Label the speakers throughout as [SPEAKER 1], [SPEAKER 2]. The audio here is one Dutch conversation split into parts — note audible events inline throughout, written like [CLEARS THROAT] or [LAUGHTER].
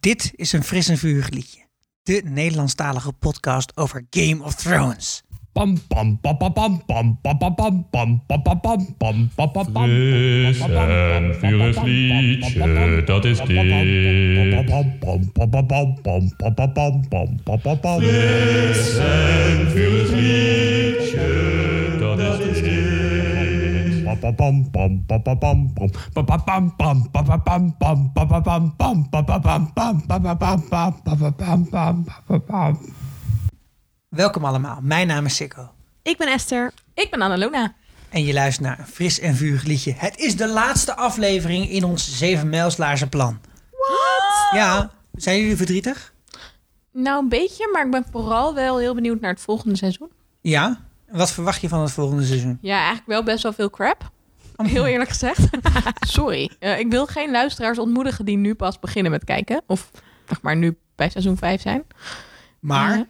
[SPEAKER 1] Dit is een fris en vurig liedje. De Nederlandstalige podcast over Game of Thrones.
[SPEAKER 2] Pam pam pam pam pam pam pam pam pam pam pam pam pam pam pam pam pam
[SPEAKER 3] Fris en vurig liedje, dat is dit. Fris en vurig liedje, dat is dit.
[SPEAKER 1] Welkom allemaal, mijn naam is Sikko.
[SPEAKER 4] Ik ben Esther. Ik ben Annalona.
[SPEAKER 1] En je luistert naar een fris en vurig liedje. Het is de laatste aflevering in ons 7 mijlslaarse plan.
[SPEAKER 4] Wat?
[SPEAKER 1] Ja, zijn jullie verdrietig?
[SPEAKER 4] Nou, een beetje, maar ik ben vooral wel heel benieuwd naar het volgende seizoen.
[SPEAKER 1] Ja? Wat verwacht je van het volgende seizoen?
[SPEAKER 4] Ja, eigenlijk wel best wel veel crap. Om heel eerlijk gezegd. [LAUGHS] Sorry. Eh, ik wil geen luisteraars ontmoedigen die nu pas beginnen met kijken. Of zeg maar nu bij seizoen 5 zijn. Eh,
[SPEAKER 1] Maar,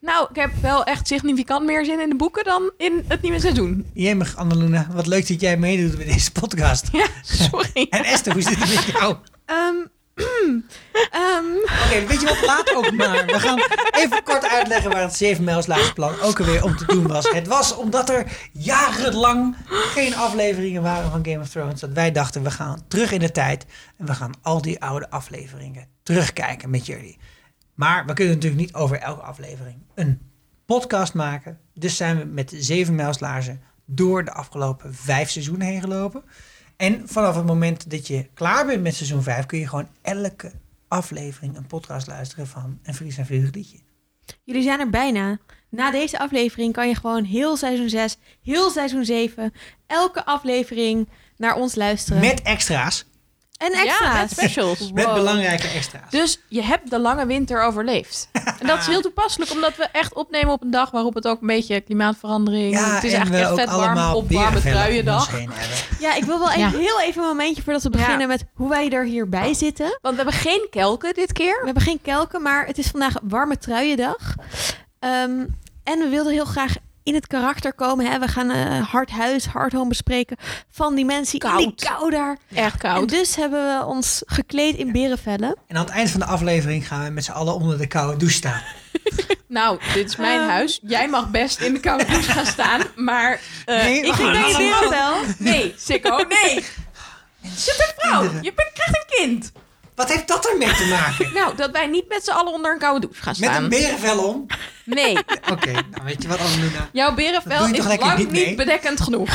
[SPEAKER 4] nou, ik heb wel echt significant meer zin in de boeken dan in het nieuwe seizoen.
[SPEAKER 1] jemig Annalena, wat leuk dat jij meedoet met deze podcast.
[SPEAKER 4] [LAUGHS] Ja, sorry.
[SPEAKER 1] En Esther, hoe zit het met jou?
[SPEAKER 4] [CLEARS THROAT]
[SPEAKER 5] Ehm, ehm,
[SPEAKER 1] Oké, weet je wat, laat ook maar. We gaan even kort uitleggen waar het 7 mijls laatste plan ook alweer om te doen was. Het was omdat er jarenlang geen afleveringen waren van Game of Thrones... dat wij dachten, we gaan terug in de tijd... en we gaan al die oude afleveringen terugkijken met jullie. Maar we kunnen natuurlijk niet over elke aflevering een podcast maken. Dus zijn we met de 7 mijlslaarzen door de afgelopen vijf seizoenen heen gelopen... En vanaf het moment dat je klaar bent met seizoen 5, kun je gewoon elke aflevering een podcast luisteren van een Fries en Vurig liedje.
[SPEAKER 5] jullie zijn er bijna. Na deze aflevering kan je gewoon heel seizoen 6, heel seizoen 7, elke aflevering naar ons luisteren.
[SPEAKER 1] Met extra's.
[SPEAKER 5] en
[SPEAKER 4] Ja,
[SPEAKER 5] extra's.
[SPEAKER 4] met specials.
[SPEAKER 1] Met
[SPEAKER 4] Wow.
[SPEAKER 1] belangrijke extra's.
[SPEAKER 4] [LAUGHS] Dus je hebt de lange winter overleefd. En dat is heel toepasselijk, omdat we echt opnemen op een dag waarop het ook een beetje klimaatverandering.
[SPEAKER 1] ja,
[SPEAKER 4] het is
[SPEAKER 1] en
[SPEAKER 4] eigenlijk
[SPEAKER 1] we
[SPEAKER 4] echt
[SPEAKER 1] ook
[SPEAKER 4] vet warm
[SPEAKER 1] allemaal
[SPEAKER 4] op warme
[SPEAKER 1] berenvellen om ons
[SPEAKER 4] truiendag.
[SPEAKER 1] heen hebben.
[SPEAKER 5] ja, ik wil wel even,
[SPEAKER 4] Ja.
[SPEAKER 5] heel even een momentje voordat we beginnen met hoe wij er hierbij zitten.
[SPEAKER 4] Want we hebben geen kelken dit
[SPEAKER 5] We
[SPEAKER 4] Oh. keer.
[SPEAKER 5] hebben geen kelken, maar het is vandaag warme truiendag. Ehm, en we wilden heel graag in het karakter komen. Hè. We gaan eh, hard huis, hard home bespreken van die mensen in die
[SPEAKER 4] Koud.
[SPEAKER 5] kou daar.
[SPEAKER 4] Echt
[SPEAKER 5] En
[SPEAKER 4] koud.
[SPEAKER 5] dus hebben we ons gekleed in berenvellen.
[SPEAKER 1] En aan het eind van de aflevering gaan we met z'n allen onder de koude douche staan.
[SPEAKER 4] Nou, dit is mijn
[SPEAKER 1] eh,
[SPEAKER 5] Ehm.
[SPEAKER 4] huis. Jij mag best in de koude douche gaan staan, maar eh,
[SPEAKER 1] Nee,
[SPEAKER 4] ik
[SPEAKER 1] wacht,
[SPEAKER 4] ging
[SPEAKER 1] wacht,
[SPEAKER 4] naar je
[SPEAKER 1] wacht,
[SPEAKER 4] wereld.
[SPEAKER 5] Berenvel.
[SPEAKER 4] Nee, Sikko, nee. Je bent vrouw. Je bent, krijgt een kind.
[SPEAKER 1] Wat heeft dat ermee te maken?
[SPEAKER 4] Nou, dat wij niet met z'n allen onder een koude douche gaan
[SPEAKER 1] Met
[SPEAKER 4] staan.
[SPEAKER 1] een berenvel om? [LAUGHS]
[SPEAKER 4] Nee,
[SPEAKER 1] Oké, nou weet je wat, Annalena?
[SPEAKER 4] jouw
[SPEAKER 1] Dat doe
[SPEAKER 4] berenvel
[SPEAKER 1] je
[SPEAKER 4] is
[SPEAKER 1] toch lekker
[SPEAKER 4] lang
[SPEAKER 1] niet mee?
[SPEAKER 4] niet bedekkend genoeg.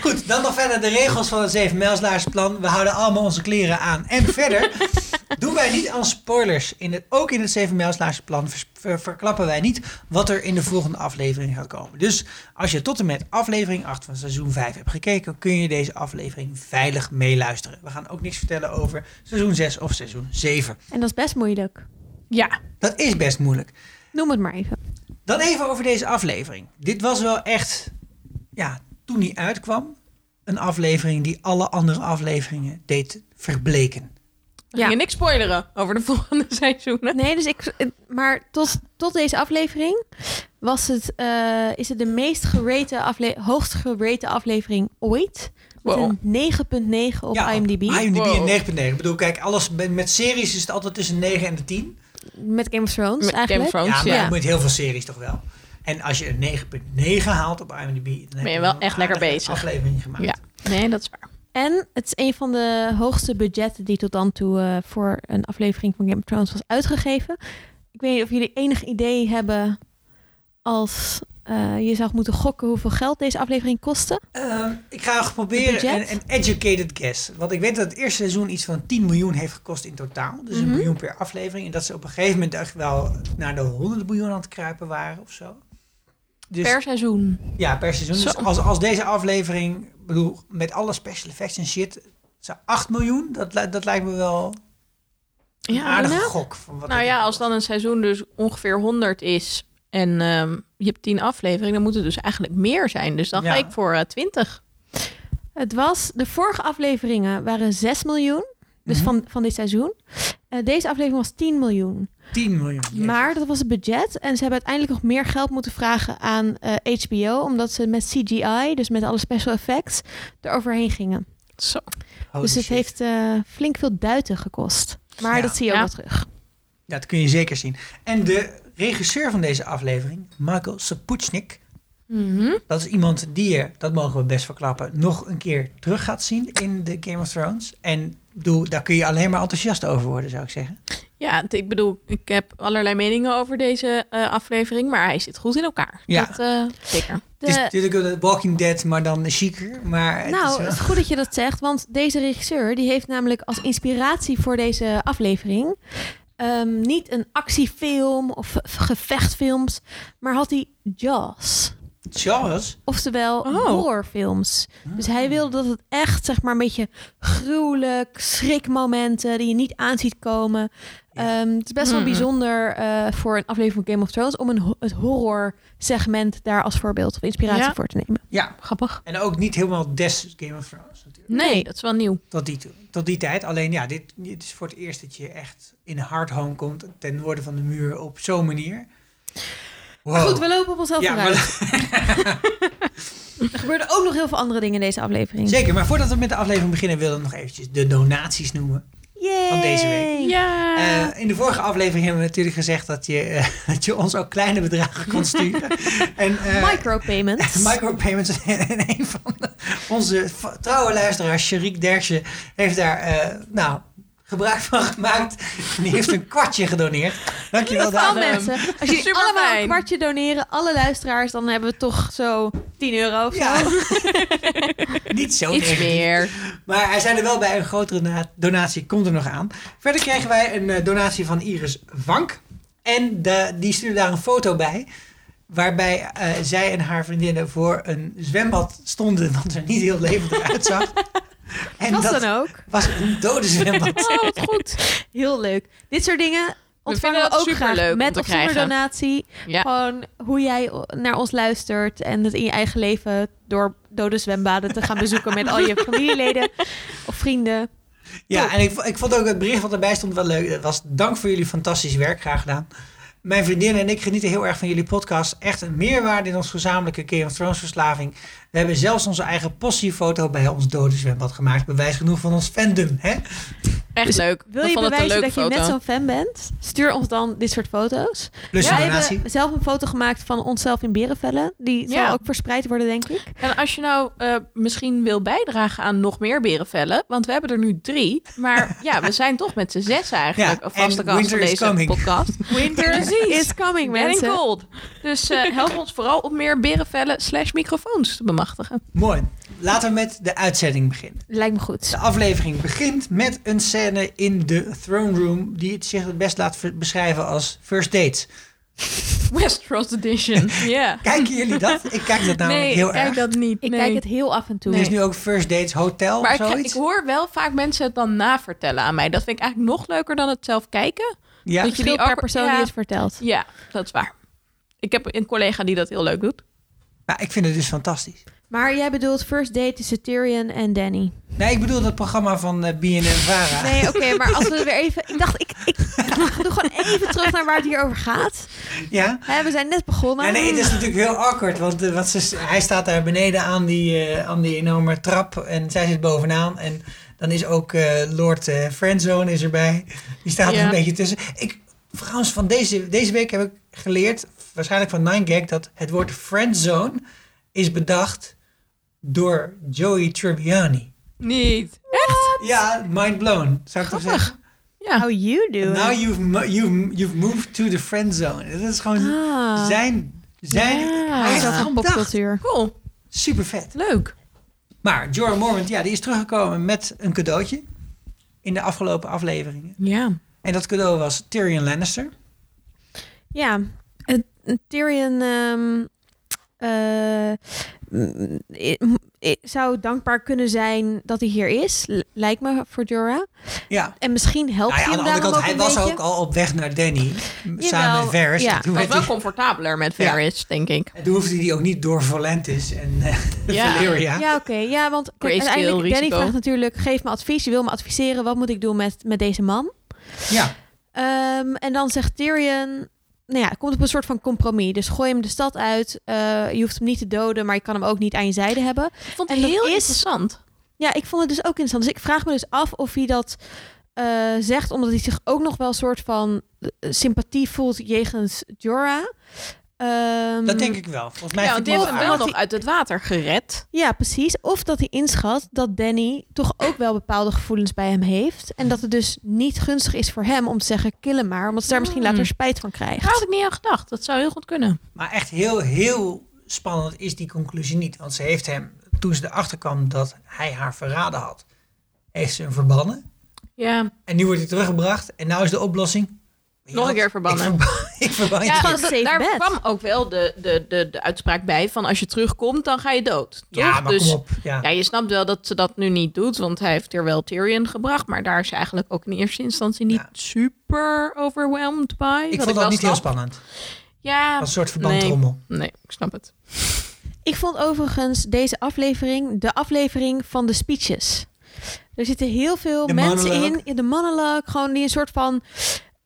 [SPEAKER 1] Goed, dan nog verder de regels van het 7 mijlslaarsplan. We houden allemaal onze kleren aan. En verder doen wij niet aan spoilers. In het, ook in het 7 mijlslaarsplan vers- ver- verklappen wij niet wat er in de volgende aflevering gaat komen. Dus als je tot en met aflevering 8 van seizoen 5 hebt gekeken, kun je deze aflevering veilig meeluisteren. We gaan ook niks vertellen over seizoen 6 of seizoen 7.
[SPEAKER 5] En dat is best moeilijk.
[SPEAKER 4] Ja,
[SPEAKER 1] Dat is best moeilijk.
[SPEAKER 5] Noem het maar even.
[SPEAKER 1] Dan even over deze aflevering. Dit was wel echt, ja, toen die uitkwam, een aflevering die alle andere afleveringen deed verbleken.
[SPEAKER 4] We gingen niks spoileren over de [LAUGHS] volgende seizoenen.
[SPEAKER 5] Nee, dus ik. Maar tot, tot deze aflevering was het, eh, is het de meest gerate afle hoogst gerate aflevering ooit. Met
[SPEAKER 4] Wow.
[SPEAKER 5] een 9.9 op
[SPEAKER 1] ja,
[SPEAKER 5] IMDb.
[SPEAKER 1] IMDb
[SPEAKER 4] Wow.
[SPEAKER 1] en 9.9. Ik bedoel, kijk, alles met, met series is het altijd tussen 9 en de 10.
[SPEAKER 5] Met Game of Thrones
[SPEAKER 4] Met Game
[SPEAKER 5] eigenlijk.
[SPEAKER 4] of Thrones,
[SPEAKER 1] ja, maar
[SPEAKER 4] ja.
[SPEAKER 1] met heel veel series toch wel. En als je een 9.9 haalt op IMDb, dan heb
[SPEAKER 4] Ben je wel
[SPEAKER 1] een
[SPEAKER 4] echt lekker
[SPEAKER 1] aardige
[SPEAKER 4] bezig.
[SPEAKER 1] Aflevering gemaakt.
[SPEAKER 4] Ja, nee, dat is waar.
[SPEAKER 5] En het is een van de hoogste budgetten die tot dan toe eh, voor een aflevering van Game of Thrones was uitgegeven. Ik weet niet of jullie enig idee hebben als eh, je zou moeten gokken hoeveel geld deze aflevering kostte.
[SPEAKER 1] Ehm, ik ga
[SPEAKER 5] Het
[SPEAKER 1] proberen
[SPEAKER 5] budget?
[SPEAKER 1] een, een educated guess. Want ik weet dat het eerste seizoen iets van 10 miljoen heeft gekost in totaal. Dus een
[SPEAKER 5] Mhm.
[SPEAKER 1] miljoen per aflevering. En dat ze op een gegeven moment echt wel naar de honderden miljoen aan het kruipen waren of zo. Dus,
[SPEAKER 4] Per seizoen.
[SPEAKER 1] Ja, per seizoen. Dus
[SPEAKER 4] Zo.
[SPEAKER 1] als, als deze aflevering, ik bedoel, met alle special effects en shit, zo 8 miljoen, dat, li- dat lijkt me wel een aardige
[SPEAKER 4] nou,
[SPEAKER 1] gok. Van wat
[SPEAKER 4] nou
[SPEAKER 1] het
[SPEAKER 4] ja,
[SPEAKER 1] is.
[SPEAKER 4] als dan een seizoen dus ongeveer 100 is en ehm, je hebt 10 afleveringen, dan moet het dus eigenlijk meer zijn. Dus dan ga
[SPEAKER 1] Ja.
[SPEAKER 4] ik voor eh, 20.
[SPEAKER 5] Het was, de vorige afleveringen waren 6 miljoen, dus
[SPEAKER 1] Mhm.
[SPEAKER 5] van, van dit seizoen. Eh, deze aflevering was 10 miljoen.
[SPEAKER 1] 10 miljoen. Jezus.
[SPEAKER 5] Maar dat was het budget en ze hebben uiteindelijk nog meer geld moeten vragen aan eh, HBO, omdat ze met CGI, dus met alle special effects, er overheen gingen.
[SPEAKER 4] Zo.
[SPEAKER 1] Holy
[SPEAKER 5] dus het
[SPEAKER 1] shit.
[SPEAKER 5] heeft eh, flink veel duiten gekost. Maar
[SPEAKER 1] Ja.
[SPEAKER 5] dat zie je ook
[SPEAKER 4] Ja.
[SPEAKER 5] wel terug.
[SPEAKER 1] Ja, dat kun je zeker zien. En de regisseur van deze aflevering, Michael Sapuchnik,
[SPEAKER 4] Mhm.
[SPEAKER 1] dat is iemand die je, dat mogen we best verklappen, nog een keer terug gaat zien in de Game of Thrones. En doe, daar kun je alleen maar enthousiast over worden, zou ik zeggen.
[SPEAKER 4] Ja, t- ik bedoel, ik heb allerlei meningen over deze eh, aflevering, maar hij zit goed in elkaar.
[SPEAKER 1] Ja.
[SPEAKER 4] Dat, eh, zeker.
[SPEAKER 5] De-
[SPEAKER 1] Het is natuurlijk de Walking Dead, maar dan chiquer. Maar het is
[SPEAKER 5] nou,
[SPEAKER 1] wel-
[SPEAKER 5] het is goed dat je dat zegt, want deze regisseur die heeft namelijk als inspiratie voor deze aflevering ehm, niet een actiefilm of ge- gevechtfilms, maar had hij Jaws.
[SPEAKER 1] Charles,
[SPEAKER 5] Oftewel
[SPEAKER 4] Oh.
[SPEAKER 5] horrorfilms. Dus hij wilde dat het echt, zeg maar, een beetje gruwelijk, schrikmomenten die je niet aan ziet komen.
[SPEAKER 1] Ja.
[SPEAKER 5] Ehm, het is best wel
[SPEAKER 4] Mm.
[SPEAKER 5] bijzonder eh, voor een aflevering van Game of Thrones om een, ho- het horror segment daar als voorbeeld of inspiratie
[SPEAKER 4] Ja.
[SPEAKER 5] voor te nemen.
[SPEAKER 1] ja.
[SPEAKER 4] Grappig.
[SPEAKER 1] En ook niet helemaal des Game of Thrones natuurlijk.
[SPEAKER 4] Nee,
[SPEAKER 5] Nee.
[SPEAKER 4] dat is wel nieuw.
[SPEAKER 1] Tot die, toe- tot die tijd. Alleen ja, dit, dit is voor het eerst dat je echt in hardhome komt ten noorden van de muur op zo'n manier. Wow.
[SPEAKER 5] Goed, we lopen op onszelf
[SPEAKER 1] ja,
[SPEAKER 5] vooruit.
[SPEAKER 1] maar,
[SPEAKER 5] Er gebeurden ook nog heel veel andere dingen in deze aflevering.
[SPEAKER 1] [LAUGHS] zeker. Maar voordat we met de aflevering beginnen, willen we nog eventjes de donaties noemen.
[SPEAKER 5] Yay!
[SPEAKER 1] Van deze week.
[SPEAKER 4] Ja.
[SPEAKER 1] Eh, in de vorige aflevering hebben we natuurlijk gezegd dat je, eh, [LAUGHS] dat je ons ook kleine bedragen kon sturen. en, eh,
[SPEAKER 5] Micropayments.
[SPEAKER 1] [LAUGHS] Micropayments [LAUGHS] en een van de- onze v- trouwe luisteraar, Sharik Derksen, heeft daar eh, nou, gebruik van gemaakt. En die heeft een kwartje gedoneerd. Dankjewel
[SPEAKER 5] Al
[SPEAKER 1] daarvoor.
[SPEAKER 4] Ehm,
[SPEAKER 5] mensen. Als jullie
[SPEAKER 4] superfijn.
[SPEAKER 5] allemaal een kwartje doneren, alle luisteraars, dan hebben we toch zo 10 euro of zo.
[SPEAKER 1] Ja. [LAUGHS] Niet zo
[SPEAKER 4] Iets
[SPEAKER 1] negatief.
[SPEAKER 4] meer.
[SPEAKER 1] Maar hij zei er wel bij, een grotere na- donatie komt er nog aan. Verder kregen wij een eh, donatie van Iris Vank. En de, die stuurde daar een foto bij. Waarbij eh, zij en haar vriendinnen voor een zwembad stonden. [LAUGHS] dat er niet heel levendig uitzag. En
[SPEAKER 5] Was nou?
[SPEAKER 1] dat
[SPEAKER 5] dan ook.
[SPEAKER 1] was een dode zwembad.
[SPEAKER 4] Oh, wat goed.
[SPEAKER 5] [LAUGHS] Heel leuk. Dit soort dingen ontvangen
[SPEAKER 4] vinden
[SPEAKER 5] we,
[SPEAKER 4] dat
[SPEAKER 5] ook
[SPEAKER 4] superleuk
[SPEAKER 5] graag.
[SPEAKER 4] om
[SPEAKER 5] Met
[SPEAKER 4] te
[SPEAKER 5] of zonder
[SPEAKER 4] krijgen.
[SPEAKER 5] donatie.
[SPEAKER 4] Ja.
[SPEAKER 5] Gewoon hoe jij o- naar ons luistert. En het in je eigen leven door dode zwembaden te
[SPEAKER 4] [LAUGHS]
[SPEAKER 5] gaan bezoeken met al je familieleden of vrienden.
[SPEAKER 1] Ja, en ik, vo- ik vond ook het bericht wat erbij stond wel leuk. Dat was dank voor jullie fantastisch werk, graag gedaan. Mijn vriendin en ik genieten heel erg van jullie podcast. Echt een meerwaarde in onze gezamenlijke Game of Thrones verslaving. We hebben zelfs onze eigen postiefoto bij ons dode zwembad gemaakt. Bewijs genoeg van ons fandom, hè?
[SPEAKER 4] Echt leuk.
[SPEAKER 5] Dus Wil
[SPEAKER 4] We vonden
[SPEAKER 5] je
[SPEAKER 4] het een
[SPEAKER 5] bewijzen dat
[SPEAKER 4] leuke
[SPEAKER 5] je net
[SPEAKER 4] foto.
[SPEAKER 5] zo'n fan bent? Stuur ons dan dit soort foto's.
[SPEAKER 1] Plus
[SPEAKER 5] Wij
[SPEAKER 1] een donatie.
[SPEAKER 5] hebben zelf een foto gemaakt van onszelf in berenvellen. Die
[SPEAKER 4] Ja.
[SPEAKER 5] zal ook verspreid worden, denk ik.
[SPEAKER 4] En als je nou eh, misschien wil bijdragen aan nog meer berenvellen, want we hebben er nu drie, maar ja, we zijn toch met z'n zes eigenlijk
[SPEAKER 1] Ja,
[SPEAKER 4] een vaste
[SPEAKER 1] en
[SPEAKER 4] gast
[SPEAKER 1] winter
[SPEAKER 4] van
[SPEAKER 1] is
[SPEAKER 4] deze
[SPEAKER 1] coming.
[SPEAKER 4] podcast. Winter
[SPEAKER 5] It's coming,
[SPEAKER 4] Getting
[SPEAKER 5] mensen.
[SPEAKER 4] cold. Dus eh, help ons vooral om meer berenvellen slash microfoons te bemachtigen.
[SPEAKER 1] Mooi. Laten we met de uitzending beginnen.
[SPEAKER 5] Lijkt me goed.
[SPEAKER 1] De aflevering begint met een scène in de throne room... die het zich het best laat ver- beschrijven als first dates.
[SPEAKER 4] Westeros edition. [LAUGHS] Ja.
[SPEAKER 1] Kijken jullie dat? Ik kijk dat namelijk nou
[SPEAKER 4] Nee,
[SPEAKER 1] heel
[SPEAKER 4] ik kijk
[SPEAKER 1] erg.
[SPEAKER 4] dat niet.
[SPEAKER 5] Ik
[SPEAKER 4] nee.
[SPEAKER 5] kijk het heel af en toe.
[SPEAKER 1] Er is nu ook first dates hotel
[SPEAKER 4] Maar
[SPEAKER 1] of
[SPEAKER 4] ik,
[SPEAKER 1] zoiets.
[SPEAKER 4] ik hoor wel vaak mensen het dan navertellen aan mij. Dat vind ik eigenlijk nog leuker dan het zelf kijken.
[SPEAKER 1] ja.
[SPEAKER 4] dat je
[SPEAKER 5] Verschil
[SPEAKER 4] die
[SPEAKER 5] per
[SPEAKER 4] ook-
[SPEAKER 5] persoon
[SPEAKER 4] ja.
[SPEAKER 5] die het vertelt.
[SPEAKER 4] Ja, dat is waar. Ik heb een collega die dat heel leuk doet.
[SPEAKER 1] Ja, ik vind het dus fantastisch.
[SPEAKER 5] Maar jij bedoelt first date tussen Tyrion en Danny.
[SPEAKER 1] Nee, ik bedoel dat programma van eh BNN Vara.
[SPEAKER 5] Nee, oké, maar als we weer even... Ik dacht, ik, ik doe gewoon even terug naar waar het hier over gaat.
[SPEAKER 1] Ja?
[SPEAKER 5] Hè, we zijn net begonnen.
[SPEAKER 1] Ja, nee, het is natuurlijk heel awkward, want, eh, want ze, hij staat daar beneden aan die, eh, aan die enorme trap en zij zit bovenaan. En dan is ook eh, Lord eh, Friendzone is erbij. Die staat er
[SPEAKER 4] Ja.
[SPEAKER 1] een beetje tussen. Ik, trouwens, van deze, deze week heb ik geleerd, waarschijnlijk van 9gag, dat het woord Friendzone is bedacht door Joey Tribbiani.
[SPEAKER 4] Niet. Echt?
[SPEAKER 1] Ja, mind blown, zou ik toch zeggen.
[SPEAKER 4] Ja.
[SPEAKER 5] How you do
[SPEAKER 1] Now you've, mo- you've, you've moved to the friend zone. Dat is gewoon
[SPEAKER 5] Ah.
[SPEAKER 1] zijn. zijn hij heeft
[SPEAKER 5] Hij is ook
[SPEAKER 1] het
[SPEAKER 5] van
[SPEAKER 1] gewoon bedacht.
[SPEAKER 5] popcultuur.
[SPEAKER 4] Cool.
[SPEAKER 1] Super vet.
[SPEAKER 4] Leuk.
[SPEAKER 1] Maar Jorah Mormont, ja, die is teruggekomen met een cadeautje. In de afgelopen afleveringen.
[SPEAKER 4] Ja.
[SPEAKER 1] En dat cadeau was Tyrion Lannister.
[SPEAKER 5] Ja, eh, Tyrion ehm, eh, mm, eh, m- eh, zou dankbaar kunnen zijn dat hij hier is. L- Lijkt me voor Jorah.
[SPEAKER 1] Ja.
[SPEAKER 5] En misschien
[SPEAKER 1] Nou
[SPEAKER 5] helpt
[SPEAKER 1] ja,
[SPEAKER 5] hij
[SPEAKER 1] aan de
[SPEAKER 5] hem
[SPEAKER 1] andere
[SPEAKER 5] daarom
[SPEAKER 1] kant,
[SPEAKER 5] ook
[SPEAKER 1] hij
[SPEAKER 5] een
[SPEAKER 1] was
[SPEAKER 5] beetje.
[SPEAKER 1] ook al op weg naar Danny. m- samen
[SPEAKER 5] Jawel,
[SPEAKER 1] met Varys.
[SPEAKER 5] ja.
[SPEAKER 1] En toen,
[SPEAKER 4] Dat
[SPEAKER 1] werd
[SPEAKER 4] was
[SPEAKER 1] hij,
[SPEAKER 4] wel comfortabeler met
[SPEAKER 1] Ja.
[SPEAKER 4] Varys, denk
[SPEAKER 1] [LAUGHS]
[SPEAKER 4] ik.
[SPEAKER 1] en toen hoefde hij ook niet door Valentis en eh,
[SPEAKER 4] Ja.
[SPEAKER 1] Valeria.
[SPEAKER 5] Ja, oké. Ja, want kijk,
[SPEAKER 4] Grayscale
[SPEAKER 5] uiteindelijk, Danny
[SPEAKER 4] risico.
[SPEAKER 5] vraagt natuurlijk, geef me advies. Je wil me adviseren, wat moet ik doen met, met deze man?
[SPEAKER 1] Ja.
[SPEAKER 5] Ehm, en dan zegt Tyrion, nou ja, komt op een soort van compromis. Dus gooi hem de stad uit. Eh, je hoeft hem niet te doden, maar je kan hem ook niet aan je zijde hebben.
[SPEAKER 4] Ik vond
[SPEAKER 5] En
[SPEAKER 4] het
[SPEAKER 5] dat
[SPEAKER 4] heel
[SPEAKER 5] is-
[SPEAKER 4] interessant.
[SPEAKER 5] Ja, ik vond het dus ook interessant. Dus ik vraag me dus af of hij dat eh, zegt, omdat hij zich ook nog wel een soort van eh, sympathie voelt jegens Jorah. Ehm,
[SPEAKER 1] Dat denk ik wel. Volgens mij
[SPEAKER 4] Ja,
[SPEAKER 1] vind
[SPEAKER 4] want die
[SPEAKER 1] ik
[SPEAKER 4] heeft
[SPEAKER 1] wel aardig.
[SPEAKER 4] hem wel
[SPEAKER 5] Want
[SPEAKER 4] nog uit het water gered.
[SPEAKER 5] Ja, precies. Of dat hij inschat dat Danny toch ook wel bepaalde gevoelens bij hem heeft. En dat het dus niet gunstig is voor hem om te zeggen kill hem maar. Omdat ze daar misschien
[SPEAKER 4] Hmm.
[SPEAKER 5] later spijt van
[SPEAKER 4] Daar had
[SPEAKER 5] krijgt.
[SPEAKER 4] ik niet aan gedacht. Dat zou heel goed kunnen.
[SPEAKER 1] Maar echt heel, heel spannend is die conclusie niet. Want ze heeft hem, toen ze erachter kwam dat hij haar verraden had, heeft ze hem verbannen.
[SPEAKER 4] Ja,
[SPEAKER 1] En nu wordt hij teruggebracht. En nou is de oplossing... Weet je
[SPEAKER 4] Nog een
[SPEAKER 1] wat?
[SPEAKER 4] keer verbannen.
[SPEAKER 1] Ik, verba- [LAUGHS] ik verban je
[SPEAKER 4] ja
[SPEAKER 1] terug.
[SPEAKER 5] een
[SPEAKER 4] d-
[SPEAKER 5] safe
[SPEAKER 4] daar
[SPEAKER 5] bet.
[SPEAKER 4] kwam ook wel de, de, de, de uitspraak bij van als je terugkomt, dan ga je dood.
[SPEAKER 1] Ja,
[SPEAKER 4] toch?
[SPEAKER 1] maar
[SPEAKER 4] dus,
[SPEAKER 1] kom op. Ja.
[SPEAKER 4] Ja, je snapt wel dat ze dat nu niet doet, want hij heeft er wel Tyrion gebracht. Maar daar is ze eigenlijk ook in eerste instantie niet
[SPEAKER 1] Ja.
[SPEAKER 4] super overwhelmed by.
[SPEAKER 1] ik vond
[SPEAKER 4] wat wel
[SPEAKER 1] dat niet heel
[SPEAKER 4] snap.
[SPEAKER 1] spannend.
[SPEAKER 4] Ja,
[SPEAKER 1] Als een soort
[SPEAKER 4] nee.
[SPEAKER 1] verbandrommel.
[SPEAKER 4] nee, ik snap het.
[SPEAKER 5] Ik vond overigens deze aflevering de aflevering van de speeches. Er zitten heel veel
[SPEAKER 1] De
[SPEAKER 5] mensen
[SPEAKER 1] monologue.
[SPEAKER 5] in, in de monologue, gewoon die een soort van...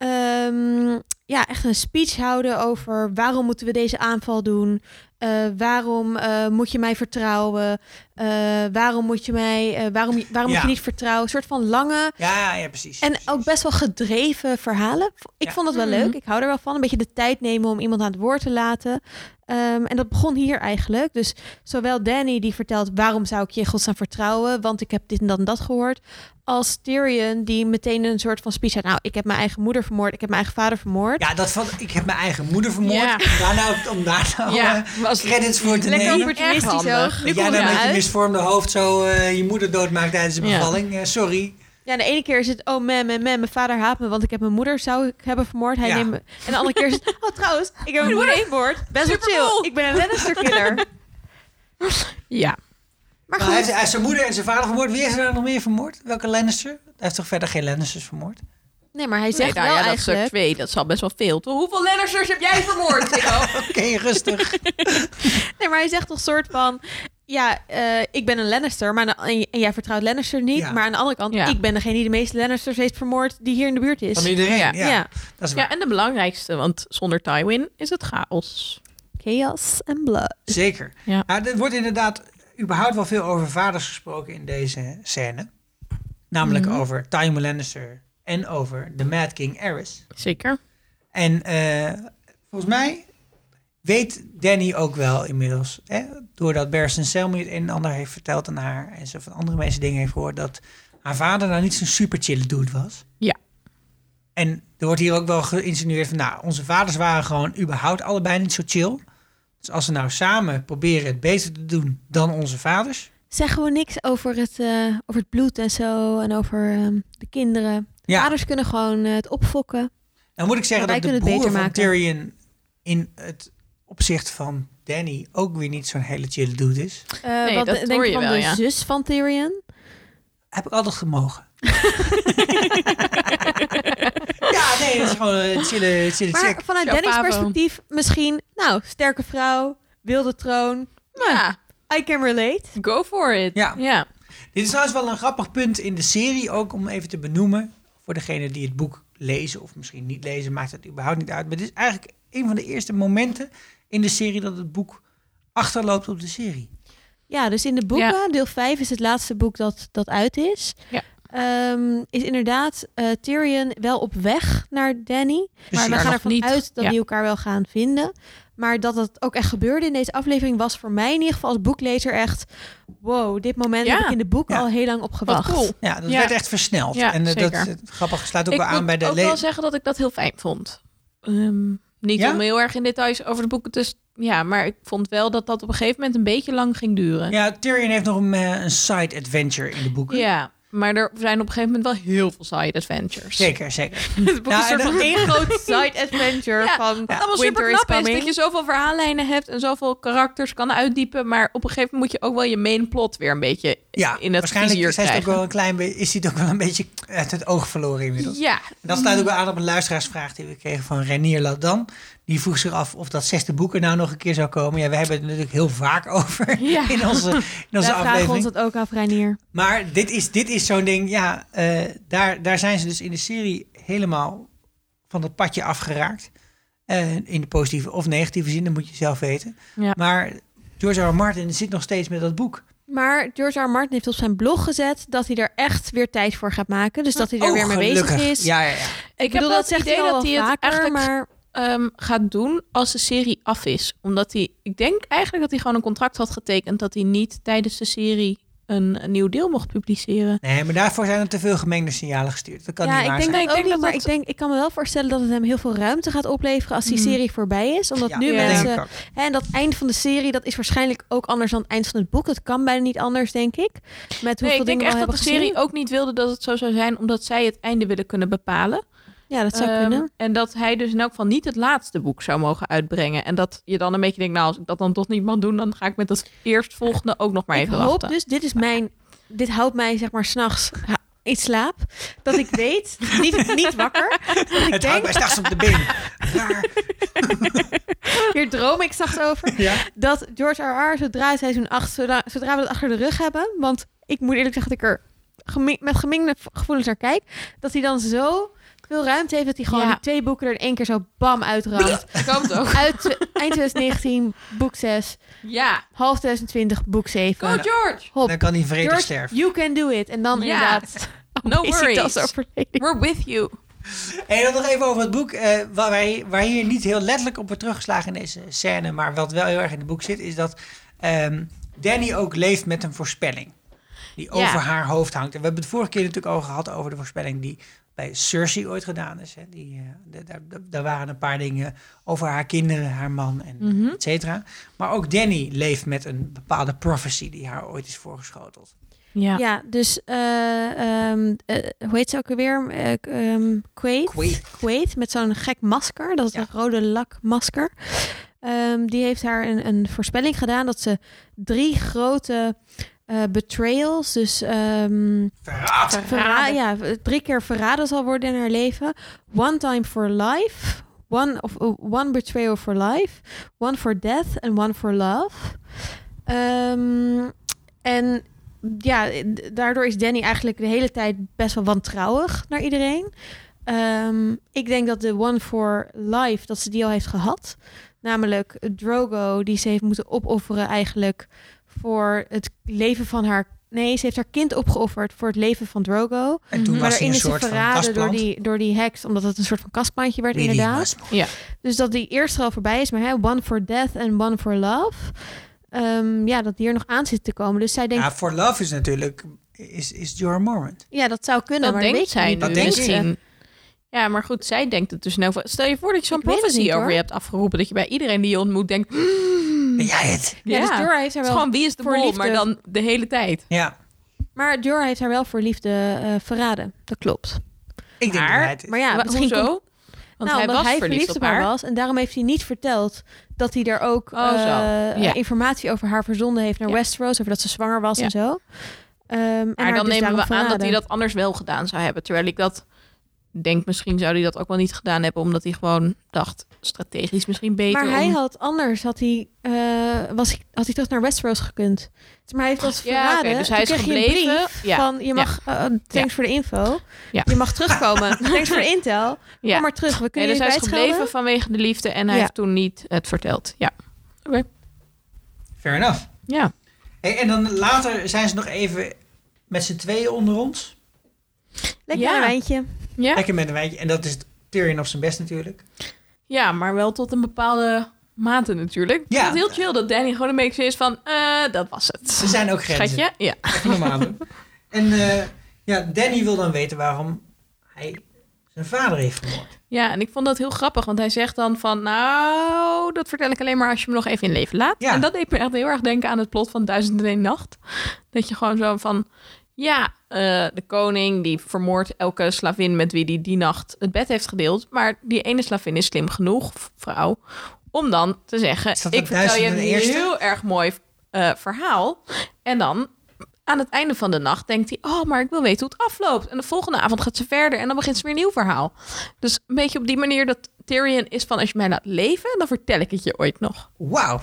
[SPEAKER 5] ehm, ja, echt een speech houden over waarom moeten we deze aanval doen? Eh, waarom eh, moet je mij vertrouwen? Eh, waarom moet je mij... eh, waarom je- waarom moet
[SPEAKER 1] Ja.
[SPEAKER 5] je niet vertrouwen? Een soort van lange
[SPEAKER 1] Ja, ja, precies.
[SPEAKER 5] en
[SPEAKER 1] precies.
[SPEAKER 5] ook best wel gedreven verhalen. Ik
[SPEAKER 1] Ja.
[SPEAKER 5] vond dat wel
[SPEAKER 4] Mhm.
[SPEAKER 5] leuk. Ik hou er wel van. Een beetje de tijd nemen om iemand aan het woord te laten. Ehm, en dat begon hier eigenlijk. Dus zowel Danny die vertelt waarom zou ik je in godsnaam vertrouwen, want ik heb dit en dat en dat gehoord. Als Tyrion die meteen een soort van speech had. Nou, ik heb mijn eigen moeder vermoord, ik heb mijn eigen vader vermoord.
[SPEAKER 1] Ja, dat van, ik heb mijn eigen moeder vermoord.
[SPEAKER 4] Ja.
[SPEAKER 1] Daarna, om daar nou
[SPEAKER 4] ja,
[SPEAKER 1] eh,
[SPEAKER 4] was
[SPEAKER 1] credits voor te
[SPEAKER 5] Lekker
[SPEAKER 1] nemen.
[SPEAKER 5] opportunistisch
[SPEAKER 4] Erg handig.
[SPEAKER 5] ook. Nu
[SPEAKER 1] Dat jij
[SPEAKER 5] komt
[SPEAKER 1] dan
[SPEAKER 5] het
[SPEAKER 1] met je
[SPEAKER 5] eruit.
[SPEAKER 1] misvormde hoofd zo eh, je moeder doodmaakt tijdens de
[SPEAKER 4] Ja.
[SPEAKER 1] bevalling. Eh, sorry.
[SPEAKER 5] Ja, de ene keer is het, oh man, man, man, mijn vader haat me, want ik heb mijn moeder zou ik hebben vermoord. Hij
[SPEAKER 1] Ja.
[SPEAKER 5] neemt me. En de andere keer is het, oh trouwens, ik heb mijn moeder vermoord. Best wel
[SPEAKER 4] Supercool.
[SPEAKER 5] chill. Ik ben een Lannister
[SPEAKER 1] [LAUGHS]
[SPEAKER 5] killer.
[SPEAKER 4] Ja,
[SPEAKER 5] Maar
[SPEAKER 1] Maar
[SPEAKER 5] goed.
[SPEAKER 1] hij, heeft, hij heeft zijn moeder en zijn vader vermoord. Wie heeft er nou nog meer vermoord? Welke Lannister? Hij heeft toch verder geen Lannisters vermoord?
[SPEAKER 5] Nee, maar hij
[SPEAKER 4] nee,
[SPEAKER 5] zegt
[SPEAKER 4] nou,
[SPEAKER 5] wel
[SPEAKER 4] ja, dat stuk
[SPEAKER 5] eigenlijk...
[SPEAKER 4] 2, dat zal best wel veel. Toch? Hoeveel Lannisters heb jij vermoord? Nico?
[SPEAKER 1] [LAUGHS] Oké, rustig.
[SPEAKER 5] Nee, maar hij zegt toch soort van... Ja, eh, ik ben een Lannister, maar aan de- en, en jij vertrouwt Lannister niet.
[SPEAKER 1] Ja.
[SPEAKER 5] Maar aan de andere kant,
[SPEAKER 4] Ja.
[SPEAKER 5] ik ben degene die de meeste Lannisters heeft vermoord die hier in de buurt
[SPEAKER 1] [LAUGHS]
[SPEAKER 5] is.
[SPEAKER 1] Van iedereen.
[SPEAKER 4] Ja.
[SPEAKER 1] Ja,
[SPEAKER 5] ja.
[SPEAKER 1] dat is waar.
[SPEAKER 4] [LAUGHS] ja, en de belangrijkste, want zonder Tywin is het chaos.
[SPEAKER 5] Chaos en blood.
[SPEAKER 1] Zeker.
[SPEAKER 4] Ja.
[SPEAKER 1] Maar er wordt inderdaad überhaupt wel veel over vaders gesproken in deze scène. Namelijk
[SPEAKER 4] Mhm.
[SPEAKER 1] over Tywin Lannister en over de Mad King Aerys.
[SPEAKER 4] Zeker.
[SPEAKER 1] En eh, volgens mij weet Danny ook wel inmiddels, hè, doordat Bersten Selmy het een en ander heeft verteld aan haar en ze van andere mensen dingen heeft gehoord, dat haar vader nou niet zo'n super chille dude was.
[SPEAKER 4] Ja.
[SPEAKER 1] En er wordt hier ook wel geïnsinueerd van, nou, onze vaders waren gewoon überhaupt allebei niet zo chill. Dus als ze nou samen proberen het beter te doen dan onze vaders.
[SPEAKER 5] Zeggen we niks over het, eh, over het bloed en zo en over ehm, de kinderen.
[SPEAKER 1] Ja.
[SPEAKER 5] Vaders kunnen gewoon eh, het opfokken.
[SPEAKER 1] Dan moet ik zeggen
[SPEAKER 5] Maar
[SPEAKER 1] dat
[SPEAKER 5] wij
[SPEAKER 1] de
[SPEAKER 5] kunnen
[SPEAKER 1] broer
[SPEAKER 5] het
[SPEAKER 1] van
[SPEAKER 5] beter maken.
[SPEAKER 1] Tyrion in het opzicht van Danny ook weer niet zo'n hele chille dude is.
[SPEAKER 5] Eh,
[SPEAKER 4] Nee,
[SPEAKER 5] wat
[SPEAKER 4] dat
[SPEAKER 5] denk
[SPEAKER 4] hoor je
[SPEAKER 5] je van
[SPEAKER 4] wel,
[SPEAKER 5] de
[SPEAKER 4] ja.
[SPEAKER 5] zus van Tyrion?
[SPEAKER 1] Heb ik altijd
[SPEAKER 4] [LAUGHS]
[SPEAKER 1] gemogen. ja, nee, dat is gewoon een chille, chille
[SPEAKER 5] Maar
[SPEAKER 1] check.
[SPEAKER 5] vanuit
[SPEAKER 4] Jouw
[SPEAKER 5] Danny's
[SPEAKER 4] pavo.
[SPEAKER 5] perspectief misschien, nou, sterke vrouw, wilde troon.
[SPEAKER 4] Ja,
[SPEAKER 5] I can relate.
[SPEAKER 4] go for it.
[SPEAKER 1] Ja.
[SPEAKER 4] ja.
[SPEAKER 1] Dit is trouwens wel een grappig punt in de serie ook om even te benoemen. Voor degene die het boek lezen of misschien niet lezen, maakt het überhaupt niet uit. Maar dit is eigenlijk een van de eerste momenten in de serie dat het boek achterloopt op de serie.
[SPEAKER 5] Ja, dus in de boeken, deel 5 is het laatste boek dat, dat uit is.
[SPEAKER 4] Ja.
[SPEAKER 5] Ehm, is inderdaad eh, Tyrion wel op weg naar Danny.
[SPEAKER 1] Dus
[SPEAKER 5] Maar we
[SPEAKER 4] daar
[SPEAKER 5] gaan
[SPEAKER 4] nog
[SPEAKER 5] ervan
[SPEAKER 4] niet.
[SPEAKER 5] uit dat
[SPEAKER 4] Ja.
[SPEAKER 5] die elkaar wel gaan vinden. Maar dat het ook echt gebeurde in deze aflevering was voor mij in ieder geval als boeklezer echt... Wow, dit moment
[SPEAKER 4] Ja.
[SPEAKER 5] heb ik in de boeken
[SPEAKER 1] Ja.
[SPEAKER 5] al heel lang op gewacht. [LAUGHS]
[SPEAKER 4] cool.
[SPEAKER 1] Ja, dat
[SPEAKER 4] Ja.
[SPEAKER 1] werd echt versneld.
[SPEAKER 4] Ja,
[SPEAKER 1] en eh, dat
[SPEAKER 4] zeker.
[SPEAKER 1] grappig sluit ook
[SPEAKER 4] ik
[SPEAKER 1] wel aan
[SPEAKER 4] moet
[SPEAKER 1] bij de
[SPEAKER 4] ook wel
[SPEAKER 1] le-
[SPEAKER 4] zeggen dat ik dat heel fijn vond. Ehm, niet
[SPEAKER 1] Ja?
[SPEAKER 4] om heel erg in details over de boeken te... s- Ja, maar ik vond wel dat dat op een gegeven moment een beetje lang ging duren.
[SPEAKER 1] Ja, Tyrion heeft nog een, eh, een side adventure in de boeken.
[SPEAKER 4] Ja, maar er zijn op een gegeven moment wel heel veel side adventures.
[SPEAKER 1] Zeker, zeker.
[SPEAKER 5] Het boek
[SPEAKER 1] Ja,
[SPEAKER 5] is een
[SPEAKER 1] en
[SPEAKER 5] soort
[SPEAKER 1] dan-
[SPEAKER 5] van één groot side adventure
[SPEAKER 4] Ja,
[SPEAKER 5] van
[SPEAKER 4] Wat allemaal
[SPEAKER 5] Winter
[SPEAKER 4] super
[SPEAKER 5] is
[SPEAKER 4] knap is, dat
[SPEAKER 5] coming.
[SPEAKER 4] je zoveel verhaallijnen hebt en zoveel karakters kan uitdiepen. Maar op een gegeven moment moet je ook wel je main plot weer een beetje
[SPEAKER 1] Ja,
[SPEAKER 4] in het
[SPEAKER 1] waarschijnlijk
[SPEAKER 4] vizier
[SPEAKER 1] is hij het ook
[SPEAKER 4] krijgen.
[SPEAKER 1] wel een klein be- is hij het ook wel een beetje uit het oog verloren inmiddels.
[SPEAKER 4] Ja,
[SPEAKER 1] En dat sluit ook wel aan op een luisteraarsvraag die we kregen van Renier Ladan. Die vroeg zich af of dat zesde boek er nou nog een keer zou komen. Ja, we hebben het natuurlijk heel vaak
[SPEAKER 5] [LAUGHS]
[SPEAKER 1] over
[SPEAKER 4] Ja.
[SPEAKER 1] in onze, in
[SPEAKER 5] Wij
[SPEAKER 1] onze
[SPEAKER 5] vragen ons
[SPEAKER 1] aflevering.
[SPEAKER 5] dat ook af, Reinier.
[SPEAKER 1] Maar dit is, dit is zo'n ding, ja, eh, daar, daar zijn ze dus in de serie helemaal van dat padje afgeraakt. Eh, in de positieve of negatieve zin, dat moet je zelf weten.
[SPEAKER 4] Ja.
[SPEAKER 1] Maar George R. R. Martin zit nog steeds met dat boek.
[SPEAKER 5] Maar George R. R. Martin heeft op zijn blog gezet dat hij er echt weer tijd voor gaat maken. Dus dat hij er
[SPEAKER 1] Oh,
[SPEAKER 5] weer mee bezig
[SPEAKER 1] gelukkig.
[SPEAKER 5] is.
[SPEAKER 1] Ja, ja, ja.
[SPEAKER 5] Ik bedoel, dat zegt hij al wel vaker, maar
[SPEAKER 4] ehm, gaat doen als de serie af is. Omdat hij, ik denk eigenlijk dat hij gewoon een contract had getekend dat hij niet tijdens de serie een, een nieuw deel mocht publiceren.
[SPEAKER 1] Nee, maar daarvoor zijn er te veel gemengde signalen gestuurd. Dat kan
[SPEAKER 5] ja,
[SPEAKER 1] niet
[SPEAKER 5] ik
[SPEAKER 1] waar
[SPEAKER 5] denk,
[SPEAKER 1] zijn.
[SPEAKER 4] Ik
[SPEAKER 5] dat ook
[SPEAKER 4] denk
[SPEAKER 5] niet,
[SPEAKER 4] dat dat-
[SPEAKER 5] maar ik denk, ik kan me wel voorstellen dat het hem heel veel ruimte gaat opleveren als die
[SPEAKER 4] Mhm.
[SPEAKER 5] serie voorbij is. Omdat nu
[SPEAKER 1] Mm. Ja,
[SPEAKER 4] dat
[SPEAKER 5] mensen,
[SPEAKER 1] denk ik ook.
[SPEAKER 5] hè, en dat eind van de serie, dat is waarschijnlijk ook anders dan het eind van het boek. Het kan bijna niet anders, denk ik. Met hoeveel
[SPEAKER 4] Nee, ik
[SPEAKER 5] dingen
[SPEAKER 4] denk
[SPEAKER 5] we al
[SPEAKER 4] echt dat
[SPEAKER 5] hebben
[SPEAKER 4] de
[SPEAKER 5] gezien.
[SPEAKER 4] serie ook niet wilde dat het zo zou zijn, omdat zij het einde willen kunnen bepalen.
[SPEAKER 5] Ja, dat zou
[SPEAKER 4] Ehm,
[SPEAKER 5] kunnen.
[SPEAKER 4] En dat hij dus in elk geval niet het laatste boek zou mogen uitbrengen. En dat je dan een beetje denkt, nou, als ik dat dan toch niet mag doen, dan ga ik met dat eerstvolgende ook nog maar
[SPEAKER 5] ik
[SPEAKER 4] even
[SPEAKER 5] hoop
[SPEAKER 4] wachten.
[SPEAKER 5] dus, dit is mijn, dit houdt mij zeg maar s'nachts in slaap. Dat ik weet, niet, niet wakker, dat ik
[SPEAKER 1] [LAUGHS] Het houdt
[SPEAKER 5] denk,
[SPEAKER 1] mij straks op de
[SPEAKER 5] [LAUGHS]
[SPEAKER 1] been. Raar.
[SPEAKER 5] hier droom ik s'nachts over.
[SPEAKER 1] [LAUGHS] Ja.
[SPEAKER 5] dat George R.R. zodra seizoen 8, zodra, zodra we dat achter de rug hebben, want ik moet eerlijk zeggen dat ik er gemi- met gemengde v- gevoelens naar kijk, dat hij dan zo veel ruimte heeft dat hij gewoon
[SPEAKER 4] Ja.
[SPEAKER 5] die twee boeken er in één keer zo bam
[SPEAKER 4] [LAUGHS]
[SPEAKER 5] uitramt.
[SPEAKER 4] Ik hoop het ook.
[SPEAKER 5] Uit tw- eind 2019, boek 6,
[SPEAKER 4] Ja.
[SPEAKER 5] half 2020, boek 7.
[SPEAKER 4] Go Oh, George!
[SPEAKER 5] Hop,
[SPEAKER 1] Dan kan hij vredig
[SPEAKER 5] George,
[SPEAKER 1] sterven.
[SPEAKER 5] you can do it. En dan
[SPEAKER 4] Ja. [LAUGHS]
[SPEAKER 5] inderdaad,
[SPEAKER 4] No
[SPEAKER 5] Oh, is hij
[SPEAKER 4] worries.
[SPEAKER 5] dat overleden.
[SPEAKER 4] We're with you.
[SPEAKER 1] En dan nog even over het boek. eh, waar, wij, waar hier niet heel letterlijk op wordt teruggeslagen in deze scène, maar wat wel heel erg in het boek zit, is dat ehm, Danny ook leeft met een voorspelling. Die
[SPEAKER 4] Ja.
[SPEAKER 1] over haar hoofd hangt. En we hebben het vorige keer natuurlijk al gehad over de voorspelling die bij Cersei ooit gedaan is. Hè. Die, eh, de- daar, daar- daar waren een paar dingen over haar kinderen, haar man en
[SPEAKER 4] Mhm.
[SPEAKER 1] et cetera. Maar ook Danny leeft met een bepaalde prophecy die haar ooit is voorgeschoteld.
[SPEAKER 4] Ja.
[SPEAKER 5] Ja, dus eh, ehm, eh, hoe heet ze ook alweer? Eh, k- ehm Quaid.
[SPEAKER 1] Quaid.
[SPEAKER 5] Quaid, met zo'n gek masker. Dat is
[SPEAKER 1] Ja.
[SPEAKER 5] een rode lakmasker. Ehm, die heeft haar een, een voorspelling gedaan dat ze drie grote eh, betrayals, dus ehm,
[SPEAKER 1] Verraad!
[SPEAKER 5] verra- ja, drie keer verraden zal worden in haar leven. One time for life, one, of, eh, one betrayal for life, one for death en one for love. Ehm, en ja, d- daardoor is Danny eigenlijk de hele tijd best wel wantrouwig naar iedereen. Ehm, ik denk dat de one for life, dat ze die al heeft gehad. Namelijk Drogo, die ze heeft moeten opofferen eigenlijk voor het leven van haar... Nee, ze heeft haar kind opgeofferd voor het leven van Drogo.
[SPEAKER 1] En toen
[SPEAKER 4] Mhm.
[SPEAKER 5] Maar
[SPEAKER 1] was hij
[SPEAKER 5] daarin
[SPEAKER 1] een
[SPEAKER 5] is hij
[SPEAKER 1] soort van
[SPEAKER 5] verraden door
[SPEAKER 1] kastplant.
[SPEAKER 5] die, door die heks, omdat het een soort van kastplantje werd,
[SPEAKER 1] Really
[SPEAKER 5] inderdaad.
[SPEAKER 1] must-
[SPEAKER 5] Dus dat die eerste al voorbij is, maar hè, one for death en one for love. Ehm, ja, dat die er nog aan zit te komen. Dus zij denkt, ja,
[SPEAKER 1] Ja, For Love is natuurlijk is, is Jorah Mormont.
[SPEAKER 5] dat zou kunnen,
[SPEAKER 4] Dat
[SPEAKER 5] maar dat
[SPEAKER 4] denkt
[SPEAKER 5] weet je
[SPEAKER 4] zij
[SPEAKER 5] niet.
[SPEAKER 4] nu
[SPEAKER 1] Dat denkt ze.
[SPEAKER 4] misschien. Ja, maar goed, zij denkt het dus nou. voor- Stel je voor dat je zo'n
[SPEAKER 5] Ik weet het
[SPEAKER 4] prophecy
[SPEAKER 5] niet,
[SPEAKER 4] over
[SPEAKER 5] hoor.
[SPEAKER 4] je hebt afgeroepen. Dat je bij iedereen die je ontmoet denkt... Mm.
[SPEAKER 1] Ben jij het?
[SPEAKER 5] Ja,
[SPEAKER 4] Ja,
[SPEAKER 5] dus Jorah heeft haar
[SPEAKER 4] het is
[SPEAKER 5] wel...
[SPEAKER 4] gewoon wie is de
[SPEAKER 5] voor
[SPEAKER 4] mol,
[SPEAKER 5] liefde.
[SPEAKER 4] maar dan de hele tijd.
[SPEAKER 1] Ja,
[SPEAKER 5] Maar Jorah heeft haar wel voor liefde eh, verraden. Dat klopt.
[SPEAKER 1] ik denk
[SPEAKER 4] Maar-
[SPEAKER 1] dat hij het is.
[SPEAKER 5] Maar ja,
[SPEAKER 4] Wa-
[SPEAKER 5] misschien
[SPEAKER 4] Hoezo?
[SPEAKER 5] komt-
[SPEAKER 4] Want
[SPEAKER 5] nou,
[SPEAKER 4] hij
[SPEAKER 5] omdat
[SPEAKER 4] was
[SPEAKER 5] hij
[SPEAKER 4] verliefd op haar.
[SPEAKER 5] was en daarom heeft hij niet verteld dat hij er ook
[SPEAKER 4] Oh, zo.
[SPEAKER 5] eh,
[SPEAKER 4] Ja.
[SPEAKER 5] informatie over haar verzonden heeft naar
[SPEAKER 4] Ja.
[SPEAKER 5] Westeros, over dat ze zwanger was
[SPEAKER 4] Ja.
[SPEAKER 5] en zo. Ehm, en
[SPEAKER 4] Maar
[SPEAKER 5] haar
[SPEAKER 4] dan
[SPEAKER 5] dus
[SPEAKER 4] nemen we
[SPEAKER 5] daarom
[SPEAKER 4] aan dat hij
[SPEAKER 5] verraden.
[SPEAKER 4] dat anders wel gedaan zou hebben. Terwijl ik dat denk, misschien zou hij dat ook wel niet gedaan hebben. Omdat hij gewoon dacht, strategisch misschien beter.
[SPEAKER 5] Maar hij
[SPEAKER 4] om-
[SPEAKER 5] had anders, had hij, eh, was, hij- had hij toch naar Westeros gekund. Dus Maar hij heeft dat
[SPEAKER 4] Ja,
[SPEAKER 5] verraden.
[SPEAKER 4] oké, dus hij
[SPEAKER 5] Toen
[SPEAKER 4] is
[SPEAKER 5] kreeg je een
[SPEAKER 4] gebleven.
[SPEAKER 5] brief
[SPEAKER 4] Ja,
[SPEAKER 5] Van, je mag, eh, thanks
[SPEAKER 4] Ja.
[SPEAKER 5] voor de info.
[SPEAKER 4] Ja.
[SPEAKER 5] Je mag
[SPEAKER 4] [LAUGHS]
[SPEAKER 5] terugkomen. thanks voor de intel.
[SPEAKER 4] Ja.
[SPEAKER 5] Kom maar terug, we
[SPEAKER 4] Nee,
[SPEAKER 5] kunnen
[SPEAKER 4] dus
[SPEAKER 5] je
[SPEAKER 4] hij is
[SPEAKER 5] kwijtschelden.
[SPEAKER 4] gebleven vanwege de liefde. En hij
[SPEAKER 5] Ja.
[SPEAKER 4] heeft toen niet het verteld. Ja.
[SPEAKER 1] Fair enough.
[SPEAKER 4] Ja.
[SPEAKER 1] Hey, en dan later zijn ze nog even met z'n tweeën onder ons.
[SPEAKER 5] Lekker
[SPEAKER 4] Ja.
[SPEAKER 5] een wijntje.
[SPEAKER 4] Ja.
[SPEAKER 1] Lekker met een wijntje. En dat is Tyrion op zijn best natuurlijk.
[SPEAKER 4] ja, maar wel tot een bepaalde mate natuurlijk.
[SPEAKER 1] Ja.
[SPEAKER 4] Ja. Het is heel chill dat Danny gewoon een beetje zo is van, eh, dat was het.
[SPEAKER 1] Er zijn ook grenzen.
[SPEAKER 4] Schatje? Ja.
[SPEAKER 1] Even normaal
[SPEAKER 4] [LAUGHS]
[SPEAKER 1] doen. En eh, ja, Danny wil dan weten waarom hij zijn vader heeft vermoord.
[SPEAKER 4] Ja, en ik vond dat heel grappig, want hij zegt dan van, nou, dat vertel ik alleen maar als je me nog even in leven laat.
[SPEAKER 1] Ja.
[SPEAKER 4] En dat deed me echt heel erg denken aan het plot van Duizend en één Nacht. Dat je gewoon zo van, ja, eh, de koning die vermoordt elke slavin met wie die die nacht het bed heeft gedeeld. Maar die ene slavin is slim genoeg, v- vrouw, om dan te zeggen,
[SPEAKER 1] Is dat
[SPEAKER 4] ik
[SPEAKER 1] het
[SPEAKER 4] vertel je een
[SPEAKER 1] Duizend en Eerste?
[SPEAKER 4] heel erg mooi eh, verhaal. En dan aan het einde van de nacht denkt hij: Oh, maar ik wil weten hoe het afloopt. En de volgende avond gaat ze verder en dan begint ze weer een nieuw verhaal. Dus een beetje op die manier dat Tyrion is van: Als je mij laat leven, dan vertel ik het je ooit nog.
[SPEAKER 1] Wauw.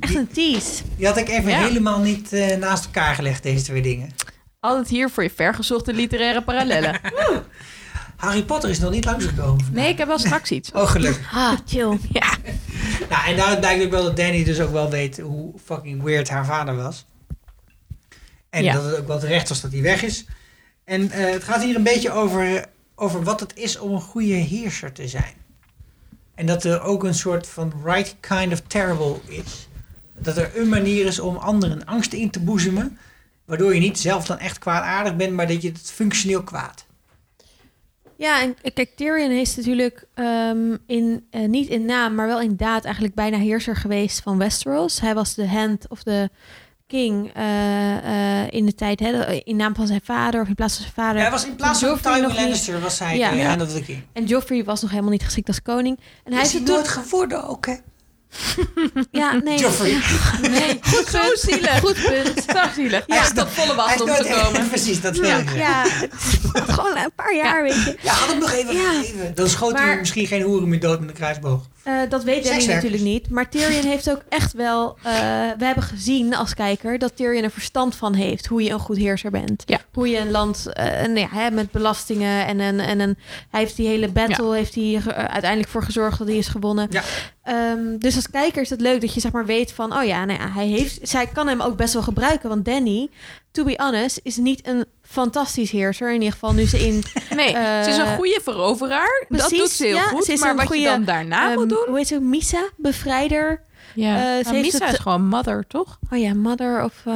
[SPEAKER 5] Echt een tease.
[SPEAKER 1] Die had ik even
[SPEAKER 4] Ja.
[SPEAKER 1] helemaal niet eh, naast elkaar gelegd, deze twee dingen.
[SPEAKER 4] Altijd hier voor je vergezochte literaire parallellen.
[SPEAKER 1] Harry Potter is nog niet langsgekomen.
[SPEAKER 4] Nee, ik heb wel straks iets.
[SPEAKER 1] Oh, gelukkig.
[SPEAKER 5] Ah, chill.
[SPEAKER 4] Ja,
[SPEAKER 1] Nou, en daaruit blijkt ook wel dat Danny dus ook wel weet hoe fucking weird haar vader was. En
[SPEAKER 4] Ja.
[SPEAKER 1] dat het ook wel terecht was dat hij weg is. En eh, het gaat hier een beetje over, eh, over wat het is om een goede heerser te zijn. En dat er ook een soort van right kind of terrible is. Dat er een manier is om anderen angst in te boezemen. Waardoor je niet zelf dan echt kwaadaardig bent, maar dat je het functioneel kwaad.
[SPEAKER 5] Ja, en kijk, Tyrion is natuurlijk ehm, in, eh, niet in naam, maar wel in daad eigenlijk bijna heerser geweest van Westeros. Hij was de hand of de king eh, eh, in de tijd, hè, in naam van zijn vader of in plaats van zijn vader.
[SPEAKER 1] Hij was in plaats van
[SPEAKER 5] Joffrey nog
[SPEAKER 1] Tywin
[SPEAKER 5] niet-
[SPEAKER 1] Lannister was hij
[SPEAKER 5] Ja.
[SPEAKER 1] ja. ja, dat ik in.
[SPEAKER 5] En Joffrey was nog helemaal niet geschikt als koning. En hij
[SPEAKER 1] Hij is
[SPEAKER 5] is
[SPEAKER 1] het
[SPEAKER 5] het
[SPEAKER 1] nooit geworden ook, hè?
[SPEAKER 5] Ja, nee.
[SPEAKER 1] [LAUGHS] Joffrey.
[SPEAKER 5] Ja,
[SPEAKER 4] Nee, goed, zo zielig.
[SPEAKER 5] Goed punt.
[SPEAKER 4] Zo zielig.
[SPEAKER 1] Hij
[SPEAKER 4] Ja,
[SPEAKER 1] is
[SPEAKER 4] dat volle
[SPEAKER 1] Hij
[SPEAKER 4] wacht
[SPEAKER 1] is
[SPEAKER 4] om te
[SPEAKER 1] nooit- [LAUGHS]
[SPEAKER 4] komen.
[SPEAKER 1] Precies, dat wil
[SPEAKER 5] Ja,
[SPEAKER 1] ik zeggen.
[SPEAKER 5] ja, het is gewoon een paar jaar, weet je.
[SPEAKER 1] Ja, had hem nog even
[SPEAKER 5] Ja.
[SPEAKER 1] gegeven. Dan schoot hij
[SPEAKER 5] Maar-
[SPEAKER 1] misschien geen hoeren meer dood met een kruisboog.
[SPEAKER 5] Eh, dat weet Danny
[SPEAKER 1] Sekswerkers.
[SPEAKER 5] natuurlijk niet. Maar Tyrion heeft ook echt wel... eh, we hebben gezien als kijker dat Tyrion er verstand van heeft... hoe je een goed heerser bent.
[SPEAKER 4] Ja.
[SPEAKER 5] Hoe je een land eh, en, ja, hè, met belastingen en een... En een hij heeft die hele battle heeft hij ge- eh, uiteindelijk voor gezorgd dat hij is gewonnen.
[SPEAKER 1] Ja.
[SPEAKER 5] Ehm, dus als kijker is het leuk dat je zeg maar weet van... oh ja, nou ja hij heeft, zij kan hem ook best wel gebruiken. Want Danny, to be honest, is niet een fantastisch heerser. In ieder geval nu ze in...
[SPEAKER 4] Nee,
[SPEAKER 5] Eh,
[SPEAKER 4] ze is een goede veroveraar. dat
[SPEAKER 5] precies,
[SPEAKER 4] doet ze heel
[SPEAKER 5] ja,
[SPEAKER 4] goed.
[SPEAKER 5] ze is
[SPEAKER 4] maar
[SPEAKER 5] een
[SPEAKER 4] wat
[SPEAKER 5] goede,
[SPEAKER 4] je dan daarna
[SPEAKER 5] ehm,
[SPEAKER 4] moet doen...
[SPEAKER 5] Hoe heet ze? Misa, bevrijder...
[SPEAKER 4] Ja,
[SPEAKER 5] eh, ze
[SPEAKER 4] maar
[SPEAKER 5] heeft
[SPEAKER 4] Misa
[SPEAKER 5] het-
[SPEAKER 4] is gewoon mother, toch?
[SPEAKER 5] Oh ja, mother of... eh,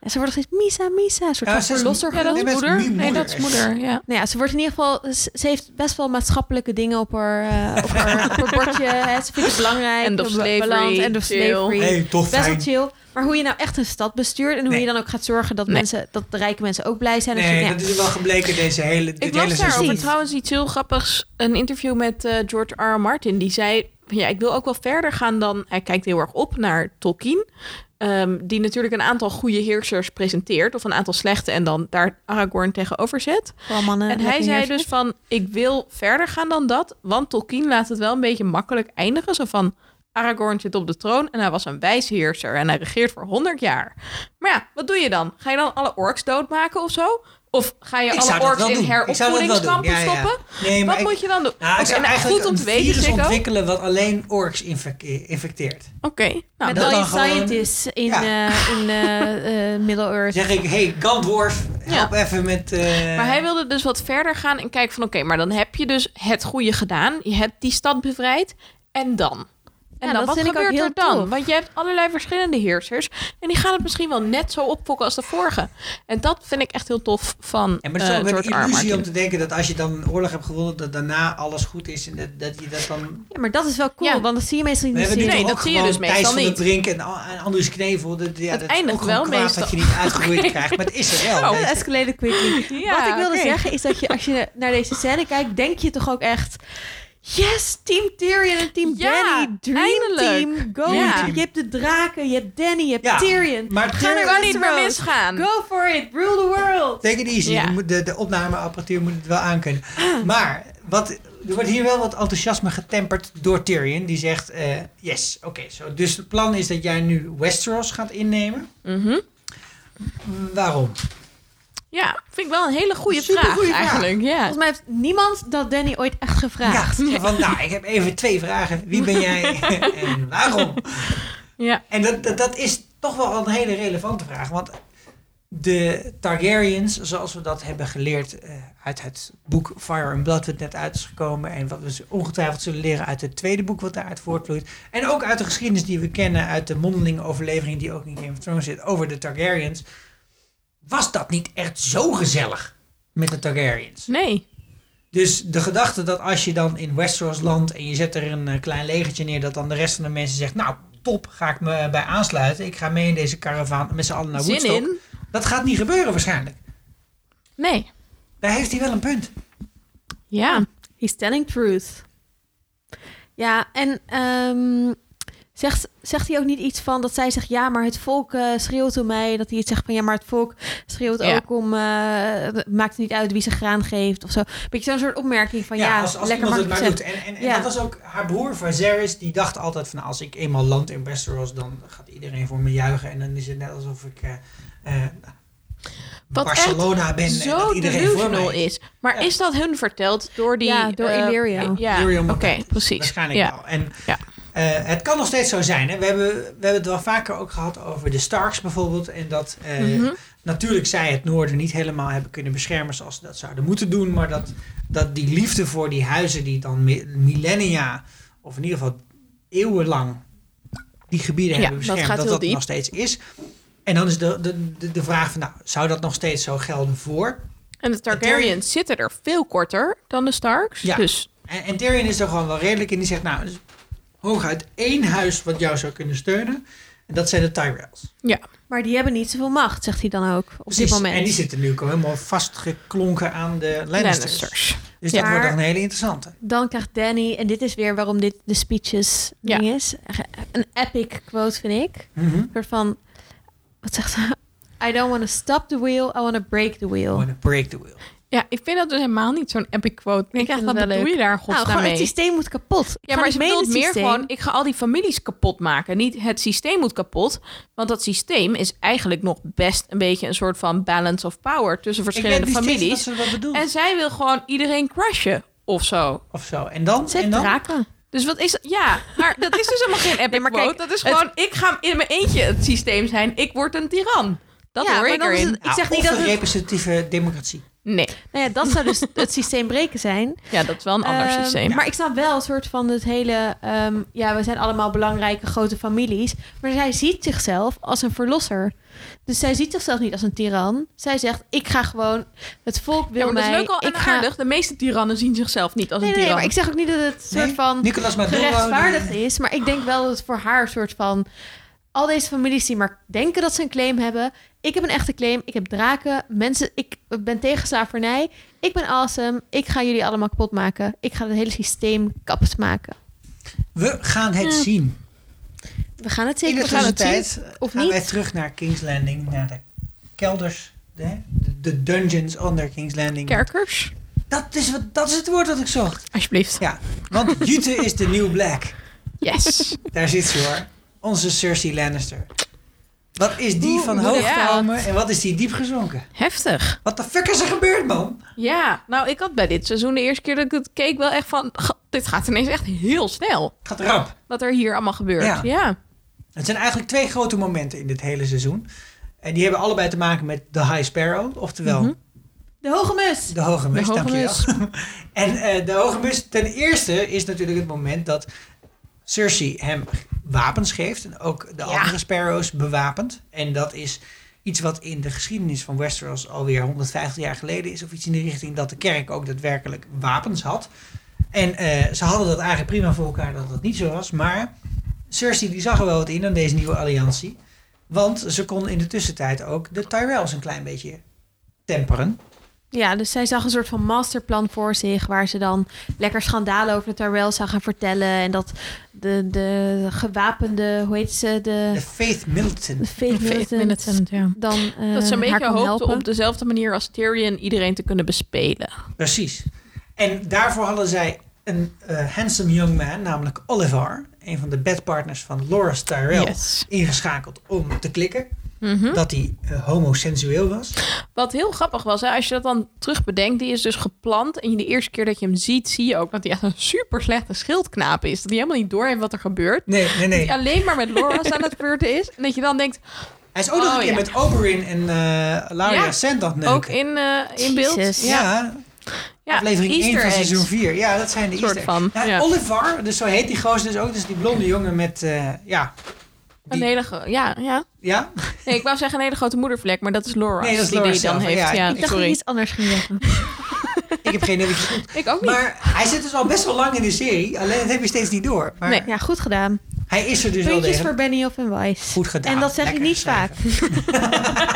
[SPEAKER 5] ja, ze wordt nog steeds Misa, Misa. Een soort
[SPEAKER 1] Ja,
[SPEAKER 5] van
[SPEAKER 1] ze is-
[SPEAKER 5] verlosser.
[SPEAKER 1] Ja, dat
[SPEAKER 5] genoemd.
[SPEAKER 1] is moeder. nu
[SPEAKER 4] Nee,
[SPEAKER 1] moeder.
[SPEAKER 4] dat is moeder, ja.
[SPEAKER 5] Nou ja, ze wordt in ieder geval... Ze ze heeft best wel maatschappelijke dingen op haar, eh, op haar, op haar bordje. Hè. Ze vindt het belangrijk.
[SPEAKER 4] End of
[SPEAKER 5] Ba-
[SPEAKER 4] slavery,
[SPEAKER 5] balans, End of
[SPEAKER 4] chill.
[SPEAKER 5] slavery.
[SPEAKER 1] Nee, toch
[SPEAKER 5] Best wel
[SPEAKER 1] fijn.
[SPEAKER 5] chill. Maar hoe je nou echt een stad bestuurt... en hoe
[SPEAKER 1] Nee.
[SPEAKER 5] je dan ook gaat zorgen dat,
[SPEAKER 4] Nee.
[SPEAKER 5] mensen, dat de rijke mensen ook blij zijn. of zo,
[SPEAKER 1] Nee,
[SPEAKER 5] nou ja.
[SPEAKER 1] dat is wel gebleken deze hele, dit
[SPEAKER 4] Ik
[SPEAKER 1] hele
[SPEAKER 4] las daarover
[SPEAKER 1] seizoen.
[SPEAKER 4] trouwens iets heel grappigs. Een interview met eh, George R. R. Martin. Die zei, ja, ik wil ook wel verder gaan dan... Hij kijkt heel erg op naar Tolkien. ehm, die natuurlijk een aantal goede heersers presenteert. Of een aantal slechte. En dan daar Aragorn tegenover zet.
[SPEAKER 5] Vooral mannen.
[SPEAKER 4] En hij
[SPEAKER 5] lekker
[SPEAKER 4] zei
[SPEAKER 5] heersen.
[SPEAKER 4] dus van, ik wil verder gaan dan dat. Want Tolkien laat het wel een beetje makkelijk eindigen. Zo van, Aragorn zit op de troon en hij was een wijsheerser. En hij regeert voor 100 jaar. Maar ja, wat doe je dan? Ga je dan alle orks doodmaken of zo? Of ga je
[SPEAKER 1] Ik zou
[SPEAKER 4] alle
[SPEAKER 1] dat
[SPEAKER 4] orks
[SPEAKER 1] wel
[SPEAKER 4] in
[SPEAKER 1] doen. Ik zou dat wel doen.
[SPEAKER 4] heropvoedingskampen
[SPEAKER 1] Ja, ja.
[SPEAKER 4] stoppen?
[SPEAKER 1] Nee, maar
[SPEAKER 4] Wat
[SPEAKER 1] ik,
[SPEAKER 4] moet je dan doen?
[SPEAKER 1] nou, ik
[SPEAKER 4] Oké,
[SPEAKER 1] zou
[SPEAKER 4] nou,
[SPEAKER 1] eigenlijk
[SPEAKER 4] goed om te
[SPEAKER 1] een
[SPEAKER 4] weten,
[SPEAKER 1] virus
[SPEAKER 4] Sikko. Oké,
[SPEAKER 1] ontwikkelen wat alleen orks infe- infecteert.
[SPEAKER 4] nou,
[SPEAKER 5] Met
[SPEAKER 1] dat
[SPEAKER 5] al
[SPEAKER 1] dan
[SPEAKER 5] die
[SPEAKER 1] gewoon-
[SPEAKER 5] scientists in,
[SPEAKER 1] Ja.
[SPEAKER 5] eh, in eh, eh, Middle-earth.
[SPEAKER 1] Zeg ik, hey, Gandorf, help even met... eh,
[SPEAKER 4] Maar hij wilde dus wat verder gaan en kijken van... oké, maar dan heb je dus het goede gedaan. Je hebt die stad bevrijd. En dan? En
[SPEAKER 5] Ja,
[SPEAKER 4] dan,
[SPEAKER 5] dat
[SPEAKER 4] wat
[SPEAKER 5] vind ik ook
[SPEAKER 4] gebeurt
[SPEAKER 5] heel
[SPEAKER 4] er dan?
[SPEAKER 5] tof.
[SPEAKER 4] Want je hebt allerlei verschillende heersers. En die gaan het misschien wel net zo opfokken als de vorige. En dat vind ik echt heel tof van
[SPEAKER 1] Ja, maar het is
[SPEAKER 4] eh,
[SPEAKER 1] ook
[SPEAKER 4] George
[SPEAKER 1] een
[SPEAKER 4] R. R.
[SPEAKER 1] illusie
[SPEAKER 4] Martin.
[SPEAKER 1] om te denken dat als je dan een oorlog hebt gewonnen, dat daarna alles goed is. En dat, dat je dat dan...
[SPEAKER 5] Ja, maar dat is wel cool,
[SPEAKER 4] Ja.
[SPEAKER 5] want dat zie je meestal niet
[SPEAKER 1] We
[SPEAKER 5] in
[SPEAKER 1] hebben
[SPEAKER 5] de
[SPEAKER 1] nu
[SPEAKER 5] serie.
[SPEAKER 4] Nee,
[SPEAKER 1] toch
[SPEAKER 4] dat
[SPEAKER 1] ook
[SPEAKER 4] zie je
[SPEAKER 1] gewoon
[SPEAKER 4] dus
[SPEAKER 1] Thijs
[SPEAKER 4] meestal
[SPEAKER 1] van
[SPEAKER 4] niet.
[SPEAKER 1] de Brink en, An- en Andries Knevel. Dat, ja,
[SPEAKER 4] Het
[SPEAKER 1] dat is
[SPEAKER 4] eindigt
[SPEAKER 1] ook gewoon
[SPEAKER 4] wel
[SPEAKER 1] kwaad
[SPEAKER 4] meestal.
[SPEAKER 1] dat je niet
[SPEAKER 4] [LAUGHS]
[SPEAKER 1] uitgegroeid krijgt. Maar het is er wel.
[SPEAKER 4] Oh.
[SPEAKER 1] weet je.
[SPEAKER 4] [LAUGHS]
[SPEAKER 5] escalated quickly.
[SPEAKER 4] Ja,
[SPEAKER 5] Wat ik wilde
[SPEAKER 4] oké.
[SPEAKER 5] zeggen is dat je als je naar deze scène kijkt, denk je toch ook echt. Yes, Team Tyrion en Team
[SPEAKER 4] Ja,
[SPEAKER 5] Danny. Dream
[SPEAKER 4] eindelijk.
[SPEAKER 5] Team. Go.
[SPEAKER 4] Ja.
[SPEAKER 5] Je hebt de draken, je hebt Danny, je hebt
[SPEAKER 1] Ja,
[SPEAKER 5] Tyrion.
[SPEAKER 1] maar
[SPEAKER 5] Ga
[SPEAKER 1] Tyrion-
[SPEAKER 5] naar
[SPEAKER 4] Kan niet meer
[SPEAKER 5] Westeros.
[SPEAKER 4] misgaan.
[SPEAKER 5] Go for it. Rule the world.
[SPEAKER 1] Take it easy.
[SPEAKER 4] Ja.
[SPEAKER 1] Je moet- De, de opnameapparatuur moet het wel aankunnen. Maar wat, er wordt hier wel wat enthousiasme getemperd door Tyrion. Die zegt, eh, yes, oké. zo. dus het plan is dat jij nu Westeros gaat innemen.
[SPEAKER 4] Mhm.
[SPEAKER 1] Waarom?
[SPEAKER 4] Ja, vind ik wel een hele goede
[SPEAKER 1] Supergoeie
[SPEAKER 4] vraag,
[SPEAKER 1] vraag.
[SPEAKER 4] eigenlijk. Ja.
[SPEAKER 5] Volgens mij heeft niemand dat Danny ooit echt gevraagd.
[SPEAKER 1] Ja, van, nou, ik heb even twee vragen. Wie ben
[SPEAKER 4] [LAUGHS]
[SPEAKER 1] jij en waarom?
[SPEAKER 4] Ja.
[SPEAKER 1] En dat, dat, dat is toch wel een hele relevante vraag. Want de Targaryens, zoals we dat hebben geleerd eh, uit het boek Fire and Blood, wat net uit is gekomen. En wat we ze ongetwijfeld zullen leren uit het tweede boek, wat daaruit voortvloeit. En ook uit de geschiedenis die we kennen, uit de mondelinge overlevering die ook in Game of Thrones zit, over de Targaryens. Was dat niet echt zo gezellig met de Targaryens?
[SPEAKER 4] Nee.
[SPEAKER 1] Dus de gedachte dat als je dan in Westeros landt en je zet er een eh, klein legertje neer, dat dan de rest van de mensen zegt, nou top, ga ik me eh, bij aansluiten. Ik ga mee in deze karavaan met z'n allen naar
[SPEAKER 4] Zin
[SPEAKER 1] Nou, Woodstock.
[SPEAKER 4] in?
[SPEAKER 1] Dat gaat niet gebeuren waarschijnlijk.
[SPEAKER 4] Nee.
[SPEAKER 1] Daar heeft hij wel een punt.
[SPEAKER 4] Ja.
[SPEAKER 5] He's telling truth. Ja, en ehm, zegt, zegt hij ook niet iets van dat zij zegt: Ja, maar het volk eh, schreeuwt om mij. Dat hij iets zegt van: Ja, maar het volk schreeuwt
[SPEAKER 4] Ja.
[SPEAKER 5] ook om. eh, het maakt niet uit wie ze graan geeft of zo. Beetje zo'n soort opmerking van: Ja,
[SPEAKER 1] als, als
[SPEAKER 5] lekker
[SPEAKER 1] iemand het
[SPEAKER 5] makkelijk
[SPEAKER 1] maar
[SPEAKER 5] gezegd.
[SPEAKER 1] doet. En, en, en
[SPEAKER 5] Ja.
[SPEAKER 1] dat was ook haar broer Viserys, die dacht altijd van als ik eenmaal land in Westeros, dan gaat iedereen voor me juichen. En dan is het net alsof ik eh, eh,
[SPEAKER 4] Wat
[SPEAKER 1] Barcelona ben en
[SPEAKER 4] zo
[SPEAKER 1] dat iedereen voor
[SPEAKER 4] delusional
[SPEAKER 1] mij
[SPEAKER 4] is. Maar
[SPEAKER 1] Ja.
[SPEAKER 4] is dat hun verteld door die...
[SPEAKER 5] Ja, door
[SPEAKER 4] eh,
[SPEAKER 5] Illyrio.
[SPEAKER 4] Ja,
[SPEAKER 1] Illyrio
[SPEAKER 4] oké,
[SPEAKER 1] Martell.
[SPEAKER 4] precies.
[SPEAKER 1] Waarschijnlijk
[SPEAKER 4] ja.
[SPEAKER 1] wel. En
[SPEAKER 4] Ja.
[SPEAKER 1] eh, het kan nog steeds zo zijn. Hè? We, hebben, we hebben het wel vaker ook gehad over de Starks bijvoorbeeld. En dat eh,
[SPEAKER 4] Mhm.
[SPEAKER 1] natuurlijk zij het noorden niet helemaal hebben kunnen beschermen zoals ze dat zouden moeten doen. Maar dat, dat die liefde voor die huizen die dan mi- millennia, of in ieder geval eeuwenlang, die gebieden
[SPEAKER 4] Ja,
[SPEAKER 1] hebben
[SPEAKER 4] dat
[SPEAKER 1] beschermd,
[SPEAKER 4] gaat
[SPEAKER 1] dat
[SPEAKER 4] heel
[SPEAKER 1] dat,
[SPEAKER 4] diep.
[SPEAKER 1] nog steeds is. En dan is de, de, de, de vraag van, nou, zou dat nog steeds zo gelden voor?
[SPEAKER 4] En de Targaryens zitten er veel korter dan de Starks.
[SPEAKER 1] Ja.
[SPEAKER 4] Dus
[SPEAKER 1] En, en Tyrion is er gewoon wel redelijk in. Die zegt, nou, er is hooguit één huis wat jou zou kunnen steunen. En dat zijn de Tyrells.
[SPEAKER 5] Maar die hebben niet zoveel macht, zegt hij dan ook op dit
[SPEAKER 1] Precies.
[SPEAKER 5] moment.
[SPEAKER 1] En die zitten nu ook helemaal vastgeklonken aan de Lannisters.
[SPEAKER 4] Lannisters.
[SPEAKER 1] Dus
[SPEAKER 5] Ja.
[SPEAKER 1] dat wordt dan een hele interessante.
[SPEAKER 5] Dan krijgt Danny, en dit is weer waarom dit de speeches
[SPEAKER 4] Ja.
[SPEAKER 5] ding is. Een epic quote vind ik.
[SPEAKER 1] Mhm.
[SPEAKER 5] Een soort van, wat zegt ze? [LAUGHS] I don't want to stop the wheel, I want to break the wheel.
[SPEAKER 1] Wanna break the wheel.
[SPEAKER 4] Ja, ik vind dat dus helemaal niet zo'n epic quote. Ik
[SPEAKER 5] vind
[SPEAKER 4] denk,
[SPEAKER 5] het
[SPEAKER 4] wat
[SPEAKER 5] wel
[SPEAKER 4] bedoel
[SPEAKER 5] leuk.
[SPEAKER 4] je daar in
[SPEAKER 5] nou,
[SPEAKER 4] godsnaam
[SPEAKER 5] gewoon het
[SPEAKER 4] mee?
[SPEAKER 5] systeem moet kapot. Ik
[SPEAKER 4] Ja,
[SPEAKER 5] ga
[SPEAKER 4] maar
[SPEAKER 5] niet
[SPEAKER 4] ze
[SPEAKER 5] mee in
[SPEAKER 4] bedoelt
[SPEAKER 5] het
[SPEAKER 4] meer
[SPEAKER 5] systeem.
[SPEAKER 4] gewoon, ik ga al die families kapot maken. Niet het systeem moet kapot. Want dat systeem is eigenlijk nog best een beetje een soort van balance of power tussen verschillende
[SPEAKER 1] ik weet niet steeds
[SPEAKER 4] families.
[SPEAKER 1] dat ze dat bedoelt.
[SPEAKER 4] En zij wil gewoon iedereen crushen of zo.
[SPEAKER 1] Of zo. En dan?
[SPEAKER 5] Zet
[SPEAKER 1] en dan?
[SPEAKER 5] draken.
[SPEAKER 4] Dus wat is... Ja, maar dat is dus helemaal geen epic
[SPEAKER 5] Nee, maar kijk,
[SPEAKER 4] quote. Dat is
[SPEAKER 5] het-
[SPEAKER 4] gewoon, ik ga in mijn eentje het systeem zijn. Ik word een tiran. Dat
[SPEAKER 5] ja,
[SPEAKER 4] hoor
[SPEAKER 5] maar
[SPEAKER 4] ik
[SPEAKER 5] dan is
[SPEAKER 4] erin.
[SPEAKER 5] het- ik
[SPEAKER 1] Nou,
[SPEAKER 5] zeg niet
[SPEAKER 1] of
[SPEAKER 5] dat
[SPEAKER 1] een
[SPEAKER 5] het,
[SPEAKER 1] representatieve democratie.
[SPEAKER 4] Nee,
[SPEAKER 5] nou ja, dat zou dus het systeem breken zijn.
[SPEAKER 4] ja, dat is wel een ander
[SPEAKER 5] Ehm,
[SPEAKER 4] systeem.
[SPEAKER 5] Maar ik snap wel een soort van het hele... ehm, ja, we zijn allemaal belangrijke grote families. Maar zij ziet zichzelf als een verlosser. Dus zij ziet zichzelf niet als een tiran. Zij zegt, ik ga gewoon... Het volk wil
[SPEAKER 4] Ja, maar dat
[SPEAKER 5] mij...
[SPEAKER 4] is leuk al
[SPEAKER 5] ik
[SPEAKER 4] en
[SPEAKER 5] ga...
[SPEAKER 4] aardig. De meeste tirannen zien zichzelf niet als
[SPEAKER 5] Nee,
[SPEAKER 4] een
[SPEAKER 5] nee,
[SPEAKER 4] tiran.
[SPEAKER 5] nee, maar ik zeg ook niet dat het soort
[SPEAKER 1] Nee?
[SPEAKER 5] van
[SPEAKER 1] Nicolas Maduro. die-
[SPEAKER 5] gerechtvaardigd is. Maar ik denk wel dat het voor haar een soort van... Al deze families die maar denken dat ze een claim hebben. Ik heb een echte claim. Ik heb draken. Mensen, ik ben tegen slavernij. Ik ben awesome. Ik ga jullie allemaal kapot maken. Ik ga het hele systeem kapot maken.
[SPEAKER 1] We gaan het zien.
[SPEAKER 5] We gaan het
[SPEAKER 1] In
[SPEAKER 5] zeker
[SPEAKER 1] de
[SPEAKER 5] we gaan het zien.
[SPEAKER 1] tussentijd
[SPEAKER 5] Of
[SPEAKER 1] gaan
[SPEAKER 5] niet?
[SPEAKER 1] wij terug naar King's Landing. Naar de kelders. De, de dungeons onder King's Landing.
[SPEAKER 4] Kerkers,
[SPEAKER 1] Dat is, wat, dat is het woord dat ik zocht.
[SPEAKER 4] alsjeblieft.
[SPEAKER 1] Ja, want Jute is de new black.
[SPEAKER 4] Yes.
[SPEAKER 1] Daar zit ze hoor. Onze Cersei Lannister. Wat is die
[SPEAKER 4] Oeh,
[SPEAKER 1] van
[SPEAKER 4] moeder,
[SPEAKER 1] hoog
[SPEAKER 4] ja.
[SPEAKER 1] gekomen en wat is die diep gezonken?
[SPEAKER 4] [LAUGHS] Heftig.
[SPEAKER 1] Wat de fuck is er gebeurd, man?
[SPEAKER 4] Ja, nou ik had bij dit seizoen de eerste keer dat ik het keek wel echt van... "Ga- Dit gaat ineens echt heel snel.
[SPEAKER 1] Gaat rap.
[SPEAKER 4] Wat er hier allemaal gebeurt. Ja.
[SPEAKER 1] Ja. Het zijn eigenlijk twee grote momenten in dit hele seizoen. En die hebben allebei te maken met de High Sparrow, oftewel
[SPEAKER 4] Mhm.
[SPEAKER 5] De hoge mus.
[SPEAKER 1] de Hoge Mus.
[SPEAKER 4] De Hoge
[SPEAKER 1] dankjewel. [LAUGHS] en eh, de Hoge Mus, ten eerste is natuurlijk het moment dat Cersei hem wapens geeft. En ook de
[SPEAKER 4] Ja.
[SPEAKER 1] andere Sparrows bewapend. En dat is iets wat in de geschiedenis van Westeros alweer 150 jaar geleden is. Of iets in de richting dat de kerk ook daadwerkelijk wapens had. En eh, ze hadden dat eigenlijk prima voor elkaar dat dat niet zo was. Maar Cersei die zag er wel wat in aan deze nieuwe alliantie. Want ze kon in de tussentijd ook de Tyrells een klein beetje temperen.
[SPEAKER 5] Ja, dus zij zag een soort van masterplan voor zich... waar ze dan lekker schandalen over de Tarwell zou gaan vertellen... en dat de, de gewapende, hoe heet ze,
[SPEAKER 1] De
[SPEAKER 4] Eh.
[SPEAKER 5] de...
[SPEAKER 1] Faith Middleton.
[SPEAKER 5] de Faith Militant
[SPEAKER 4] ja.
[SPEAKER 5] dan eh,
[SPEAKER 4] Dat ze een beetje
[SPEAKER 5] haar kon
[SPEAKER 4] hoopte
[SPEAKER 5] helpen.
[SPEAKER 4] op dezelfde manier als Tyrion iedereen te kunnen bespelen.
[SPEAKER 1] Precies. En daarvoor hadden zij een eh, handsome young man, namelijk Oliver, een van de bedpartners van Loras Tyrell,
[SPEAKER 4] Yes.
[SPEAKER 1] ingeschakeld om te klikken
[SPEAKER 4] Mhm.
[SPEAKER 1] dat hij eh, homosensueel was.
[SPEAKER 4] Wat heel grappig was, hè, als je dat dan terug bedenkt, die is dus geplant. En de eerste keer dat je hem ziet, zie je ook dat hij echt een super slechte schildknaap is. Dat hij helemaal niet doorheeft wat er gebeurt.
[SPEAKER 1] Nee, nee, nee.
[SPEAKER 4] Die alleen maar met Laura's aan het flirten is. En dat je dan denkt,
[SPEAKER 1] Hij is ook nog
[SPEAKER 4] Oh,
[SPEAKER 1] een keer
[SPEAKER 4] ja.
[SPEAKER 1] met Oberyn en eh Laria
[SPEAKER 4] Ja,
[SPEAKER 1] Sand aan het neuken.
[SPEAKER 4] ook in, eh, in beeld.
[SPEAKER 5] Jezus.
[SPEAKER 1] ja.
[SPEAKER 4] ja,
[SPEAKER 1] aflevering 1 van
[SPEAKER 4] Easter
[SPEAKER 1] seizoen
[SPEAKER 4] eggs.
[SPEAKER 1] 4. Ja, dat zijn de
[SPEAKER 4] Soort
[SPEAKER 1] Easter eggs.
[SPEAKER 4] van,
[SPEAKER 1] Nou,
[SPEAKER 4] ja.
[SPEAKER 1] Oliver, dus zo heet die gozer dus ook, dus die blonde jongen met, eh, ja...
[SPEAKER 4] Een
[SPEAKER 1] die-
[SPEAKER 4] hele gro- ja, ja.
[SPEAKER 1] Ja?
[SPEAKER 4] Nee, ik wou zeggen een hele grote moedervlek, maar dat is Laura.
[SPEAKER 1] Nee, dat is
[SPEAKER 4] die
[SPEAKER 1] Laura
[SPEAKER 4] die dan
[SPEAKER 1] zelf.
[SPEAKER 4] heeft.
[SPEAKER 1] Ja,
[SPEAKER 4] Ja,
[SPEAKER 1] ik
[SPEAKER 5] Ik dacht dat je
[SPEAKER 4] sorry.
[SPEAKER 5] iets anders ging zeggen.
[SPEAKER 1] Ik heb geen idee wat je bedoelt.
[SPEAKER 4] Ik ook niet.
[SPEAKER 1] Maar hij zit dus al best wel lang in de serie, alleen dat heb je steeds niet door. Maar
[SPEAKER 4] Nee.
[SPEAKER 5] Ja, goed gedaan.
[SPEAKER 1] hij is er dus wel
[SPEAKER 5] Puntjes
[SPEAKER 1] degelijk.
[SPEAKER 5] voor Benioff en Weiss.
[SPEAKER 1] Goed gedaan.
[SPEAKER 5] En dat zeg ik
[SPEAKER 1] Lekker
[SPEAKER 5] niet vaak.
[SPEAKER 1] geschreven. [LAUGHS]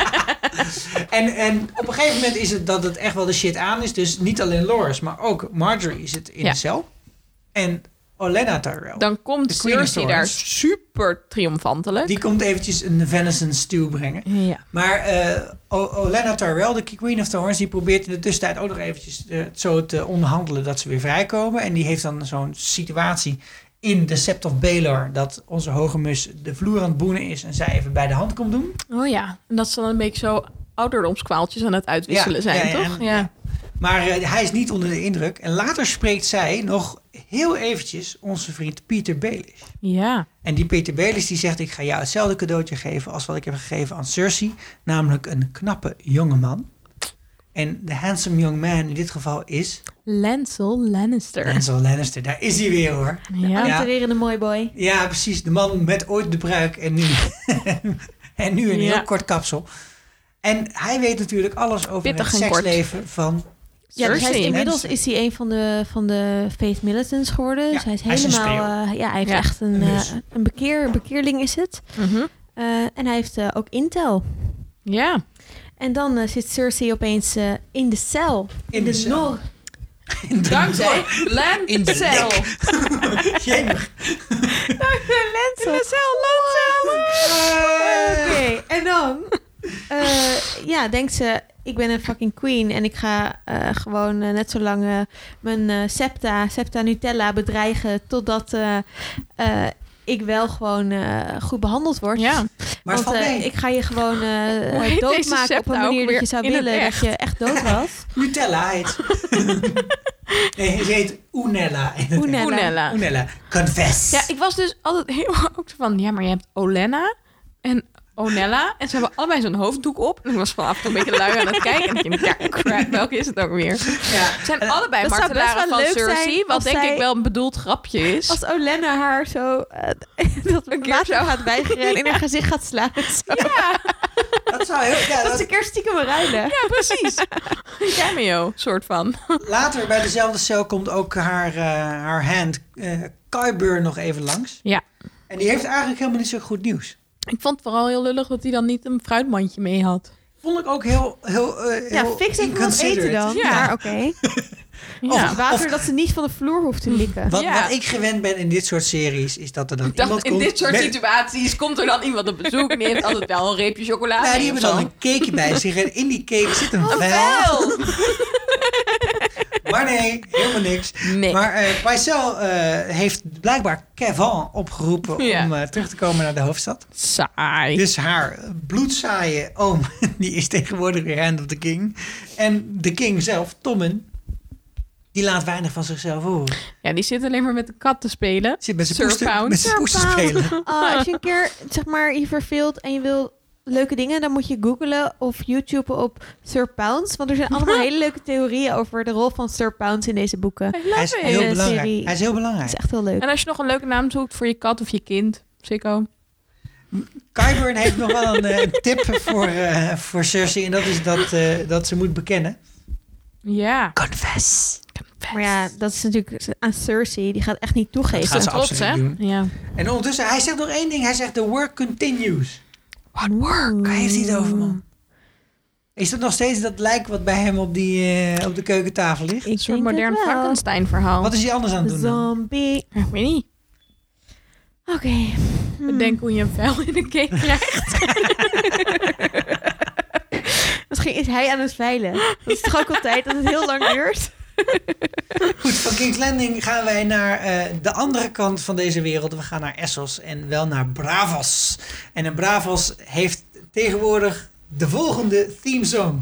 [SPEAKER 1] En, en op een gegeven moment is het dat het echt wel de shit aan is. Dus niet alleen Loris, maar ook Marjorie zit in
[SPEAKER 4] Ja.
[SPEAKER 1] de cel. En Olenna Tyrell.
[SPEAKER 4] Dan komt
[SPEAKER 1] The Queen of
[SPEAKER 4] Cersei daar
[SPEAKER 1] Thorns.
[SPEAKER 4] super triomfantelijk.
[SPEAKER 1] Die komt eventjes een venison stew brengen.
[SPEAKER 4] Ja.
[SPEAKER 1] Maar eh, O- Olenna Tyrell, de Queen of Thorns, die probeert in de tussentijd ook nog eventjes eh, zo te onderhandelen dat ze weer vrijkomen. En die heeft dan zo'n situatie in de Sept of Baelor dat onze hoge mus de vloer aan het boenen is en zij even bij de hand komt doen.
[SPEAKER 4] Oh ja, en dat ze dan een beetje zo ouderdomskwaaltjes aan het uitwisselen
[SPEAKER 1] Ja,
[SPEAKER 4] zijn,
[SPEAKER 1] ja, ja,
[SPEAKER 4] toch?
[SPEAKER 1] en-
[SPEAKER 4] ja.
[SPEAKER 1] Maar eh, hij is niet onder de indruk. En later spreekt zij nog heel eventjes onze vriend Pieter Baelish.
[SPEAKER 4] Ja.
[SPEAKER 1] En die Peter Belis die zegt: Ik ga jou hetzelfde cadeautje geven als wat ik heb gegeven aan Cersei. Namelijk een knappe jonge man. En de handsome young man in dit geval is
[SPEAKER 4] Lancel Lannister.
[SPEAKER 1] Lancel Lannister. Daar is hij weer hoor.
[SPEAKER 4] Ja.
[SPEAKER 1] Ja.
[SPEAKER 5] Allitererende mooi boy.
[SPEAKER 1] Ja, precies. De man met ooit de bruik en nu, [LAUGHS] en nu een
[SPEAKER 4] Ja.
[SPEAKER 1] heel kort kapsel. En hij weet natuurlijk alles over
[SPEAKER 4] Pittig
[SPEAKER 1] het
[SPEAKER 4] en kort.
[SPEAKER 1] seksleven van...
[SPEAKER 5] Ja, dus hij is,
[SPEAKER 4] Cersei.
[SPEAKER 5] inmiddels is hij een van de, van de Faith Militants geworden.
[SPEAKER 1] Ja,
[SPEAKER 5] dus hij is
[SPEAKER 1] hij is een
[SPEAKER 5] helemaal... eh, ja, hij heeft
[SPEAKER 4] Ja,
[SPEAKER 5] echt een,
[SPEAKER 1] een
[SPEAKER 5] eh,
[SPEAKER 1] mus.
[SPEAKER 5] een bekeer, bekeerling is het.
[SPEAKER 4] Mhm.
[SPEAKER 5] Eh, en hij heeft eh, ook intel.
[SPEAKER 4] ja.
[SPEAKER 5] En dan eh, zit Cersei opeens eh, in de cel.
[SPEAKER 1] In de cel. [LAUGHS]
[SPEAKER 4] [LAUGHS]
[SPEAKER 5] nor.
[SPEAKER 1] in de-
[SPEAKER 4] Dankzij
[SPEAKER 1] In de
[SPEAKER 4] Lancel.
[SPEAKER 1] Jemig.
[SPEAKER 5] Lancel. Oké, en dan? eh, ja, denkt ze, ik ben een fucking queen en ik ga eh, gewoon eh, net zo lang eh, mijn eh, septa, septa Nutella bedreigen totdat eh, eh, ik wel gewoon eh, goed behandeld word.
[SPEAKER 4] Ja.
[SPEAKER 1] Maar het
[SPEAKER 5] Want
[SPEAKER 1] valt
[SPEAKER 5] eh,
[SPEAKER 1] mee.
[SPEAKER 5] ik ga je gewoon eh,
[SPEAKER 4] Hoe heet deze
[SPEAKER 5] doodmaken op
[SPEAKER 4] septa
[SPEAKER 5] een
[SPEAKER 4] ook
[SPEAKER 5] manier dat je
[SPEAKER 4] weer
[SPEAKER 5] zou
[SPEAKER 4] in het
[SPEAKER 5] willen dat
[SPEAKER 4] echt?
[SPEAKER 5] je echt dood
[SPEAKER 4] [LAUGHS]
[SPEAKER 5] was.
[SPEAKER 1] Nutella heet. [LAUGHS] nee, ze heet Oenella. in het echt.
[SPEAKER 5] Oenella.
[SPEAKER 4] Oenella.
[SPEAKER 1] Oenella. Confess.
[SPEAKER 4] Ja, ik was dus altijd heel [LAUGHS] ook van... Ja, maar je hebt Olenna en Onella. En ze hebben allebei zo'n hoofddoek op. En ik was vanaf en toe een beetje lui
[SPEAKER 1] [LAUGHS]
[SPEAKER 4] aan het kijken. En ik denk, ja, crap, welke is het ook weer?
[SPEAKER 1] Ja.
[SPEAKER 4] Het zijn allebei
[SPEAKER 5] dat zou best
[SPEAKER 4] martelaren
[SPEAKER 5] wel
[SPEAKER 4] van
[SPEAKER 5] leuk zijn
[SPEAKER 4] Cersei. Wat
[SPEAKER 5] als
[SPEAKER 4] denk
[SPEAKER 5] zij-
[SPEAKER 4] ik wel een bedoeld grapje is.
[SPEAKER 5] Als Olenna haar zo eh, [LAUGHS] dat
[SPEAKER 4] Een keer
[SPEAKER 5] water
[SPEAKER 4] zo.
[SPEAKER 5] gaat weigeren en in haar gezicht gaat slaan.
[SPEAKER 4] [LAUGHS]
[SPEAKER 5] Zo.
[SPEAKER 1] Dat zou heel... Ja,
[SPEAKER 5] Dat
[SPEAKER 1] dat-
[SPEAKER 5] ze een keer stiekem ruilen.
[SPEAKER 4] Ja, [LAUGHS] precies. Cameo, soort van.
[SPEAKER 1] Later bij dezelfde cel komt ook haar, eh, haar hand, eh Kyber, nog even langs.
[SPEAKER 4] Ja.
[SPEAKER 1] En die heeft eigenlijk helemaal niet zo goed nieuws.
[SPEAKER 4] Ik vond het vooral heel lullig dat hij dan niet een fruitmandje mee had.
[SPEAKER 1] Vond ik ook heel... heel, eh,
[SPEAKER 5] Ja,
[SPEAKER 1] heel
[SPEAKER 5] fix even wat
[SPEAKER 1] inconsiderate.
[SPEAKER 5] eten dan.
[SPEAKER 4] Ja.
[SPEAKER 5] Maar oké.
[SPEAKER 4] Ja.
[SPEAKER 5] Of water dat ze niet van de vloer hoeft te likken. [LAUGHS]
[SPEAKER 1] Wat,
[SPEAKER 4] Ja.
[SPEAKER 1] wat ik gewend ben in dit soort series, is dat er dan
[SPEAKER 4] Ik dacht,
[SPEAKER 1] iemand
[SPEAKER 4] in
[SPEAKER 1] komt...
[SPEAKER 4] dit soort
[SPEAKER 1] met-
[SPEAKER 4] situaties komt er dan iemand op bezoek en die heeft altijd wel een reepje chocolade.
[SPEAKER 1] Ja, die
[SPEAKER 4] mee
[SPEAKER 1] hebben
[SPEAKER 4] of
[SPEAKER 1] dan
[SPEAKER 4] zo.
[SPEAKER 1] een cake bij zich en in die cake zit een vel.
[SPEAKER 4] Oh, Wel!
[SPEAKER 1] [LAUGHS] Maar nee, helemaal niks.
[SPEAKER 4] Nee.
[SPEAKER 1] Maar eh Pycelle eh, heeft blijkbaar Kevin opgeroepen
[SPEAKER 4] Ja.
[SPEAKER 1] om eh, terug te komen naar de hoofdstad.
[SPEAKER 4] Saai.
[SPEAKER 1] Dus haar bloedzaaie oom, [LAUGHS] die is tegenwoordig weer Hand of the King. En de King zelf, Tommen, die laat weinig van zichzelf horen.
[SPEAKER 4] Ja, die zit alleen maar met de kat te spelen.
[SPEAKER 1] Zit met
[SPEAKER 4] Sir
[SPEAKER 1] zijn poes te-
[SPEAKER 4] Pound.
[SPEAKER 1] met zijn
[SPEAKER 4] Sir
[SPEAKER 1] poes te
[SPEAKER 4] Pound.
[SPEAKER 1] spelen.
[SPEAKER 5] Ah, als je een keer zeg maar, je verveelt en je wil leuke dingen, dan moet je googlen of YouTuben op Sir Pounds. Want er zijn [LAUGHS] allemaal hele leuke theorieën over de rol van Sir Pounds in deze boeken.
[SPEAKER 4] I
[SPEAKER 5] Het
[SPEAKER 4] love
[SPEAKER 1] Hij is
[SPEAKER 4] it.
[SPEAKER 1] heel
[SPEAKER 5] serie.
[SPEAKER 1] belangrijk. Hij is heel belangrijk.
[SPEAKER 5] is echt heel leuk.
[SPEAKER 4] En als je nog een leuke naam zoekt voor je kat of je kind, sicko.
[SPEAKER 1] Kyburn heeft nog wel een eh, tip voor, eh, voor Cersei. En dat is dat, eh, dat ze moet bekennen.
[SPEAKER 4] Ja.
[SPEAKER 1] Confess.
[SPEAKER 5] Maar ja, dat is natuurlijk aan Cersei. Die gaat echt niet toegeven.
[SPEAKER 1] Dat gaat ze
[SPEAKER 4] Klopt,
[SPEAKER 1] absoluut
[SPEAKER 4] hè?
[SPEAKER 1] doen.
[SPEAKER 4] Ja.
[SPEAKER 1] En ondertussen, hij zegt nog één ding. Hij zegt, the work continues.
[SPEAKER 4] What work?
[SPEAKER 1] Waar heeft hij het over, man? Is dat nog steeds dat lijk wat bij hem op, die, eh, op de keukentafel ligt?
[SPEAKER 5] Ik
[SPEAKER 4] Een soort
[SPEAKER 5] denk het
[SPEAKER 4] modern
[SPEAKER 5] wel.
[SPEAKER 4] Frankenstein verhaal.
[SPEAKER 1] Wat is hij anders aan het doen dan?
[SPEAKER 5] Zombie.
[SPEAKER 4] Ik weet niet.
[SPEAKER 5] Oké. Hmm.
[SPEAKER 4] Bedenk hoe je een vuil in een cake krijgt. [LAUGHS]
[SPEAKER 5] Misschien is hij aan het veilen. Dat is toch ook altijd dat het heel lang duurt.
[SPEAKER 1] Goed, van King's Landing gaan wij naar eh, de andere kant van deze wereld. We gaan naar Essos en wel naar Bravos. En een Bravos heeft tegenwoordig de volgende theme song.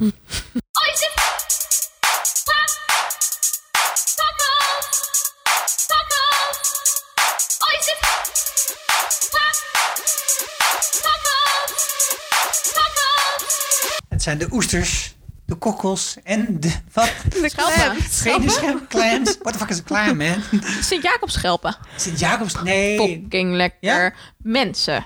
[SPEAKER 1] Het zijn de oesters, de kokkels en de... Wat?
[SPEAKER 4] De
[SPEAKER 1] Geen de schelp, clams. What the fuck is a clam, man?
[SPEAKER 4] Sint-Jacobschelpen.
[SPEAKER 1] Sint-Jacobs? Nee.
[SPEAKER 4] Fucking lekker. Mensen.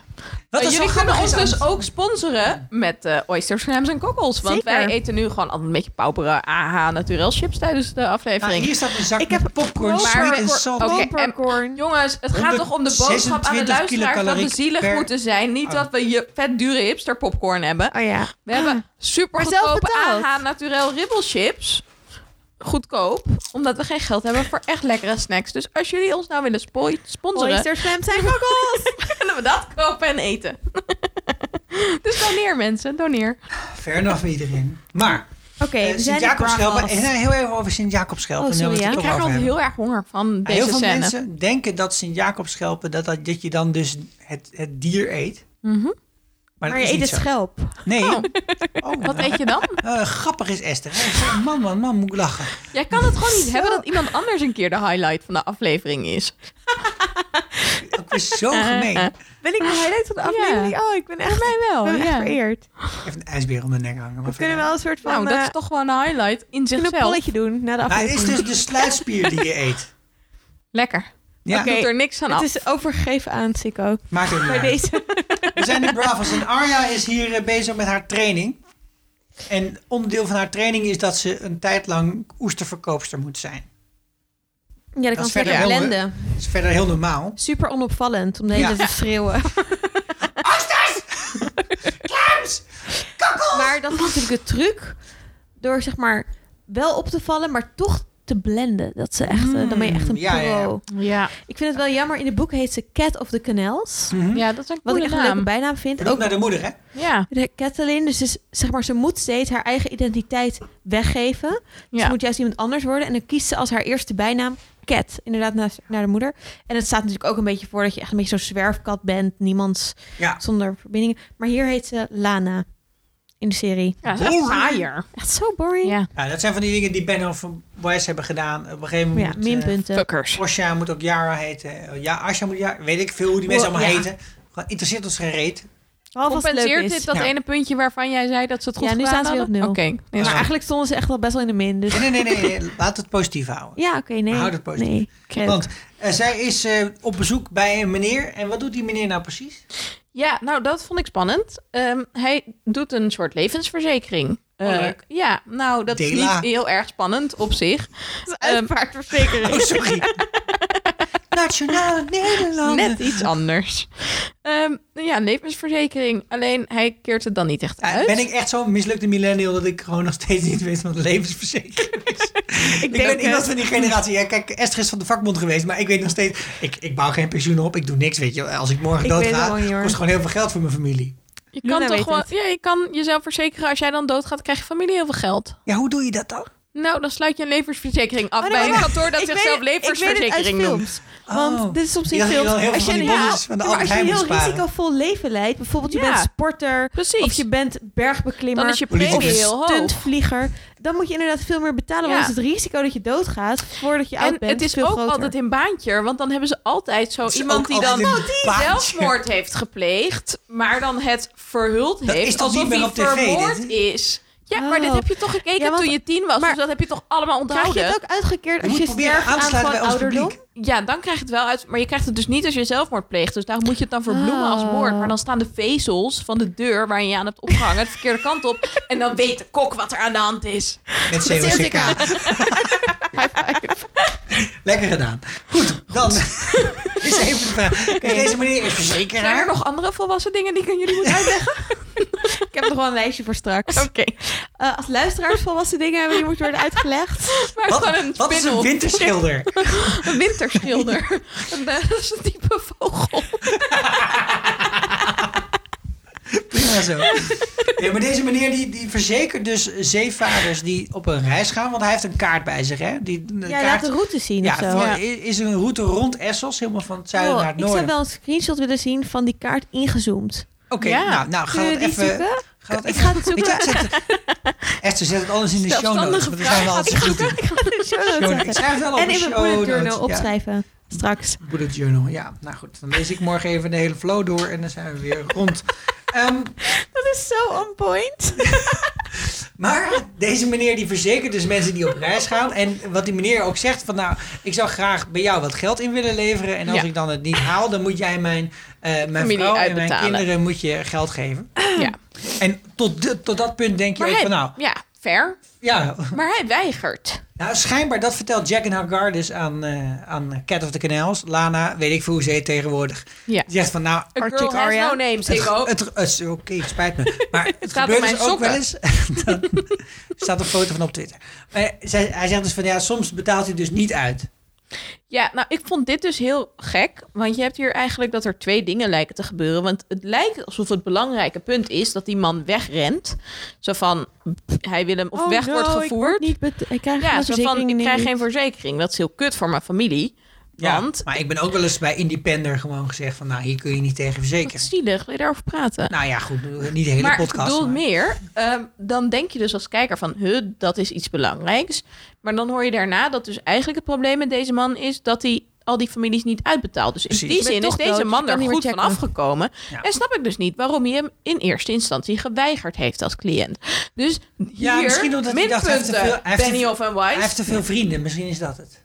[SPEAKER 1] Wat
[SPEAKER 4] Eh,
[SPEAKER 1] is
[SPEAKER 4] jullie
[SPEAKER 1] zo
[SPEAKER 4] kunnen
[SPEAKER 1] grappig
[SPEAKER 4] ons
[SPEAKER 1] is aan-
[SPEAKER 4] dus ook sponsoren met eh oysters, clams en kokkels. Want
[SPEAKER 5] Zeker.
[SPEAKER 4] wij eten nu gewoon altijd een beetje pauperen AH naturel chips tijdens de
[SPEAKER 1] Nou,
[SPEAKER 4] aflevering.
[SPEAKER 1] hier staat een zak
[SPEAKER 5] Ik
[SPEAKER 1] met
[SPEAKER 5] heb Oh.
[SPEAKER 1] popcorn,
[SPEAKER 4] maar-
[SPEAKER 1] sweet en
[SPEAKER 4] Oké.
[SPEAKER 1] salt.
[SPEAKER 4] Oké.
[SPEAKER 5] Popcorn.
[SPEAKER 4] Jongens, het gaat toch om de boodschap aan de
[SPEAKER 1] 126
[SPEAKER 4] luisteraar dat we
[SPEAKER 1] kilocalorie
[SPEAKER 4] zielig
[SPEAKER 1] per-
[SPEAKER 4] moeten zijn. Niet
[SPEAKER 1] Oh.
[SPEAKER 4] dat we je vet dure hipster popcorn hebben.
[SPEAKER 5] Oh ja.
[SPEAKER 4] We
[SPEAKER 1] Ah.
[SPEAKER 4] hebben super
[SPEAKER 5] Maar zelf
[SPEAKER 4] goedkope
[SPEAKER 5] betaald.
[SPEAKER 4] AH Naturel ribbelchips. Goedkoop, omdat we geen geld hebben voor echt lekkere snacks. Dus als jullie ons nou willen spo- sponsoren,
[SPEAKER 5] Oysters, clams [LAUGHS] en kokkels.
[SPEAKER 4] [LAUGHS] kunnen we dat kopen en eten. [LAUGHS] dus doneer mensen, doneer.
[SPEAKER 1] Fair enough voor iedereen. Maar
[SPEAKER 5] Oké,
[SPEAKER 1] eh,
[SPEAKER 5] we zijn in
[SPEAKER 1] Sint-Jacobschelpen...
[SPEAKER 5] Braafas.
[SPEAKER 1] En eh, heel even over Sint-Jacobschelpen.
[SPEAKER 5] Oh,
[SPEAKER 1] nu we het
[SPEAKER 5] sorry,
[SPEAKER 1] er
[SPEAKER 5] ja.
[SPEAKER 1] toch
[SPEAKER 4] Ik krijg er
[SPEAKER 1] over
[SPEAKER 4] altijd
[SPEAKER 1] hebben.
[SPEAKER 4] heel erg honger van
[SPEAKER 1] Ja, Heel
[SPEAKER 4] deze
[SPEAKER 1] veel
[SPEAKER 4] scène.
[SPEAKER 1] mensen denken dat Sint-Jacobschelpen... Dat, dat, dat je dan dus het, het dier eet.
[SPEAKER 4] Mhm.
[SPEAKER 1] Maar,
[SPEAKER 5] Maar
[SPEAKER 1] dat
[SPEAKER 5] je
[SPEAKER 1] is
[SPEAKER 5] eet een
[SPEAKER 1] niet zo.
[SPEAKER 5] schelp.
[SPEAKER 1] Nee.
[SPEAKER 4] Oh.
[SPEAKER 1] Oh.
[SPEAKER 4] [LAUGHS] Wat eet je dan?
[SPEAKER 1] eh, grappig is Esther. hè. Man, man, man, moet ik lachen.
[SPEAKER 4] Jij kan het
[SPEAKER 5] [LAUGHS]
[SPEAKER 4] gewoon niet hebben dat iemand anders een keer de highlight van de aflevering is.
[SPEAKER 1] Dat is zo gemeen.
[SPEAKER 5] Ben ik de highlight van de aflevering? Oh, ik ben echt,
[SPEAKER 4] Voor mij wel.
[SPEAKER 5] ik ben echt
[SPEAKER 4] ja.
[SPEAKER 5] vereerd.
[SPEAKER 1] Even een ijsbeer om de nek hangen. maar
[SPEAKER 5] We kunnen
[SPEAKER 1] verder.
[SPEAKER 5] wel een soort van
[SPEAKER 4] Nou, dat
[SPEAKER 5] eh,
[SPEAKER 4] is toch gewoon een highlight in
[SPEAKER 5] kunnen we een
[SPEAKER 4] zichzelf.
[SPEAKER 5] polletje doen na de
[SPEAKER 1] Maar het
[SPEAKER 5] aflevering.
[SPEAKER 1] is dus de sluitspier die je eet.
[SPEAKER 4] Lekker.
[SPEAKER 1] Ja,
[SPEAKER 5] Oké.
[SPEAKER 4] Doet er niks aan af.
[SPEAKER 5] [LAUGHS] Het is overgegeven aan Sikko.
[SPEAKER 1] maakt het niet
[SPEAKER 5] Bij
[SPEAKER 1] uit.
[SPEAKER 5] deze.
[SPEAKER 1] We zijn de Bravos en Arya is hier eh, bezig met haar training. En onderdeel van haar training is dat ze een tijd lang oesterverkoopster moet zijn.
[SPEAKER 5] Ja, dat
[SPEAKER 1] is
[SPEAKER 5] kan
[SPEAKER 1] verder
[SPEAKER 5] verder
[SPEAKER 1] heel-
[SPEAKER 5] ellende.
[SPEAKER 1] Dat is verder heel normaal.
[SPEAKER 5] Super onopvallend om de hele
[SPEAKER 1] Ja.
[SPEAKER 5] tijd te schreeuwen. Maar dat is natuurlijk de truc. Door zeg maar wel op te vallen, maar toch te blenden. Dat ze echt, eh,
[SPEAKER 4] Hmm.
[SPEAKER 5] dan ben je echt een
[SPEAKER 1] ja,
[SPEAKER 5] pro.
[SPEAKER 1] ja, ja.
[SPEAKER 4] Ja.
[SPEAKER 5] Ik vind het wel jammer. In de boek heet ze Cat of the Canals.
[SPEAKER 4] ja, dat is een
[SPEAKER 5] Hm? Wat ik
[SPEAKER 4] coole
[SPEAKER 5] echt een leuke
[SPEAKER 4] naam.
[SPEAKER 5] bijnaam vind.
[SPEAKER 1] Ook
[SPEAKER 5] Ook
[SPEAKER 1] naar de moeder, hè?
[SPEAKER 4] Ja.
[SPEAKER 5] de Catelyn. Dus is, zeg maar, ze moet steeds haar eigen identiteit weggeven. Ze
[SPEAKER 4] ja.
[SPEAKER 5] moet juist iemand anders worden. En dan kiest ze als haar eerste bijnaam Cat. Inderdaad, naast- naar de moeder. En het staat natuurlijk ook een beetje voor dat je echt een beetje zo'n zwerfkat bent. Niemands
[SPEAKER 1] Ja.
[SPEAKER 5] zonder verbindingen. Maar hier heet ze Lana. In de serie.
[SPEAKER 4] Ja, dat is echt saaier.
[SPEAKER 5] Echt zo boring.
[SPEAKER 4] Ja.
[SPEAKER 1] Ja, dat zijn van die dingen die Ben of Wise hebben gedaan. Op een gegeven
[SPEAKER 5] Ja,
[SPEAKER 1] moment... eh,
[SPEAKER 5] minpunten.
[SPEAKER 4] Fuckers.
[SPEAKER 1] Osha moet ook Yara heten. Eh, Ja, Asha moet Yara... Weet ik veel hoe die mensen allemaal
[SPEAKER 5] Ja.
[SPEAKER 1] heten. Gewoon Interesseert ons geen reet.
[SPEAKER 5] Behalve als het leuk
[SPEAKER 4] Compenseert
[SPEAKER 5] is.
[SPEAKER 4] dit dat
[SPEAKER 1] Ja.
[SPEAKER 4] ene puntje waarvan jij zei dat ze het goed
[SPEAKER 5] Ja, nu
[SPEAKER 4] gedaan
[SPEAKER 5] staan ze weer op
[SPEAKER 4] hadden? Oké.
[SPEAKER 5] nul.
[SPEAKER 4] Nee, dat is
[SPEAKER 5] Maar
[SPEAKER 4] goed.
[SPEAKER 5] eigenlijk stonden ze echt wel best wel in de min. Dus...
[SPEAKER 1] Nee, nee, nee. nee. Laat het positief houden.
[SPEAKER 5] Ja, oké, nee.
[SPEAKER 1] Houd het positief.
[SPEAKER 5] Nee, Cat.
[SPEAKER 1] Want eh, zij is eh, op bezoek bij een meneer. En wat doet die meneer nou
[SPEAKER 5] [LAUGHS]
[SPEAKER 1] precies?
[SPEAKER 4] Ja, nou, dat vond ik spannend. Ehm, hij doet een soort levensverzekering.
[SPEAKER 1] Oh,
[SPEAKER 4] Eh,
[SPEAKER 1] leuk.
[SPEAKER 4] ja, nou, dat is
[SPEAKER 1] Dela.
[SPEAKER 4] niet heel erg spannend op zich.
[SPEAKER 5] [LAUGHS] Dat is
[SPEAKER 4] Ehm, [LAUGHS]
[SPEAKER 5] uitvaartverzekering.
[SPEAKER 1] Oh, sorry. Nationale Nederlanden.
[SPEAKER 4] Net iets anders. Ehm, ja, levensverzekering. Alleen hij keert het dan niet echt
[SPEAKER 1] Ja,
[SPEAKER 4] uit.
[SPEAKER 1] Ben ik echt zo'n mislukte millennial dat ik gewoon nog steeds niet weet wat een levensverzekering is? ik, ben
[SPEAKER 5] eh,
[SPEAKER 1] iemand van die generatie. Ja, kijk, Esther is van de vakbond geweest, maar ik weet nog steeds... Ik, ik bouw geen pensioen op, ik doe niks, weet je. wel. Als ik morgen
[SPEAKER 5] Ik weet
[SPEAKER 1] doodga,
[SPEAKER 5] het wel niet, hoor.
[SPEAKER 1] kost gewoon heel veel geld voor mijn familie.
[SPEAKER 4] Je
[SPEAKER 5] Luna
[SPEAKER 4] kan, toch
[SPEAKER 5] weet
[SPEAKER 4] gewoon,
[SPEAKER 5] het.
[SPEAKER 4] ja, je kan jezelf verzekeren. Als jij dan doodgaat, krijg je familie heel veel geld.
[SPEAKER 1] Ja, hoe doe je dat dan?
[SPEAKER 4] Nou, dan sluit je een levensverzekering af
[SPEAKER 5] Oh, nee,
[SPEAKER 4] bij
[SPEAKER 5] wacht,
[SPEAKER 4] een kantoor dat
[SPEAKER 5] ik weet
[SPEAKER 4] zichzelf
[SPEAKER 5] het- ik weet het uit
[SPEAKER 4] levensverzekering noemt.
[SPEAKER 5] films. Want
[SPEAKER 1] Oh.
[SPEAKER 5] dit is soms
[SPEAKER 1] Ik
[SPEAKER 5] in
[SPEAKER 1] dacht dat je
[SPEAKER 5] films.
[SPEAKER 1] wel heel
[SPEAKER 5] Als
[SPEAKER 1] veel
[SPEAKER 5] je een
[SPEAKER 1] van die bonnetjes van de
[SPEAKER 5] ja, maar
[SPEAKER 1] Albert
[SPEAKER 5] als je
[SPEAKER 1] Heijn
[SPEAKER 5] een
[SPEAKER 1] moet
[SPEAKER 5] heel
[SPEAKER 1] sparen.
[SPEAKER 5] risicovol leven leidt, bijvoorbeeld je
[SPEAKER 4] Ja.
[SPEAKER 5] bent sporter
[SPEAKER 4] Precies.
[SPEAKER 5] of je bent bergbeklimmer
[SPEAKER 4] Dan is je
[SPEAKER 1] Politicus.
[SPEAKER 4] premie heel
[SPEAKER 5] of
[SPEAKER 4] hoog.
[SPEAKER 5] stuntvlieger, dan moet je inderdaad veel meer betalen.
[SPEAKER 4] Ja.
[SPEAKER 5] Want het risico dat je doodgaat voordat je
[SPEAKER 4] En
[SPEAKER 5] oud bent
[SPEAKER 4] het is
[SPEAKER 5] veel
[SPEAKER 4] ook
[SPEAKER 5] groter.
[SPEAKER 4] altijd in baantje, want dan hebben ze altijd zo
[SPEAKER 1] is ook
[SPEAKER 4] iemand die
[SPEAKER 1] altijd
[SPEAKER 4] dan
[SPEAKER 1] een baantje.
[SPEAKER 4] zelfmoord heeft gepleegd, maar dan het verhuld
[SPEAKER 1] Dat
[SPEAKER 4] heeft
[SPEAKER 1] is toch
[SPEAKER 4] alsof
[SPEAKER 1] niet meer
[SPEAKER 4] hij
[SPEAKER 1] op tv,
[SPEAKER 4] vermoord
[SPEAKER 1] dit?
[SPEAKER 4] is. Ja, maar
[SPEAKER 5] Oh.
[SPEAKER 4] dit heb je toch gekeken
[SPEAKER 5] Ja, want-
[SPEAKER 4] toen je tien was,
[SPEAKER 5] maar-
[SPEAKER 4] dus dat heb je toch allemaal
[SPEAKER 5] Krijg je
[SPEAKER 4] onthouden?
[SPEAKER 5] het ook uitgekeerd
[SPEAKER 1] Je
[SPEAKER 5] als
[SPEAKER 1] moet
[SPEAKER 5] je
[SPEAKER 1] proberen
[SPEAKER 5] sterft
[SPEAKER 1] aan
[SPEAKER 5] aan
[SPEAKER 1] te sluiten
[SPEAKER 5] van
[SPEAKER 1] bij ons
[SPEAKER 5] ouderdom?
[SPEAKER 1] publiek.
[SPEAKER 4] Ja, dan krijg je het wel uit, maar je krijgt het dus niet als je zelfmoord pleegt, dus daar moet je het dan verbloemen als
[SPEAKER 5] Oh.
[SPEAKER 4] moord. Maar dan staan de vezels van de deur waar je je aan hebt opgehangen de verkeerde kant op en dan weet de kok wat er aan de hand is.
[SPEAKER 1] Met COCK. [LAUGHS] Lekker gedaan. Goed, dan [LAUGHS] is even de vraag. Kijk, Deze meneer is
[SPEAKER 4] Zijn er
[SPEAKER 1] verzekeraar.
[SPEAKER 4] nog andere volwassen dingen die ik aan jullie moet uitleggen?
[SPEAKER 5] Ik heb nog wel een lijstje voor straks.
[SPEAKER 4] [LAUGHS] Oké.
[SPEAKER 5] Eh, als luisteraars volwassen dingen hebben die moeten worden
[SPEAKER 1] [LAUGHS]
[SPEAKER 5] uitgelegd.
[SPEAKER 4] Maar gewoon een
[SPEAKER 1] Wat, wat is een
[SPEAKER 4] spin-off.
[SPEAKER 1] winterschilder?
[SPEAKER 4] Een winterschilder. [LAUGHS] Een, eh, dat is een type vogel.
[SPEAKER 1] Prima
[SPEAKER 5] [LAUGHS]
[SPEAKER 1] zo. Ja, maar deze meneer die, die verzekert dus zeevaarders die op een reis gaan. Want hij heeft een kaart bij zich, hè? Die, een
[SPEAKER 5] Ja, laat
[SPEAKER 1] kaart,
[SPEAKER 5] de route zien
[SPEAKER 1] ja,
[SPEAKER 5] of zo.
[SPEAKER 1] voor-
[SPEAKER 4] Ja.
[SPEAKER 1] is een route rond Essos, helemaal van het zuiden
[SPEAKER 5] Oh,
[SPEAKER 1] naar het
[SPEAKER 5] ik zou
[SPEAKER 1] noorden.
[SPEAKER 5] wel een screenshot willen zien van die kaart [LAUGHS] ingezoomd.
[SPEAKER 1] Oké,
[SPEAKER 4] Ja.
[SPEAKER 1] nou, nou ga
[SPEAKER 5] Kunnen
[SPEAKER 1] dat
[SPEAKER 5] we die
[SPEAKER 1] even...
[SPEAKER 5] zoeken?
[SPEAKER 1] Ga dat
[SPEAKER 5] Ik
[SPEAKER 1] even
[SPEAKER 5] ga het zoeken.
[SPEAKER 1] Weet je, zet- Esther, zet het alles in de show notes.
[SPEAKER 4] Zelfstandige
[SPEAKER 1] Want dan gaan we altijd goed doen.
[SPEAKER 5] Ik ga het in de show notes
[SPEAKER 1] Show notes. Ik
[SPEAKER 5] zetten.
[SPEAKER 1] schrijf het wel op
[SPEAKER 5] En
[SPEAKER 1] de
[SPEAKER 5] in mijn
[SPEAKER 1] show
[SPEAKER 5] bullet
[SPEAKER 1] notes,
[SPEAKER 5] journal
[SPEAKER 1] ja.
[SPEAKER 5] opschrijven. Straks.
[SPEAKER 1] Bullet journal, ja. Nou goed, dan lees ik morgen even de hele flow door en dan zijn we weer rond. Ehm,
[SPEAKER 5] Dat is zo on point.
[SPEAKER 1] maar deze meneer die verzekert dus mensen die op reis gaan. En wat die meneer ook zegt van nou, ik zou graag bij jou wat geld in willen leveren. En als
[SPEAKER 4] Ja.
[SPEAKER 1] ik dan het niet haal, dan moet jij mijn, eh, mijn
[SPEAKER 4] Familie
[SPEAKER 1] vrouw en mijn
[SPEAKER 4] uitbetalen.
[SPEAKER 1] kinderen moet je geld geven.
[SPEAKER 4] Ja.
[SPEAKER 1] En tot, de- tot dat punt denk je
[SPEAKER 4] Maar
[SPEAKER 1] ook
[SPEAKER 4] hij,
[SPEAKER 1] van nou,
[SPEAKER 4] ja, fair.
[SPEAKER 1] ja.
[SPEAKER 4] Maar hij weigert.
[SPEAKER 1] Nou schijnbaar, dat vertelt Jack en Hagar dus aan, eh, aan Cat of the Canals. Lana, weet ik veel hoe ze heet tegenwoordig.
[SPEAKER 4] Ja.
[SPEAKER 1] Die zegt van nou,
[SPEAKER 4] A girl
[SPEAKER 5] Arctic
[SPEAKER 4] has
[SPEAKER 5] Aria.
[SPEAKER 4] no name,
[SPEAKER 1] Het-
[SPEAKER 4] Sikko.
[SPEAKER 1] het- het is- Oké, het spijt
[SPEAKER 4] [LAUGHS]
[SPEAKER 1] me. Maar het,
[SPEAKER 4] gaat
[SPEAKER 1] gebeurt
[SPEAKER 4] om
[SPEAKER 1] dus
[SPEAKER 4] mijn
[SPEAKER 1] ook wel eens. [LAUGHS] dat- Er staat een foto van op Twitter. Maar zij, hij zegt dus van ja, soms betaalt hij dus niet uit.
[SPEAKER 4] Ja, nou, ik vond dit dus heel gek. Want je hebt hier eigenlijk dat er twee dingen lijken te gebeuren. Want het lijkt alsof het belangrijke punt is dat die man wegrent. Zo van, pff, hij wil hem
[SPEAKER 5] Oh,
[SPEAKER 4] of weg wordt gevoerd.
[SPEAKER 5] Ik, word niet bet- ik krijg
[SPEAKER 4] ja,
[SPEAKER 5] geen
[SPEAKER 4] zo van,
[SPEAKER 5] verzekering
[SPEAKER 4] ik
[SPEAKER 5] in
[SPEAKER 4] krijg
[SPEAKER 5] dit.
[SPEAKER 4] geen verzekering. Dat is heel kut voor mijn familie.
[SPEAKER 1] Ja,
[SPEAKER 4] Want-
[SPEAKER 1] maar ik ben ook wel eens bij Independer gewoon gezegd van... nou, hier kun je niet tegen
[SPEAKER 4] Wat
[SPEAKER 1] verzekeren.
[SPEAKER 4] zielig, wil je daarover praten?
[SPEAKER 1] Nou ja, goed, niet de hele
[SPEAKER 4] maar
[SPEAKER 1] podcast.
[SPEAKER 4] ik bedoel
[SPEAKER 1] maar-
[SPEAKER 4] meer, ehm, dan denk je dus als kijker van, huh, dat is iets belangrijks. Maar dan hoor je daarna dat dus eigenlijk het probleem met deze man is dat hij al die families niet uitbetaalt. Dus in
[SPEAKER 1] Precies.
[SPEAKER 4] die
[SPEAKER 5] Je bent
[SPEAKER 4] zin is
[SPEAKER 5] toch dood,
[SPEAKER 4] deze
[SPEAKER 5] dus
[SPEAKER 4] man
[SPEAKER 5] je kan
[SPEAKER 4] er
[SPEAKER 5] niet meer
[SPEAKER 4] goed van
[SPEAKER 5] checken.
[SPEAKER 4] afgekomen.
[SPEAKER 1] Ja.
[SPEAKER 4] En snap ik dus niet waarom hij hem in eerste instantie geweigerd heeft als cliënt. Dus
[SPEAKER 1] Ja,
[SPEAKER 4] hier,
[SPEAKER 1] misschien omdat hij dacht, hij heeft te
[SPEAKER 4] minpunten,
[SPEAKER 1] veel- hij heeft te
[SPEAKER 4] Benioff en
[SPEAKER 1] Hij
[SPEAKER 4] Weiss.
[SPEAKER 1] heeft te veel vrienden, misschien is dat het.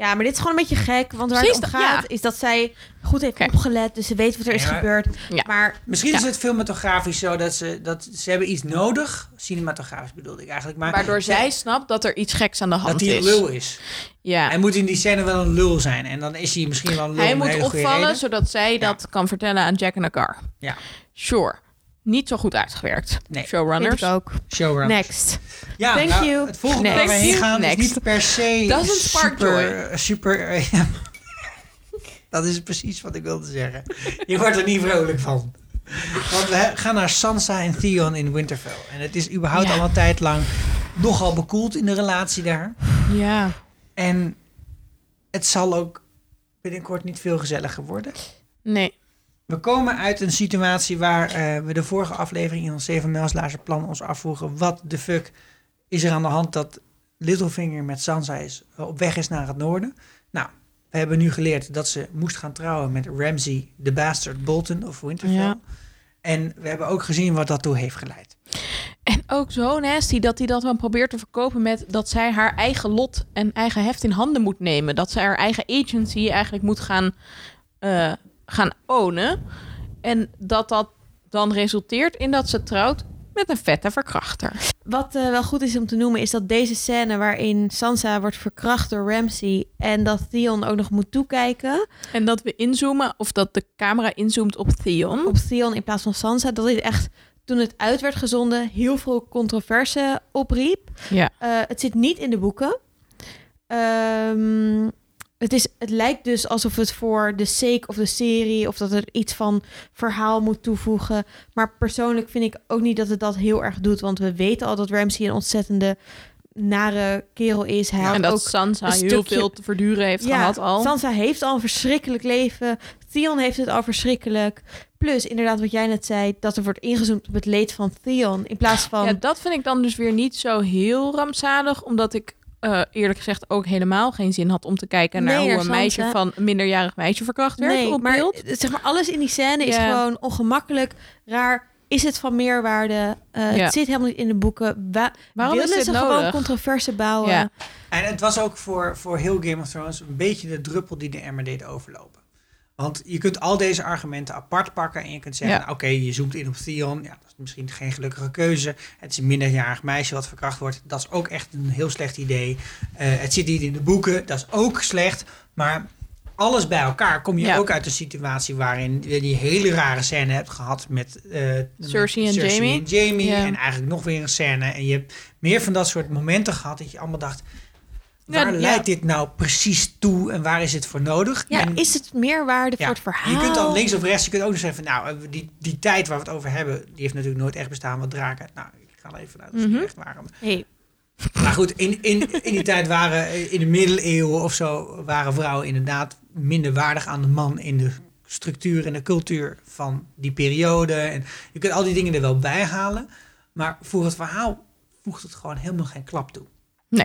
[SPEAKER 5] Ja, maar dit is gewoon een beetje gek. Want waar
[SPEAKER 4] Precies
[SPEAKER 5] het om
[SPEAKER 4] dat, ja.
[SPEAKER 5] gaat, is dat zij goed heeft
[SPEAKER 4] Kijk.
[SPEAKER 5] opgelet. Dus ze weet wat er is
[SPEAKER 1] Ja.
[SPEAKER 5] gebeurd.
[SPEAKER 4] Ja.
[SPEAKER 5] Maar
[SPEAKER 1] Misschien
[SPEAKER 4] Ja.
[SPEAKER 1] is het filmatografisch zo dat ze, dat ze hebben iets nodig. Cinematografisch bedoelde ik eigenlijk. Maar
[SPEAKER 4] Waardoor zij snapt dat er iets geks aan de hand
[SPEAKER 1] Dat hij een
[SPEAKER 4] is.
[SPEAKER 1] lul is.
[SPEAKER 4] Ja.
[SPEAKER 1] Hij moet in die scène wel een lul zijn. En dan is hij misschien wel een lul. om
[SPEAKER 4] Hij
[SPEAKER 1] een
[SPEAKER 4] moet
[SPEAKER 1] hele goede
[SPEAKER 4] opvallen
[SPEAKER 1] reden.
[SPEAKER 4] zodat zij dat kan vertellen aan Jack en Agar.
[SPEAKER 1] Ja.
[SPEAKER 4] Sure. Niet zo goed uitgewerkt.
[SPEAKER 1] Nee.
[SPEAKER 5] vind
[SPEAKER 4] Showrunners.
[SPEAKER 5] ik ook.
[SPEAKER 1] Showrun.
[SPEAKER 5] Next.
[SPEAKER 1] Ja,
[SPEAKER 5] Thank
[SPEAKER 1] nou,
[SPEAKER 5] you.
[SPEAKER 1] Het volgende
[SPEAKER 4] Next.
[SPEAKER 1] waar we heen
[SPEAKER 4] Thank you.
[SPEAKER 1] gaan is
[SPEAKER 4] Next.
[SPEAKER 1] niet per se
[SPEAKER 4] Doesn't spark
[SPEAKER 1] super... super eh, ja. dat is precies wat ik wilde zeggen. Je wordt er niet vrolijk van. Want we gaan naar Sansa en Theon in Winterfell. En het is überhaupt
[SPEAKER 4] Ja.
[SPEAKER 1] al een tijd lang nogal bekoeld in de relatie daar.
[SPEAKER 4] Ja.
[SPEAKER 1] En het zal ook binnenkort niet veel gezelliger worden.
[SPEAKER 4] Nee.
[SPEAKER 1] We komen uit een situatie waar eh, we de vorige aflevering in ons 7 mijlslaarzen plan ons afvroegen. Wat de fuck is er aan de hand dat Littlefinger met Sansa is, op weg is naar het noorden? Nou, we hebben nu geleerd dat ze moest gaan trouwen met Ramsay de Bastard Bolton of Winterfell.
[SPEAKER 4] Ja.
[SPEAKER 1] En we hebben ook gezien wat dat toe heeft geleid.
[SPEAKER 4] En ook zo nasty dat hij dat dan probeert te verkopen met dat zij haar eigen lot en eigen heft in handen moet nemen. Dat zij haar eigen agency eigenlijk moet gaan, eh, gaan ownen. En dat dat dan resulteert in dat ze trouwt met een vette verkrachter.
[SPEAKER 5] Wat eh, wel goed is om te noemen, is dat deze scène waarin Sansa wordt verkracht door Ramsay en dat Theon ook nog moet toekijken
[SPEAKER 4] En dat we inzoomen, of dat de camera inzoomt op Theon.
[SPEAKER 5] op Theon in plaats van Sansa, dat dit echt toen het uit werd gezonden heel veel controverse opriep.
[SPEAKER 4] Ja.
[SPEAKER 5] Eh, het zit niet in de boeken. Ehm, het, is, het lijkt dus alsof het voor de sake of de serie... of dat er iets van verhaal moet toevoegen. Maar persoonlijk vind ik ook niet dat het dat heel erg doet. Want we weten al dat Ramsey een ontzettende nare kerel is. Hij
[SPEAKER 1] Ja,
[SPEAKER 5] had
[SPEAKER 4] en dat
[SPEAKER 5] ook,
[SPEAKER 4] Sansa
[SPEAKER 5] een
[SPEAKER 4] heel
[SPEAKER 5] stukje-
[SPEAKER 4] veel te verduren heeft
[SPEAKER 5] Ja,
[SPEAKER 4] gehad al.
[SPEAKER 5] Sansa heeft al een verschrikkelijk leven. Theon heeft het al verschrikkelijk. Plus, inderdaad, wat jij net zei... dat er wordt ingezoomd op het leed van Theon... in plaats van...
[SPEAKER 4] Ja, dat vind ik dan dus weer niet zo heel rampzalig, omdat ik eh, eerlijk gezegd ook helemaal geen zin had om te kijken naar
[SPEAKER 5] Nee,
[SPEAKER 4] hoe een
[SPEAKER 5] Sansa.
[SPEAKER 4] meisje van een minderjarig meisje verkracht werd op
[SPEAKER 5] maar,
[SPEAKER 4] beeld.
[SPEAKER 5] eh, Zeg maar, alles in die scène is
[SPEAKER 4] Ja.
[SPEAKER 5] gewoon ongemakkelijk, raar. Is het van meerwaarde? Eh,
[SPEAKER 4] Ja.
[SPEAKER 5] Het zit helemaal niet in de boeken. Wa
[SPEAKER 4] Waarom
[SPEAKER 5] wilden
[SPEAKER 4] is dit
[SPEAKER 5] ze
[SPEAKER 4] nodig?
[SPEAKER 5] gewoon controverse bouwen?
[SPEAKER 4] Ja.
[SPEAKER 1] En het was ook voor, voor heel Game of Thrones een beetje de druppel die de emmer deed overlopen. Want je kunt al deze argumenten apart pakken en je kunt zeggen,
[SPEAKER 4] Ja.
[SPEAKER 1] nou, oké, je zoomt in op Theon. Ja, dat is misschien geen gelukkige keuze. Het is een minderjarig meisje wat verkracht wordt. Dat is ook echt een heel slecht idee. Eh, het zit niet in de boeken. Dat is ook slecht. Maar alles bij elkaar kom je
[SPEAKER 4] Ja.
[SPEAKER 1] ook uit een situatie waarin je die hele rare scène hebt gehad met eh, met
[SPEAKER 4] Cersei en Jaime.
[SPEAKER 1] en Jamie.
[SPEAKER 4] Ja.
[SPEAKER 1] En eigenlijk nog weer een scène. En je hebt meer van dat soort momenten gehad dat je allemaal dacht,
[SPEAKER 4] Ja,
[SPEAKER 1] Waar
[SPEAKER 4] ja.
[SPEAKER 1] leidt dit nou precies toe en waar is het voor nodig?
[SPEAKER 5] Ja,
[SPEAKER 1] En-
[SPEAKER 5] is het meerwaarde
[SPEAKER 1] ja,
[SPEAKER 5] voor het verhaal?
[SPEAKER 1] Je kunt dan links of rechts, je kunt ook nog zeggen van nou, eh, die, die tijd waar we het over hebben, die heeft natuurlijk nooit echt bestaan, want draken, nou, ik ga er even vanuit dat ze
[SPEAKER 5] Mhm.
[SPEAKER 1] niet echt waren.
[SPEAKER 5] Nee,
[SPEAKER 1] Maar goed, in, in, in die tijd waren, eh, in de middeleeuwen of zo, waren vrouwen inderdaad minder waardig aan de man in de structuur en de cultuur van die periode. En je kunt al die dingen er wel bij halen, maar voor het verhaal voegt het gewoon helemaal geen klap toe.
[SPEAKER 4] Nee.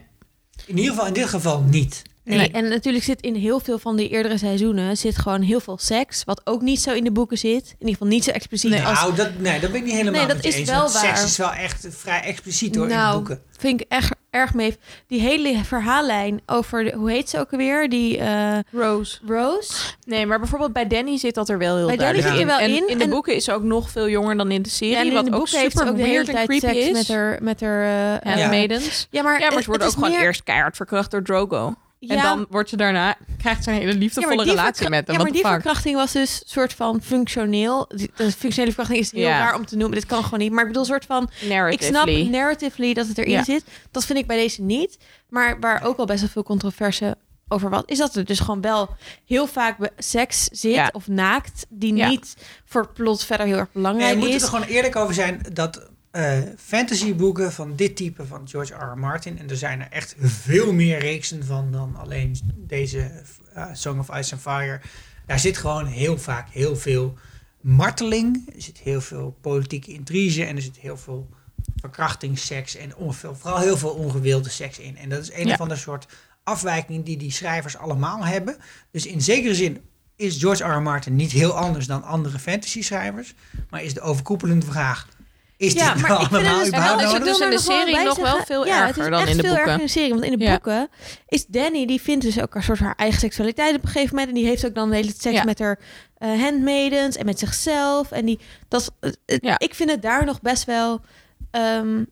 [SPEAKER 1] In ieder geval in dit geval niet.
[SPEAKER 5] nee.
[SPEAKER 4] Nee.
[SPEAKER 5] En natuurlijk zit in heel veel van die eerdere seizoenen zit gewoon heel veel seks, wat ook niet zo in de boeken zit. In ieder geval niet zo expliciet als
[SPEAKER 1] nou, dat, nee, dat ben ik niet helemaal
[SPEAKER 5] Nee, dat
[SPEAKER 1] met je
[SPEAKER 5] is
[SPEAKER 1] eens,
[SPEAKER 5] wel
[SPEAKER 1] want Seks
[SPEAKER 5] waar.
[SPEAKER 1] is wel echt vrij expliciet hoor, in de
[SPEAKER 5] Nou,
[SPEAKER 1] boeken.
[SPEAKER 5] vind ik echt erg mee. Die hele verhaallijn over de- hoe heet ze ook alweer? Die eh,
[SPEAKER 4] Rose.
[SPEAKER 5] Rose.
[SPEAKER 4] Nee, maar bijvoorbeeld bij Danny zit dat er wel heel
[SPEAKER 5] Bij Danny
[SPEAKER 4] duidelijk
[SPEAKER 1] zit
[SPEAKER 5] er wel
[SPEAKER 4] En
[SPEAKER 5] in.
[SPEAKER 4] in de
[SPEAKER 5] En-
[SPEAKER 4] boeken is ze ook nog veel jonger dan in de serie,
[SPEAKER 5] Ja, en in
[SPEAKER 4] wat
[SPEAKER 5] de
[SPEAKER 4] ook
[SPEAKER 5] boeken heeft
[SPEAKER 4] super
[SPEAKER 5] ze ook de hele
[SPEAKER 4] weird en
[SPEAKER 5] tijd
[SPEAKER 4] creepy
[SPEAKER 5] seks
[SPEAKER 4] is.
[SPEAKER 5] met haar, met haar eh, eh,
[SPEAKER 4] Handmaidens.
[SPEAKER 5] Ja, maar,
[SPEAKER 4] Ja, maar
[SPEAKER 5] het-
[SPEAKER 4] ze worden ook
[SPEAKER 5] het is
[SPEAKER 4] gewoon
[SPEAKER 5] meer-
[SPEAKER 4] eerst keihard verkracht door Drogo.
[SPEAKER 5] Ja,
[SPEAKER 4] En dan wordt ze daarna, krijgt ze een hele
[SPEAKER 5] ja,
[SPEAKER 4] liefdevolle
[SPEAKER 5] maar die
[SPEAKER 4] relatie
[SPEAKER 5] verkra-
[SPEAKER 4] met hem.
[SPEAKER 5] Ja, maar
[SPEAKER 4] What the
[SPEAKER 5] die
[SPEAKER 4] fuck?
[SPEAKER 5] verkrachting was dus soort van functioneel. Die- De functionele verkrachting is heel
[SPEAKER 4] Ja.
[SPEAKER 5] raar om te noemen. Dit kan gewoon niet. Maar ik bedoel, soort van. Ik snap
[SPEAKER 4] Narratively.
[SPEAKER 5] narratively dat het erin
[SPEAKER 4] Ja.
[SPEAKER 5] zit. Dat vind ik bij deze niet. Maar waar ook al best wel veel controverse over wat is dat er dus gewoon wel heel vaak be- seks zit
[SPEAKER 4] Ja.
[SPEAKER 5] of naakt die
[SPEAKER 4] Ja.
[SPEAKER 5] niet voor het plot verder heel erg
[SPEAKER 1] Nee,
[SPEAKER 5] belangrijk
[SPEAKER 1] je moet
[SPEAKER 5] is.
[SPEAKER 1] er gewoon eerlijk over zijn dat eh, fantasyboeken van dit type van George R. R. Martin. En er zijn er echt veel meer reeksen van dan alleen deze eh, Song of Ice and Fire. Daar zit gewoon heel vaak heel veel marteling. Er zit heel veel politieke intrige en er zit heel veel verkrachting, seks en onveel, vooral heel veel ongewilde seks in. En dat is een
[SPEAKER 4] Ja.
[SPEAKER 1] of ander soort afwijking die die schrijvers allemaal hebben. Dus in zekere zin is George R. R. Martin niet heel anders dan andere fantasy-schrijvers. Maar is de overkoepelende vraag... Is
[SPEAKER 5] Ja,
[SPEAKER 1] dit
[SPEAKER 5] maar
[SPEAKER 1] nou
[SPEAKER 5] ik vind het
[SPEAKER 1] allemaal
[SPEAKER 5] dus-
[SPEAKER 1] überhaupt
[SPEAKER 4] dat
[SPEAKER 5] en
[SPEAKER 4] is
[SPEAKER 5] ik
[SPEAKER 1] nodig?
[SPEAKER 4] dus
[SPEAKER 5] wil er
[SPEAKER 4] in de
[SPEAKER 5] wel
[SPEAKER 4] serie
[SPEAKER 5] bij
[SPEAKER 4] nog
[SPEAKER 5] zeggen-
[SPEAKER 4] wel veel
[SPEAKER 5] ja, het
[SPEAKER 4] erger
[SPEAKER 5] is
[SPEAKER 4] dan
[SPEAKER 5] echt
[SPEAKER 4] in de
[SPEAKER 5] veel erger
[SPEAKER 4] boeken.
[SPEAKER 5] in de serie. Want in de
[SPEAKER 4] Ja.
[SPEAKER 5] boeken is Danny, die vindt dus ook een soort haar eigen seksualiteit op een gegeven moment. En die heeft ook dan de hele seks
[SPEAKER 4] Ja.
[SPEAKER 5] met haar eh, handmaidens en met zichzelf. En die, dat is, het- het-
[SPEAKER 4] Ja.
[SPEAKER 5] ik vind het daar nog best wel... ehm,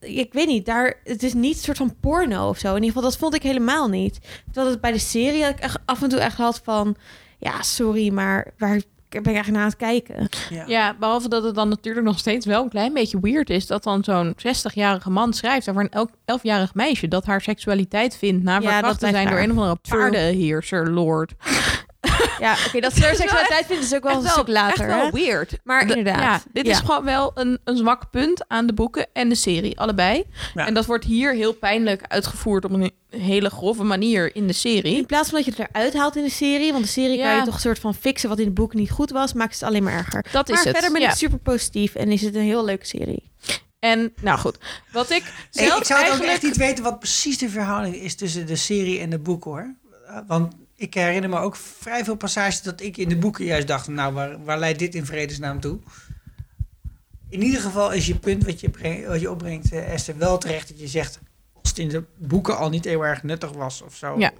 [SPEAKER 5] eh, ik weet niet, daar, het is niet een soort van porno of zo. In ieder geval, dat vond ik helemaal niet. Terwijl het bij de serie dat ik echt af en toe echt had van... Ja, sorry, maar waar ben ik eigenlijk naar aan het kijken?
[SPEAKER 4] Ja, behalve dat het dan natuurlijk nog steeds wel een klein beetje weird is dat dan zo'n 60-jarige man schrijft over een elk- 11-jarig meisje dat haar seksualiteit vindt na
[SPEAKER 5] Ja, dat
[SPEAKER 4] verkracht te
[SPEAKER 5] blijft
[SPEAKER 4] zijn door
[SPEAKER 5] waar.
[SPEAKER 4] een of andere
[SPEAKER 5] True.
[SPEAKER 4] paardenheerser, lord.
[SPEAKER 5] Ja, oké, [LAUGHS] dat ze haar seksualiteit vindt is ook wel een stuk later.
[SPEAKER 4] echt
[SPEAKER 5] hè?
[SPEAKER 4] wel weird.
[SPEAKER 5] Maar
[SPEAKER 4] De-
[SPEAKER 5] inderdaad.
[SPEAKER 4] Ja, dit
[SPEAKER 5] Ja.
[SPEAKER 4] is gewoon wel een, een zwak punt aan de boeken en de serie, allebei.
[SPEAKER 1] Ja.
[SPEAKER 4] En dat wordt hier heel pijnlijk uitgevoerd op een hele grove manier in de serie.
[SPEAKER 5] In plaats van dat je het eruit haalt in de serie, want de serie
[SPEAKER 4] Ja.
[SPEAKER 5] kan je toch een soort van fixen wat in het boek niet goed was, maakt het alleen maar erger.
[SPEAKER 4] Dat is
[SPEAKER 5] maar
[SPEAKER 4] het.
[SPEAKER 5] verder ben
[SPEAKER 4] ja.
[SPEAKER 5] ik super positief en is het een heel leuke serie.
[SPEAKER 4] En nou goed, wat ik
[SPEAKER 1] Ik,
[SPEAKER 4] zelf
[SPEAKER 1] ik zou het ook
[SPEAKER 4] eigenlijk...
[SPEAKER 1] echt niet weten wat precies de verhouding is tussen de serie en de boeken hoor. Eh, Want ik herinner me ook vrij veel passages dat ik in de boeken juist dacht, nou waar, waar leidt dit in vredesnaam toe? In ieder geval is je punt wat je, breng- wat je opbrengt, eh, Esther, wel terecht dat je zegt, als het in de boeken al niet heel erg nuttig was of zo,
[SPEAKER 4] Ja.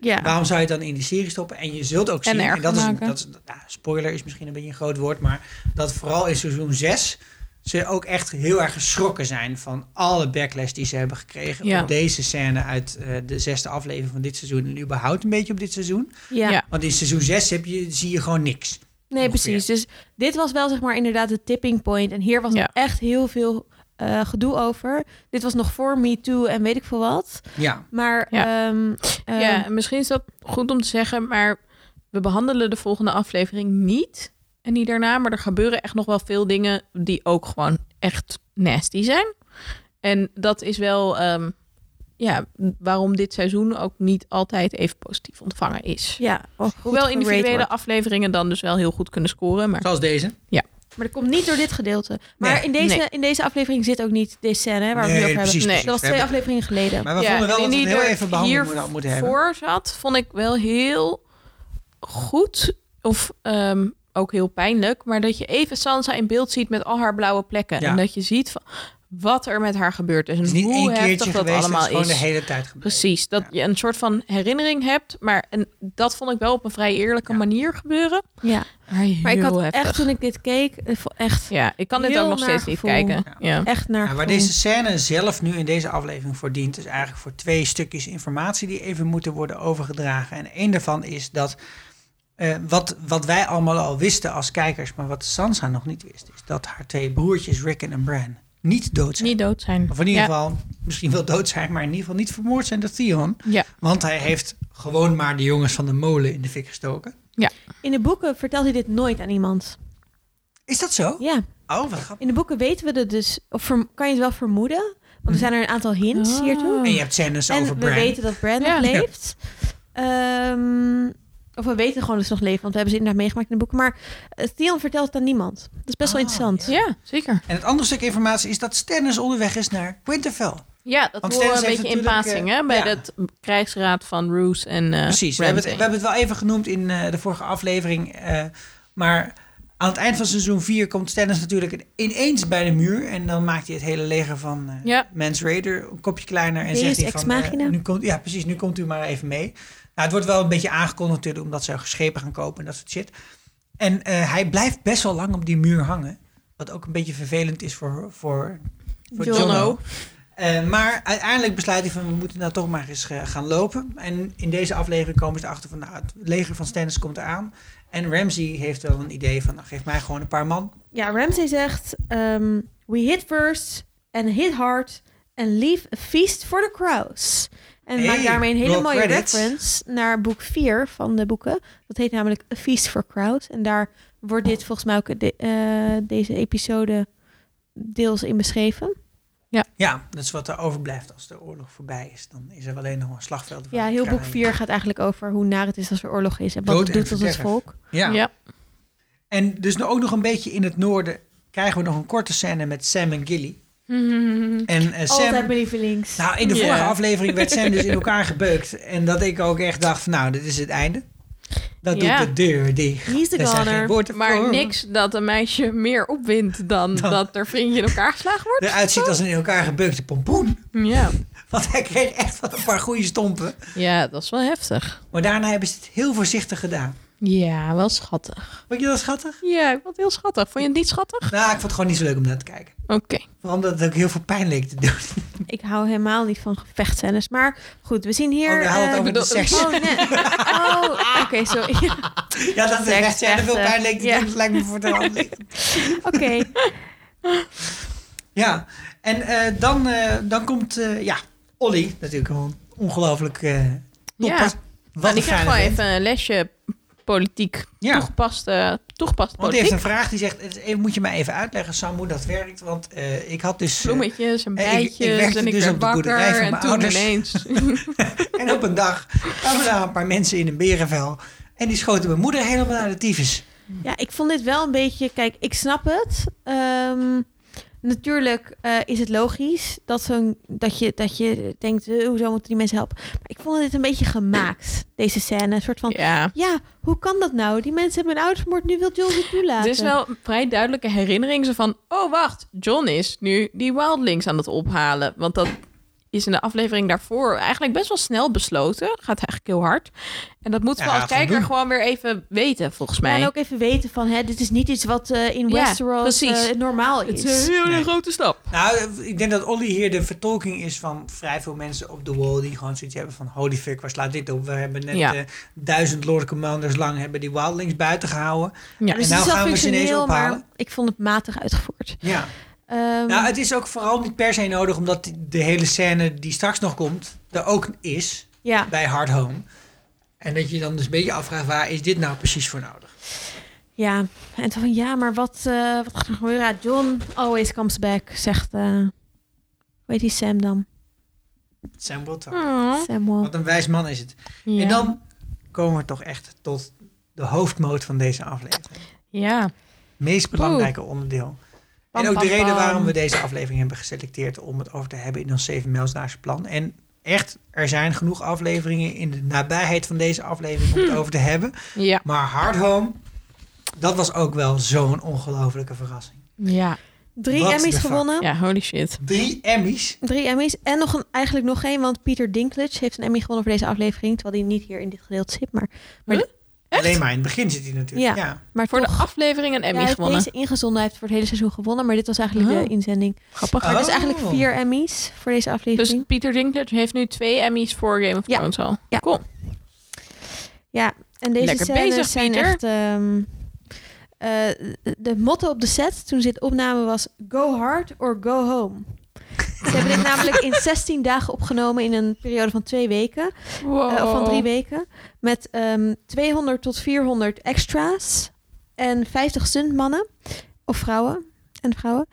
[SPEAKER 5] Ja.
[SPEAKER 1] waarom zou je het dan in de serie stoppen? En je zult ook
[SPEAKER 4] En
[SPEAKER 1] zien,
[SPEAKER 4] erger
[SPEAKER 1] dat is, een-
[SPEAKER 4] maken.
[SPEAKER 1] dat is nou, spoiler is misschien een beetje een groot woord, maar dat vooral in seizoen 6 ze ook echt heel erg geschrokken zijn van alle backlash die ze hebben gekregen
[SPEAKER 4] Ja.
[SPEAKER 1] op deze scène uit eh, de zesde aflevering van dit seizoen en überhaupt een beetje op dit seizoen.
[SPEAKER 5] Ja.
[SPEAKER 4] Ja.
[SPEAKER 1] Want in seizoen 6 heb je, zie je gewoon niks.
[SPEAKER 5] Nee, precies. Dus dit was wel zeg maar inderdaad de tipping point en hier was
[SPEAKER 4] Ja.
[SPEAKER 5] nog echt heel veel eh, gedoe over. Dit was nog voor Me Too en weet ik veel wat.
[SPEAKER 1] Ja,
[SPEAKER 5] Maar
[SPEAKER 4] Ja.
[SPEAKER 5] ehm, ehm,
[SPEAKER 4] Ja, misschien is dat goed om te zeggen, maar we behandelen de volgende aflevering niet. En die daarna, maar er gebeuren echt nog wel veel dingen die ook gewoon echt nasty zijn. En dat is wel ehm, ja, waarom dit seizoen ook niet altijd even positief ontvangen is.
[SPEAKER 5] ja, wel goed
[SPEAKER 4] Hoewel
[SPEAKER 5] gerate
[SPEAKER 4] individuele
[SPEAKER 5] wordt.
[SPEAKER 4] afleveringen dan dus wel heel goed kunnen scoren. Maar
[SPEAKER 1] zoals deze.
[SPEAKER 5] Maar dat komt niet door dit gedeelte. Maar
[SPEAKER 1] Nee.
[SPEAKER 5] in, deze,
[SPEAKER 4] Nee.
[SPEAKER 5] in deze aflevering zit ook niet deze scène hè, waar we
[SPEAKER 1] Nee,
[SPEAKER 5] het nu over
[SPEAKER 1] precies,
[SPEAKER 5] hebben.
[SPEAKER 4] precies.
[SPEAKER 5] Dat was
[SPEAKER 1] We
[SPEAKER 5] twee
[SPEAKER 1] hebben-
[SPEAKER 5] afleveringen geleden.
[SPEAKER 1] Maar we
[SPEAKER 4] Ja,
[SPEAKER 1] vonden wel
[SPEAKER 4] en
[SPEAKER 1] dat we het
[SPEAKER 4] die
[SPEAKER 1] heel
[SPEAKER 4] er
[SPEAKER 1] even behandeld moeten- moeten hebben.
[SPEAKER 4] voor zat, vond ik wel heel goed. Of ehm, ook heel pijnlijk. Maar dat je even Sansa in beeld ziet met al haar blauwe plekken.
[SPEAKER 1] Ja.
[SPEAKER 4] En dat je ziet van wat er met haar gebeurd is. En
[SPEAKER 1] Het is niet
[SPEAKER 4] hoe
[SPEAKER 1] één
[SPEAKER 4] heftig
[SPEAKER 1] keertje
[SPEAKER 4] dat
[SPEAKER 1] geweest, het is
[SPEAKER 4] allemaal
[SPEAKER 1] gewoon
[SPEAKER 4] is.
[SPEAKER 1] de hele tijd gebeurd.
[SPEAKER 4] Precies, dat
[SPEAKER 1] Ja.
[SPEAKER 4] je een soort van herinnering hebt. Maar en dat vond ik wel op een vrij eerlijke
[SPEAKER 1] Ja.
[SPEAKER 4] manier gebeuren.
[SPEAKER 5] Ja.
[SPEAKER 4] Maar, heel
[SPEAKER 5] Maar ik had
[SPEAKER 4] heftig.
[SPEAKER 5] echt toen ik dit keek, eh, vo- echt,
[SPEAKER 4] Ja, ik kan dit
[SPEAKER 5] heel
[SPEAKER 4] ook nog steeds
[SPEAKER 5] naar
[SPEAKER 4] niet
[SPEAKER 5] gevoel.
[SPEAKER 4] kijken.
[SPEAKER 1] Ja.
[SPEAKER 4] Ja.
[SPEAKER 5] echt naar.
[SPEAKER 1] Ja, waar
[SPEAKER 5] gevoel.
[SPEAKER 1] deze scène zelf nu in deze aflevering voor dient, is eigenlijk voor twee stukjes informatie die even moeten worden overgedragen. En één daarvan is dat eh, wat, wat wij allemaal al wisten als kijkers, maar wat Sansa nog niet wist, is dat haar twee broertjes Rickon en Bran niet dood zijn.
[SPEAKER 4] Niet dood zijn.
[SPEAKER 1] Of in ieder
[SPEAKER 4] ja.
[SPEAKER 1] geval misschien wel dood zijn, maar in ieder geval niet vermoord zijn door Theon.
[SPEAKER 4] Ja.
[SPEAKER 1] Want hij heeft gewoon maar de jongens van de molen in de fik gestoken.
[SPEAKER 5] In de boeken vertelt hij dit nooit aan iemand.
[SPEAKER 1] Is dat zo?
[SPEAKER 5] Ja,
[SPEAKER 1] Oh, wat grappig.
[SPEAKER 5] in de boeken weten we het dus, of verm- kan je het wel vermoeden? Want er zijn er een aantal hints
[SPEAKER 4] Ah.
[SPEAKER 5] hiertoe.
[SPEAKER 1] En je hebt scènes
[SPEAKER 5] En
[SPEAKER 1] Hm. over
[SPEAKER 5] we
[SPEAKER 1] Bran.
[SPEAKER 5] weten dat Brand
[SPEAKER 4] Ja.
[SPEAKER 5] nog leeft. Ehm, of we weten gewoon dat ze nog leeft, want we hebben ze inderdaad meegemaakt in de boeken. Maar eh, Theon vertelt het aan niemand. Dat is best wel
[SPEAKER 1] Ah,
[SPEAKER 5] interessant.
[SPEAKER 4] ja, zeker.
[SPEAKER 1] En het andere stuk informatie is dat Stannis onderweg is naar Winterfell.
[SPEAKER 4] Ja, dat
[SPEAKER 1] Want
[SPEAKER 4] horen we een
[SPEAKER 1] Stennis heeft
[SPEAKER 4] beetje in
[SPEAKER 1] natuurlijk,
[SPEAKER 4] Pasing,
[SPEAKER 1] eh,
[SPEAKER 4] hè? Bij
[SPEAKER 1] ja.
[SPEAKER 4] dat krijgsraad van Roos en eh
[SPEAKER 1] Precies, we hebben, het, we hebben het wel even genoemd in eh, de vorige aflevering. eh, maar aan het eind van seizoen 4 komt Stannis natuurlijk ineens bij de muur. En dan maakt hij het hele leger van eh
[SPEAKER 4] Ja.
[SPEAKER 1] Mans Raider een kopje kleiner. En
[SPEAKER 5] Deus
[SPEAKER 1] zegt hij
[SPEAKER 5] ex
[SPEAKER 1] van, eh,
[SPEAKER 5] machina.
[SPEAKER 1] nu komt, ja precies, nu komt u maar even mee. Nou, het wordt wel een beetje aangekondigd natuurlijk, omdat ze schepen gaan kopen en dat soort shit. En eh, hij blijft best wel lang op die muur hangen. Wat ook een beetje vervelend is voor, voor, voor
[SPEAKER 5] Jonno.
[SPEAKER 1] Jono. Eh, maar uiteindelijk besluit hij van we moeten nou toch maar eens eh, gaan lopen. En in deze aflevering komen ze erachter van nou, het leger van Stannis komt eraan. En Ramsey heeft wel een idee van nou, geef mij gewoon een paar man.
[SPEAKER 5] Ja, Ramsay zegt: ehm, We hit first and hit hard and leave a feast for the crows. En
[SPEAKER 1] Hey,
[SPEAKER 5] maakt daarmee een hele
[SPEAKER 1] roll
[SPEAKER 5] mooie
[SPEAKER 1] credits.
[SPEAKER 5] reference naar boek 4 van de boeken. Dat heet namelijk A Feast for Crows. En daar wordt dit volgens mij ook de- eh, deze episode deels in beschreven.
[SPEAKER 1] Ja, dat is wat er overblijft als de oorlog voorbij is. Dan is er alleen nog een slagveld.
[SPEAKER 5] Ja, heel boek 4 gaat eigenlijk over hoe naar het is als er oorlog is en wat
[SPEAKER 1] Dood
[SPEAKER 5] het
[SPEAKER 1] en
[SPEAKER 5] doet tot ons
[SPEAKER 1] verderf.
[SPEAKER 5] volk.
[SPEAKER 1] Ja.
[SPEAKER 4] Ja.
[SPEAKER 1] En dus nu ook nog een beetje in het noorden krijgen we nog een korte scène met Sam en Gilly. En eh,
[SPEAKER 5] Altijd
[SPEAKER 1] Sam...
[SPEAKER 5] mijn lievelings.
[SPEAKER 1] Nou, in de
[SPEAKER 4] Ja.
[SPEAKER 1] vorige aflevering werd Sam dus in elkaar gebeukt. En dat ik ook echt dacht van, nou, dit is het einde. Dat
[SPEAKER 4] Ja.
[SPEAKER 1] doet de deur dicht.
[SPEAKER 5] He's the
[SPEAKER 1] Er zijn geen
[SPEAKER 5] goner.
[SPEAKER 1] woorden voor.
[SPEAKER 4] Maar niks dat een meisje meer opwindt dan
[SPEAKER 1] Dan-
[SPEAKER 4] dat er vriendje in elkaar geslagen wordt.
[SPEAKER 1] Eruit ziet als een in elkaar gebeukte pompoen.
[SPEAKER 4] Ja.
[SPEAKER 1] Want hij kreeg echt wat een paar goede stompen.
[SPEAKER 4] ja, dat is wel heftig. Maar-
[SPEAKER 1] Maar daarna hebben ze het heel voorzichtig gedaan.
[SPEAKER 4] Ja, wel schattig.
[SPEAKER 1] Vond je dat schattig?
[SPEAKER 4] Ja, ik vond het heel schattig. Vond je het niet schattig?
[SPEAKER 1] Nou, ik vond het gewoon niet zo leuk om naar te kijken.
[SPEAKER 4] Oké.
[SPEAKER 1] Vooral omdat het ook heel veel pijn leek te doen.
[SPEAKER 5] Ik hou helemaal niet van gevechtscènes. Maar goed, we zien hier...
[SPEAKER 1] Oh, we hadden het
[SPEAKER 5] eh,
[SPEAKER 1] over de
[SPEAKER 4] bedoel-
[SPEAKER 1] seks.
[SPEAKER 5] Oh, nee. Oh, oké, sorry. [LAUGHS]
[SPEAKER 1] Ja, dat is
[SPEAKER 5] Seks,
[SPEAKER 1] echt. Ja, dat veel
[SPEAKER 5] echt,
[SPEAKER 1] pijn leek te
[SPEAKER 5] ja.
[SPEAKER 1] doen. Dat lijkt me voor de hand liggend.
[SPEAKER 5] Oké.
[SPEAKER 1] Ja, en eh, dan, eh, dan komt, eh, ja, Olly. Natuurlijk een ongelooflijk eh topper.
[SPEAKER 4] Ja.
[SPEAKER 1] Wat
[SPEAKER 4] Nou,
[SPEAKER 1] een
[SPEAKER 4] die krijgt
[SPEAKER 1] fijne
[SPEAKER 4] gewoon
[SPEAKER 1] vent.
[SPEAKER 4] even een lesje politiek
[SPEAKER 1] Ja.
[SPEAKER 4] toegepaste, toegepaste
[SPEAKER 1] Want die heeft
[SPEAKER 4] politiek.
[SPEAKER 1] een vraag die zegt, het is- moet je mij even uitleggen, Sam, hoe dat werkt? Want eh, ik had dus... eh,
[SPEAKER 4] Bloemetjes en
[SPEAKER 1] eh, ik- ik
[SPEAKER 4] bijtjes
[SPEAKER 1] werkte
[SPEAKER 4] en ik
[SPEAKER 1] dus
[SPEAKER 4] werd
[SPEAKER 1] op de boerderij van
[SPEAKER 4] wakker en
[SPEAKER 1] mijn
[SPEAKER 4] toen
[SPEAKER 1] ouders. [LAUGHS]
[SPEAKER 4] ineens.
[SPEAKER 1] en op een dag kwamen daar een paar mensen in een berenvel. En die schoten mijn moeder helemaal naar de tyfus.
[SPEAKER 5] Ja, ik vond dit wel een beetje. Kijk, ik snap het. Ehm, natuurlijk eh, is het logisch dat, zo'n, dat, je, dat je denkt: eh, hoezo moeten die mensen helpen? Maar ik vond dit een beetje gemaakt, deze scène. Een soort van:
[SPEAKER 4] ja.
[SPEAKER 5] ja, hoe kan dat nou? Die mensen hebben mijn ouders vermoord, nu wil Jules het toelaten.
[SPEAKER 4] Het is wel een vrij duidelijke herinnering. Zo van, oh wacht, John is nu die Wildlings aan het ophalen. Want dat is in de aflevering daarvoor eigenlijk best wel snel besloten. Gaat eigenlijk heel hard. En dat moeten we
[SPEAKER 1] Ja,
[SPEAKER 4] als
[SPEAKER 1] gaat wel
[SPEAKER 4] kijker
[SPEAKER 1] doen.
[SPEAKER 4] gewoon weer even weten, volgens
[SPEAKER 5] Ja,
[SPEAKER 4] mij.
[SPEAKER 5] En ook even weten van: hè, dit is niet iets wat eh, in
[SPEAKER 4] Ja,
[SPEAKER 5] Westeros
[SPEAKER 4] precies.
[SPEAKER 5] eh, normaal is.
[SPEAKER 4] hele
[SPEAKER 1] Nee.
[SPEAKER 4] grote stap.
[SPEAKER 1] Nou, ik denk dat Olly hier de vertolking is van vrij veel mensen op de wall... die gewoon zoiets hebben van, holy fuck, waar slaat dit op? We hebben net
[SPEAKER 4] Ja.
[SPEAKER 1] eh, duizend Lord Commanders lang hebben die Wildlings buiten gehouden.
[SPEAKER 4] Ja.
[SPEAKER 5] Dus het
[SPEAKER 1] nou
[SPEAKER 5] is wel
[SPEAKER 1] gaan we ze ineens
[SPEAKER 5] functioneel, maar
[SPEAKER 1] ophalen.
[SPEAKER 5] ik vond het matig uitgevoerd.
[SPEAKER 1] Ja.
[SPEAKER 5] Ehm,
[SPEAKER 1] Nou, het is ook vooral niet per se nodig... omdat die- de hele scène die straks nog komt, er ook is
[SPEAKER 5] ja.
[SPEAKER 1] bij Hard Home. En dat je dan dus een beetje afvraagt, waar is dit nou precies voor nodig?
[SPEAKER 5] Ja, en toen van ja, maar wat, eh, wat gaat er gebeuren? Ja, John always comes back, zegt. eh weet die Sam dan?
[SPEAKER 1] Sam Wilton.
[SPEAKER 4] Oh.
[SPEAKER 5] Samuel.
[SPEAKER 1] Wat een wijs man is het. En dan komen we toch echt tot de hoofdmoot van deze aflevering.
[SPEAKER 4] Ja.
[SPEAKER 1] Meest belangrijke onderdeel.
[SPEAKER 4] Pam,
[SPEAKER 1] en ook
[SPEAKER 4] pam,
[SPEAKER 1] de reden
[SPEAKER 4] pam.
[SPEAKER 1] waarom we deze aflevering hebben geselecteerd om het over te hebben in ons 7 Mijlsdaagse plan. En echt, er zijn genoeg afleveringen in de nabijheid van deze aflevering om het over te hebben.
[SPEAKER 4] Ja.
[SPEAKER 1] Maar Hard Home, dat was ook wel zo'n ongelofelijke verrassing.
[SPEAKER 4] Ja.
[SPEAKER 5] Drie
[SPEAKER 1] What
[SPEAKER 5] Emmys
[SPEAKER 1] the fuck?
[SPEAKER 5] gewonnen.
[SPEAKER 4] Ja, holy shit.
[SPEAKER 1] Drie Emmys.
[SPEAKER 5] Drie Emmys. En nog een, eigenlijk nog één, want Peter Dinklage heeft een Emmy gewonnen voor deze aflevering. Terwijl hij niet hier in dit gedeelte zit. Maar,
[SPEAKER 1] Alleen maar in het begin zit hij natuurlijk. Ja.
[SPEAKER 5] maar
[SPEAKER 4] Voor de
[SPEAKER 5] toch,
[SPEAKER 4] aflevering een
[SPEAKER 5] ja,
[SPEAKER 4] Emmy
[SPEAKER 5] hij heeft
[SPEAKER 4] gewonnen.
[SPEAKER 5] deze ingezonden. Hij heeft voor het hele seizoen gewonnen. Maar dit was eigenlijk
[SPEAKER 4] Oh.
[SPEAKER 5] de inzending.
[SPEAKER 4] Grappig.
[SPEAKER 5] Maar dus
[SPEAKER 1] Oh.
[SPEAKER 5] eigenlijk vier Emmys voor deze aflevering.
[SPEAKER 4] Dus Peter Dinklage heeft nu twee Emmys voor Game of
[SPEAKER 5] Ja.
[SPEAKER 4] Thrones al.
[SPEAKER 5] Ja.
[SPEAKER 4] Cool.
[SPEAKER 5] Ja, en deze
[SPEAKER 4] Lekker
[SPEAKER 5] scènes
[SPEAKER 4] bezig,
[SPEAKER 5] zijn
[SPEAKER 4] Pieter.
[SPEAKER 5] echt... ehm, eh, de motto op de set toen ze dit opnamen was... Go hard or go home. [LAUGHS] Ze hebben dit namelijk in 16 dagen opgenomen in een periode van twee weken.
[SPEAKER 4] Wow.
[SPEAKER 5] eh, of van drie weken. Met ehm, 200 tot 400 extra's. En 50 stuntmannen. Of vrouwen. En vrouwen.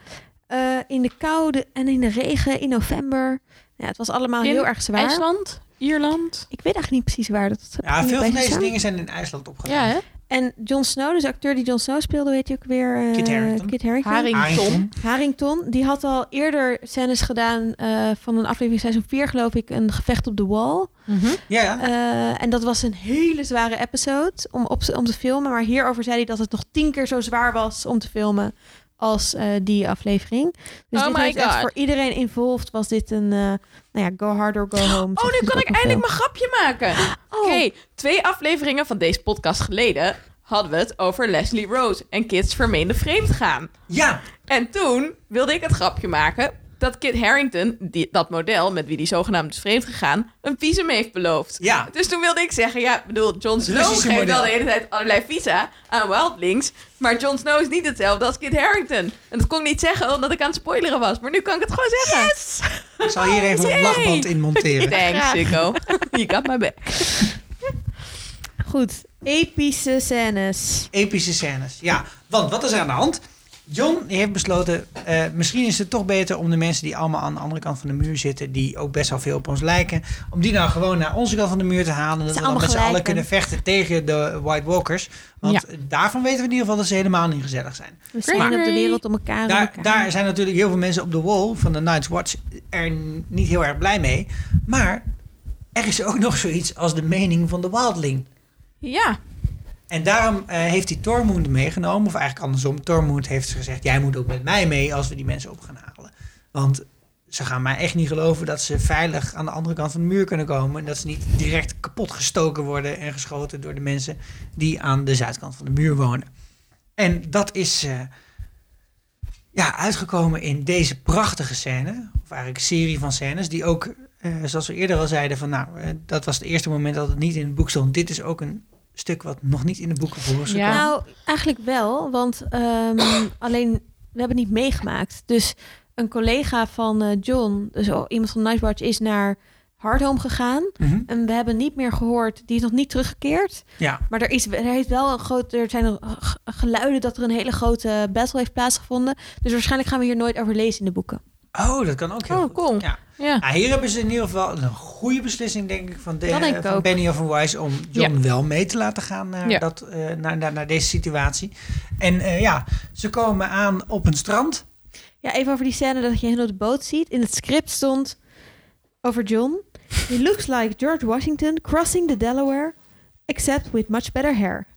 [SPEAKER 5] Eh, in de koude en in de regen in november. Ja, het was allemaal
[SPEAKER 4] In
[SPEAKER 5] heel erg zwaar.
[SPEAKER 4] IJsland? Ierland?
[SPEAKER 5] Ik weet eigenlijk niet precies waar dat
[SPEAKER 1] Ja,
[SPEAKER 5] niet
[SPEAKER 1] veel van
[SPEAKER 5] bij
[SPEAKER 1] deze
[SPEAKER 5] staan.
[SPEAKER 1] dingen zijn in IJsland opgenomen.
[SPEAKER 4] Ja, hè?
[SPEAKER 5] En Jon Snow, dus de acteur die Jon Snow speelde, hoe heet hij ook weer? eh,
[SPEAKER 1] Kit Harington.
[SPEAKER 5] Kit Harington.
[SPEAKER 4] Harington.
[SPEAKER 5] Harington, die had al eerder scènes gedaan eh, van een aflevering seizoen 4, geloof ik, een gevecht op de wall.
[SPEAKER 4] Mhm.
[SPEAKER 1] Ja, ja.
[SPEAKER 5] Eh, en dat was een hele zware episode om, op, om te filmen. Maar hierover zei hij dat het nog tien keer zo zwaar was om te filmen als eh, die aflevering. Dus
[SPEAKER 4] Oh
[SPEAKER 5] dit
[SPEAKER 4] my
[SPEAKER 5] heeft echt
[SPEAKER 4] God.
[SPEAKER 5] voor iedereen involved was dit een, eh, nou ja, go hard or go home.
[SPEAKER 4] Oh,
[SPEAKER 5] zegt
[SPEAKER 4] nu
[SPEAKER 5] dus
[SPEAKER 4] kan
[SPEAKER 5] ook
[SPEAKER 4] ik
[SPEAKER 5] nog
[SPEAKER 4] eindelijk
[SPEAKER 5] wel.
[SPEAKER 4] mijn grapje maken.
[SPEAKER 5] Oh,
[SPEAKER 4] Oké, twee afleveringen van deze podcast geleden hadden we het over Leslie Rose en kids vermeende vreemd gaan.
[SPEAKER 1] ja.
[SPEAKER 4] En toen wilde ik het grapje maken dat Kit Harrington, die, dat model met wie die zogenaamd is vreemd gegaan, een visum heeft beloofd.
[SPEAKER 1] Ja.
[SPEAKER 4] Dus toen wilde ik zeggen, ja, ik bedoel, Jon Snow
[SPEAKER 1] Russische
[SPEAKER 4] geeft
[SPEAKER 1] model.
[SPEAKER 4] wel de hele tijd allerlei visa aan Wildlings, maar Jon Snow is niet hetzelfde als Kit Harrington. En dat kon ik niet zeggen omdat ik aan het spoileren was, maar nu kan ik het gewoon zeggen. Yes!
[SPEAKER 1] Ik zal hier even
[SPEAKER 5] [LAUGHS]
[SPEAKER 1] een
[SPEAKER 4] Yay.
[SPEAKER 1] lachband in monteren.
[SPEAKER 4] Thanks,
[SPEAKER 5] Graag.
[SPEAKER 4] Sikko. You got my back.
[SPEAKER 5] Goed, epische scènes.
[SPEAKER 1] Epische scènes. Ja, want wat is er aan de hand? John heeft besloten, eh, misschien is het toch beter om de mensen die allemaal aan de andere kant van de muur zitten, die ook best wel veel op ons lijken, om die nou gewoon naar onze kant van de muur te halen. Dat we dan
[SPEAKER 5] allemaal
[SPEAKER 1] met z'n
[SPEAKER 5] gelijk
[SPEAKER 1] allen
[SPEAKER 5] en-
[SPEAKER 1] kunnen vechten tegen de White Walkers. Want daarvan weten we in ieder geval dat ze helemaal niet gezellig zijn.
[SPEAKER 5] We zijn op de wereld om elkaar. om
[SPEAKER 1] Daar,
[SPEAKER 5] elkaar.
[SPEAKER 1] daar zijn natuurlijk heel veel mensen op de wall van de Night's Watch er niet heel erg blij mee. Maar er is ook [LAUGHS] nog zoiets als de mening van de Wildling.
[SPEAKER 4] Ja,
[SPEAKER 1] En daarom eh, heeft hij Tormund meegenomen. Of eigenlijk andersom. Tormund heeft gezegd, jij moet ook met mij mee als we die mensen op gaan halen. Want ze gaan mij echt niet geloven dat ze veilig aan de andere kant van de muur kunnen komen. En dat ze niet direct kapot gestoken worden en geschoten door de mensen die aan de zuidkant van de muur wonen. En dat is eh, ja, uitgekomen in deze prachtige scène. Of eigenlijk serie van scènes die ook... eh, zoals we eerder al zeiden, van nou, eh, dat was het eerste moment dat het niet in het boek stond. Dit is ook een stuk wat nog niet in de boeken voor is
[SPEAKER 4] Ja.
[SPEAKER 1] gekomen.
[SPEAKER 5] Nou, eigenlijk wel, want ehm, [CLEARS THROAT] alleen we hebben het niet meegemaakt. Dus een collega van eh, John, dus o- iemand van Nightwatch, is naar Hardhome gegaan.
[SPEAKER 1] Mhm.
[SPEAKER 5] En we hebben niet meer gehoord, die is nog niet teruggekeerd.
[SPEAKER 1] Ja.
[SPEAKER 5] Maar er, is, er, heeft wel een groot, er zijn eh, g- geluiden dat er een hele grote battle heeft plaatsgevonden. Dus waarschijnlijk gaan we hier nooit over lezen in de boeken.
[SPEAKER 1] Oh, dat kan ook heel
[SPEAKER 4] Oh,
[SPEAKER 1] goed.
[SPEAKER 4] cool.
[SPEAKER 1] Ja.
[SPEAKER 4] ja.
[SPEAKER 1] Nou, hier hebben ze in ieder geval een goede beslissing, denk ik, van, de,
[SPEAKER 5] Dat denk ik
[SPEAKER 1] van
[SPEAKER 5] ook.
[SPEAKER 1] Benny of Wise om John wel mee te laten gaan naar,
[SPEAKER 4] Ja.
[SPEAKER 1] dat, eh, naar, naar, naar deze situatie. En eh, ja, ze komen aan op een strand.
[SPEAKER 5] Ja, even over die scène dat je hen op de boot ziet. In het script stond over John. He looks like George Washington crossing the Delaware, except with much better hair.